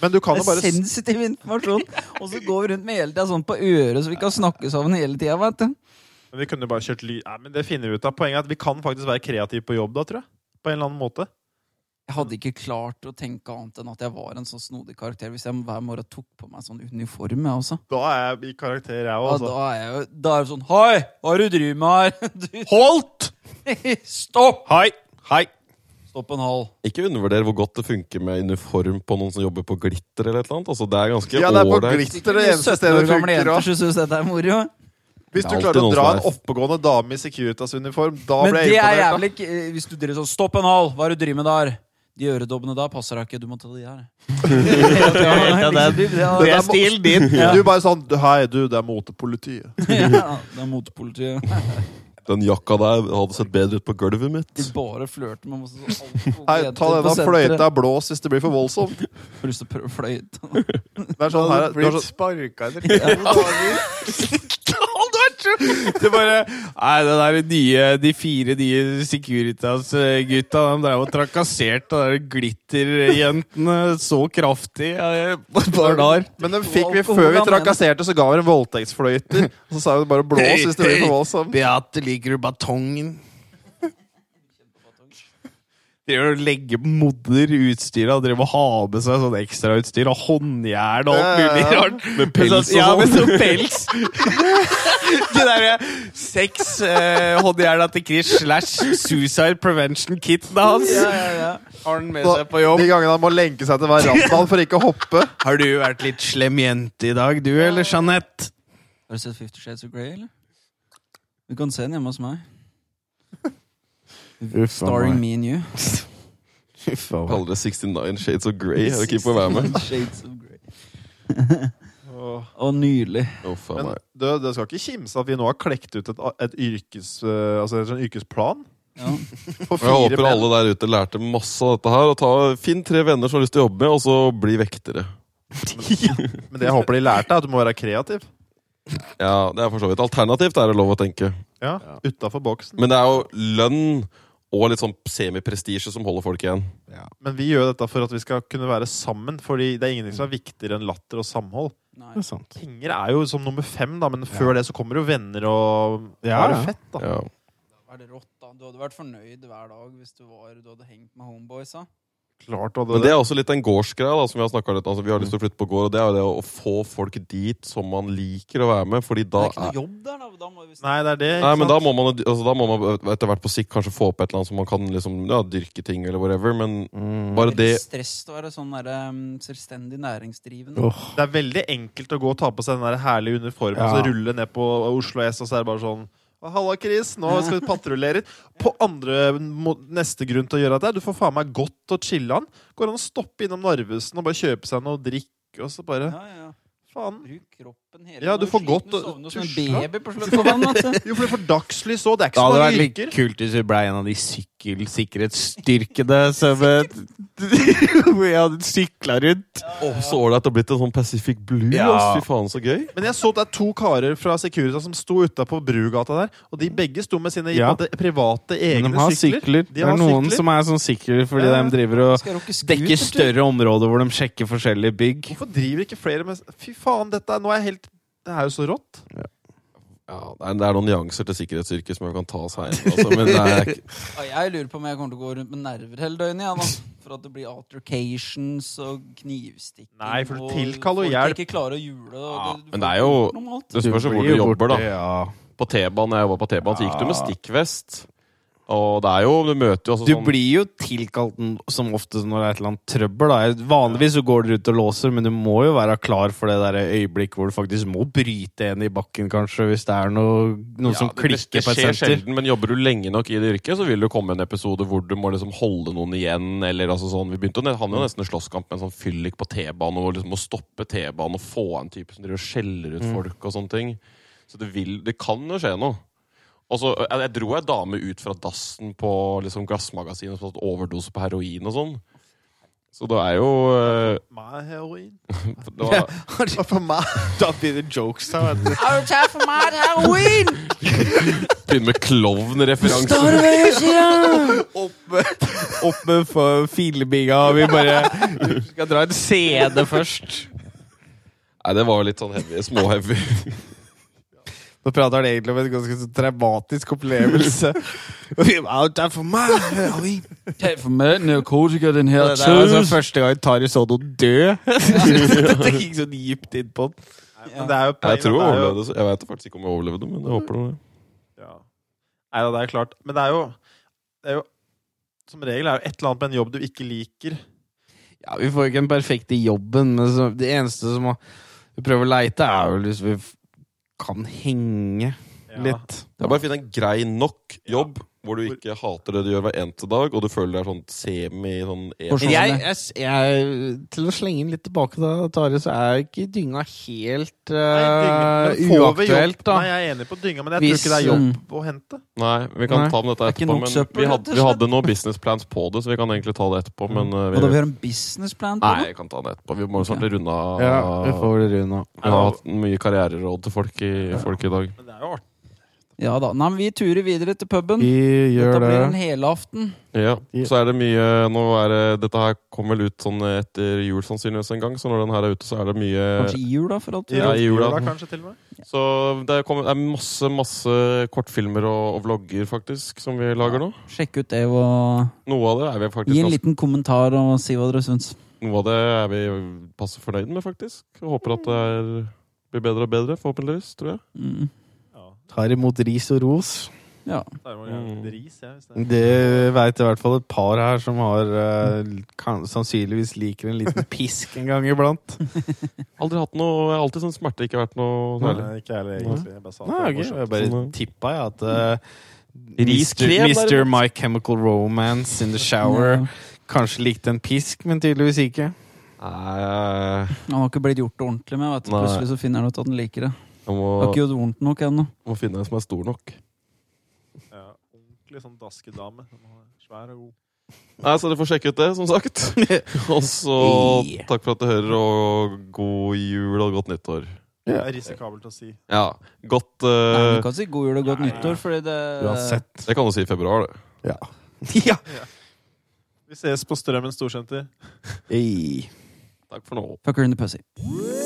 D: Men du kan
A: Det
D: jo
A: er
D: bare s-
A: sensitiv informasjon. Og så går vi rundt med hele tida sånn på øret, så vi kan snakke sammen hele tida. vet du.
D: Men Vi kunne jo bare kjørt lyd Nei, men det finner vi ut av. Poenget er at vi kan faktisk være kreative på jobb da, tror jeg. På en eller annen måte.
A: Jeg hadde ikke klart å tenke annet enn at jeg var en sånn snodig karakter hvis jeg hver morgen tok på meg sånn uniform. jeg også.
D: Da er jeg i karakter, jeg
A: Ja,
D: òg,
A: da
D: altså.
A: er jeg jo da er det sånn Hei, hva er det du driver med her? Du,
D: Holdt!
A: stopp!
D: Hei! Hei!
A: Stopp en hal.
C: Ikke undervurder hvor godt det funker med uniform på noen som jobber på glitter. eller et eller annet. Altså, det er ganske
D: Ja, det er på
C: ålreit.
D: glitter det eneste
A: 17 år
D: stedet det
A: gamle
D: funker.
A: jenter
D: også.
A: som syns dette er moro.
D: Hvis
C: Det
D: du
C: er
D: klarer å
C: alltid
D: dra
C: noen
D: en
C: som er-
D: oppegående dame i Securitas-uniform, da
A: Men
D: blir
A: det
D: jeg
A: er
D: imponert. da.
A: jævlig k- eh, Hvis du driver sånn Stopp en hal! Hva er det du driver med der? De øredobbene da passer deg ikke. Du må ta de her. Ja, det er- det er-
E: Det
D: er
E: er stilen din.
D: Du bare sånn Hei, du, det er motepolitiet.
A: Ja, det er motepolitiet.
C: Den jakka der hadde sett bedre ut på gulvet mitt.
A: De bare flørter med masse sånn alkohol-
D: Hei,
A: jenter
D: ta
A: på
D: denne
A: senteret.
D: fløyta, blås hvis det blir for voldsomt.
A: Har lyst til å prøve fløyte.
D: Det er sånn her det er sånn,
E: sparka etter to dager. Det er bare Nei, det der nye, de fire nye Securitas-gutta, de drev og trakasserte de der glitterjentene så kraftig ja, på et par dager.
D: Men den fikk vi før vi trakasserte, så ga vi en voldtektsfløyter. Og så sa vi bare blås hvis det blir for voldsomt.
E: Beate, liker du batongen? Driver og legger modder utstyret og driver og har med seg sånn ekstrautstyr og håndjern og alt
D: Ja, ja,
E: mulig
D: ja.
E: rart.
C: Med pels og
E: sånn. Ja,
C: sånn.
E: med sånn pels. Det derre seks eh, håndjerna til Chris slash suicide prevention kitten hans
A: Ja, ja, ja.
E: har han med
D: Så
E: seg på jobb.
D: De gangene han må lenke seg til verandaen for ikke å hoppe.
E: Har du vært litt slem jente i dag, du eller Jeanette?
A: Har du sett Fifty Shades of Grey, eller? Du kan se den hjemme hos meg. Starring me and you.
C: Kaller det 69 Shades of Grey. Jeg er keen på å være med.
A: Shades of Grey. Og nydelig.
C: Å, faen
D: Men
C: meg.
D: du, det skal ikke kimse at vi nå har klekt ut et, et yrkes, eh, altså en sånn yrkesplan.
A: Ja.
D: For
C: Og jeg håper
D: menn.
C: alle der ute lærte masse av dette her. Og ta, finn tre venner som har lyst til å jobbe med, og så bli vektere.
D: Men det jeg håper de lærte, er at du må være kreativ.
C: Ja, det er for så vidt Alternativt er det lov å tenke.
D: Ja, Utafor boksen.
C: Men det er jo lønn og litt sånn semiprestisje som holder folk igjen.
D: Men vi gjør dette for at vi skal kunne være sammen, Fordi det er ingenting som er viktigere enn latter og samhold.
A: Nei.
E: Det er sant.
D: Penger er jo som nummer fem, da, men før det så kommer jo venner og
E: Ja,
D: Bare
E: ja.
D: fett, da.
C: Ja.
A: Er det rått, da? Du hadde vært fornøyd hver dag hvis du, var, du hadde hengt med homeboysa.
D: Klart du hadde
C: Men det er også litt den gårdsgreia da, som vi har snakket litt om. Altså, vi har lyst til å flytte på gård, og det er jo det å få folk dit som man liker å være med. Fordi
A: Det
C: da
A: er ikke
C: er
A: noe jobb der, da. da må vi
D: Nei, det er det. ikke
C: Nei, men
D: sant?
C: da må man, jo- altså, da må man etter hvert på sikt kanskje få opp et eller annet som man kan liksom, ja, dyrke ting eller whatever, men bare
A: det er
C: det
A: litt stress å være sånn der, um, selvstendig næringsdrivende.
E: Åh.
D: Det er veldig enkelt å gå og ta på seg den der herlige uniformen
E: Ja.
D: og så rulle ned på Oslo S, og så er det bare sånn «Å, Halla, Chris. Nå skal vi patruljere. På andre må- neste grunn til å gjøre dette, du får faen meg godt og chille'n. Går an å stoppe innom Narvesen og bare kjøpe seg noe drikk, og så bare
A: Ja, ja.
D: Faen.
A: Bruk kroppen hele
D: Ja,
A: dagen.
D: du får
A: Sliten,
D: godt
A: Du
D: å-
A: sovner som en
D: tusla.
A: baby på slutten av natten.
D: Jo, for det får dagslys òg. Det er
E: Det
D: ikke så
E: hadde vært
D: mange
E: litt
D: yrker.
E: kult hvis vi ble en av de sykkelsikkerhetsstyrkene som eh, Hvor jeg hadde sykla rundt.
C: Åh, så ålreit det har blitt en sånn Pacific Blue.
E: Ja.
C: ass. Fy faen, så gøy.
D: Men jeg så det er to karer fra Securitas som sto utapå Brugata der, og de begge sto med sine på
E: Ja.
D: en måte, private
E: Men
D: egne
E: de har
D: sykler.
E: sykler.
D: De
E: Det er
D: har
E: noen
D: sykler.
E: som er sånn sykler fordi
D: Ja.
E: de driver og
A: Skal jeg rocke scooter,
E: dekker
A: tror jeg?
E: større områder hvor de sjekker forskjellige bygg.
D: Hvorfor driver ikke flere med Fy faen, dette er, nå er jeg helt Det er jo så rått.
C: Ja, det er- det er noen nyanser til sikkerhetsyrket som vi kan ta oss her. Altså, men det er ikke
A: Ja, jeg lurer på om jeg kommer til å gå rundt med nerver hele døgnet. Ja, da. For at det blir altercations og knivstikking.
D: Nei, for det
A: og
D: tilkaller jo
A: Folk ikke klarer å jule. Og
C: Ja,
A: du får
C: men det er jo-
A: normalt.
C: Det spørs jo hvor
E: blir
C: du
E: jo
C: jobber, da.
E: borte, ja.
C: På T-banen, jeg var på T-banen, så gikk du med stikkvest. Og det er jo, du møter jo altså
E: Du
C: sånn
E: blir jo tilkalt n- som ofte når det er et eller annet trøbbel. Da. Vanligvis så går du ut og låser, men du må jo være klar for det der øyeblikk hvor du faktisk må bryte en i bakken, kanskje, hvis det er noe, noe som
C: det- det- Det
E: klikker på et
C: skjer
E: senter.
C: sjelden, men jobber du lenge nok i det yrket, så vil det komme en episode hvor du må liksom holde noen igjen. eller altså sånn, Vi begynte å ne- havne jo nesten i slåsskamp med en sånn fyllik på T-banen, og liksom å stoppe T-banen og
E: Mm.
C: få en type som driver og skjeller ut folk og sånne ting. Så det, vil, det kan jo skje noe. Og så, jeg, jeg dro ei dame ut fra dassen på liksom, glassmagasinet som hadde overdose på heroin og sånn. Så det er jo eh,
D: Meg heroin?
C: det var,
B: For meg Da blir det jokes her. vet du.
A: Er du klar for meg, Halloween?
C: Begynner med klovnreferanser.
A: Står du ved høyresida?
B: Opp med f- filebinga, og vi bare
E: Skal dra en CD først.
C: Nei, det var jo litt sånn heavy. Småheavy.
B: Nå prater han egentlig om en ganske så traumatisk opplevelse. Og vi bare, "Out there for meg, Halloween."
A: Tag for meg narkotika, den her
E: Det der var altså første gang Tari så noe dø.
B: Dette gikk sånn dypt inn på den.
D: Men det er jo
C: Jeg tror jeg
D: poenget, det er jo-
C: overlevde. så- Jeg vet faktisk ikke om jeg overlevde, men jeg håper det.
D: Ja. Nei da, det er klart. Men det er jo, det er jo Som regel er jo et eller annet med en jobb du ikke liker.
E: Ja, Vi får jo ikke den perfekte jobben, men så, det eneste som må- vi prøver å leite, er jo hvis vi f- kan henge litt.
C: Det er bare å finne en grei nok jobb hvor du ikke hater det du gjør hver eneste dag, og du føler deg sånn semi sånn
A: Hvor-
C: en.
E: Men jeg, jeg, s- jeg, til å slenge den litt tilbake, da, Tari, så er jo ikke dynga helt
D: Nei,
E: eh,
D: dynge- men får vi
E: uaktuelt,
D: jobb-
E: da.
D: Nei, jeg er enig på dynga, men jeg
E: Hvis-
D: tror ikke det er jobb å hente.
C: Nei, vi kan
E: Nei,
C: ta med dette
A: det er ikke nok
C: etterpå. Men
A: søppel,
C: vi,
A: rett og Mm.
C: hadde, vi hadde noen business plans på det, så vi kan egentlig ta det etterpå. Men uh,
A: Og da vi
C: vi,
A: har en businessplan på
C: nei,
A: det?
C: jeg kan ta det etterpå. Vi må snart runde av.
E: Ja, vi får det runde.
C: Vi har hatt mye karriereråd til folk i, folk i dag.
D: Men det er jo artig.
A: Ja da. Nei, men vi turer videre til puben.
E: Vi
A: Dette
E: gjør
A: blir en
E: det.
A: helaften.
C: Ja, Så er det mye nå er det, Dette her kommer vel ut sånn etter jul sannsynligvis en gang, så når den her er ute, så er det mye
A: Kanskje i jula, for alt vi
C: Ja, Eh, i jula.
D: kanskje, til og med.
C: Så det, kommer, det er masse, masse kortfilmer og, og vlogger, faktisk, som vi lager nå.
A: Sjekk ut det og
C: Noe av det er vi faktisk
A: gi en
C: ganske-
A: liten kommentar og si hva dere syns.
C: Noe av det er vi passe fornøyd med, faktisk. Jeg håper at det er, blir bedre og bedre, forhåpentligvis. tror jeg.
A: Mm.
D: Ja,
E: Tar imot ris og ros.
A: Ja.
D: det er jo
C: Mm.
D: en ris, jeg, hvis det er.
E: Det veit i hvert fall et par her som har eh, kan, sannsynligvis liker en liten pisk en gang iblant.
C: Aldri hatt noe, jeg har alltid sånn smerte ikke vært noe særlig.
D: Nei, ikke heller, egentlig. Jeg bare sa at
E: Nei,
D: det var
E: ok,
D: morsomt.
E: jeg bare
C: Sånn,
E: tippa jeg at eh,
C: Riskrem,
E: Mr.
C: derimot.
E: My Chemical Romance in the Shower kanskje likte en pisk, men tydeligvis ikke.
C: Nei,
A: Han har ikke blitt gjort det ordentlig med. Vet du.
C: Nei.
A: Plutselig så finner han ut at han liker det.
C: jeg må,
A: Har ikke gjort det vondt nok ennå.
C: må finne en som er stor nok.
D: Ja, ordentlig sånn daskedame. som var Svær og god.
C: Nei, Så dere får sjekke ut det, som sagt. Og så
E: Yeah.
C: takk for at du hører, og god jul og godt nyttår.
D: Det er risikabelt å si.
C: Ja, godt
A: Nei,
C: eh,
A: Du kan si god jul og godt nyttår, fordi det
C: Det kan du si i februar, det.
E: ja.
D: Vi ses på Strømmen storsenter.
E: Ei.
C: Takk for nå.
A: Fucker in the pussy.
E: Woo!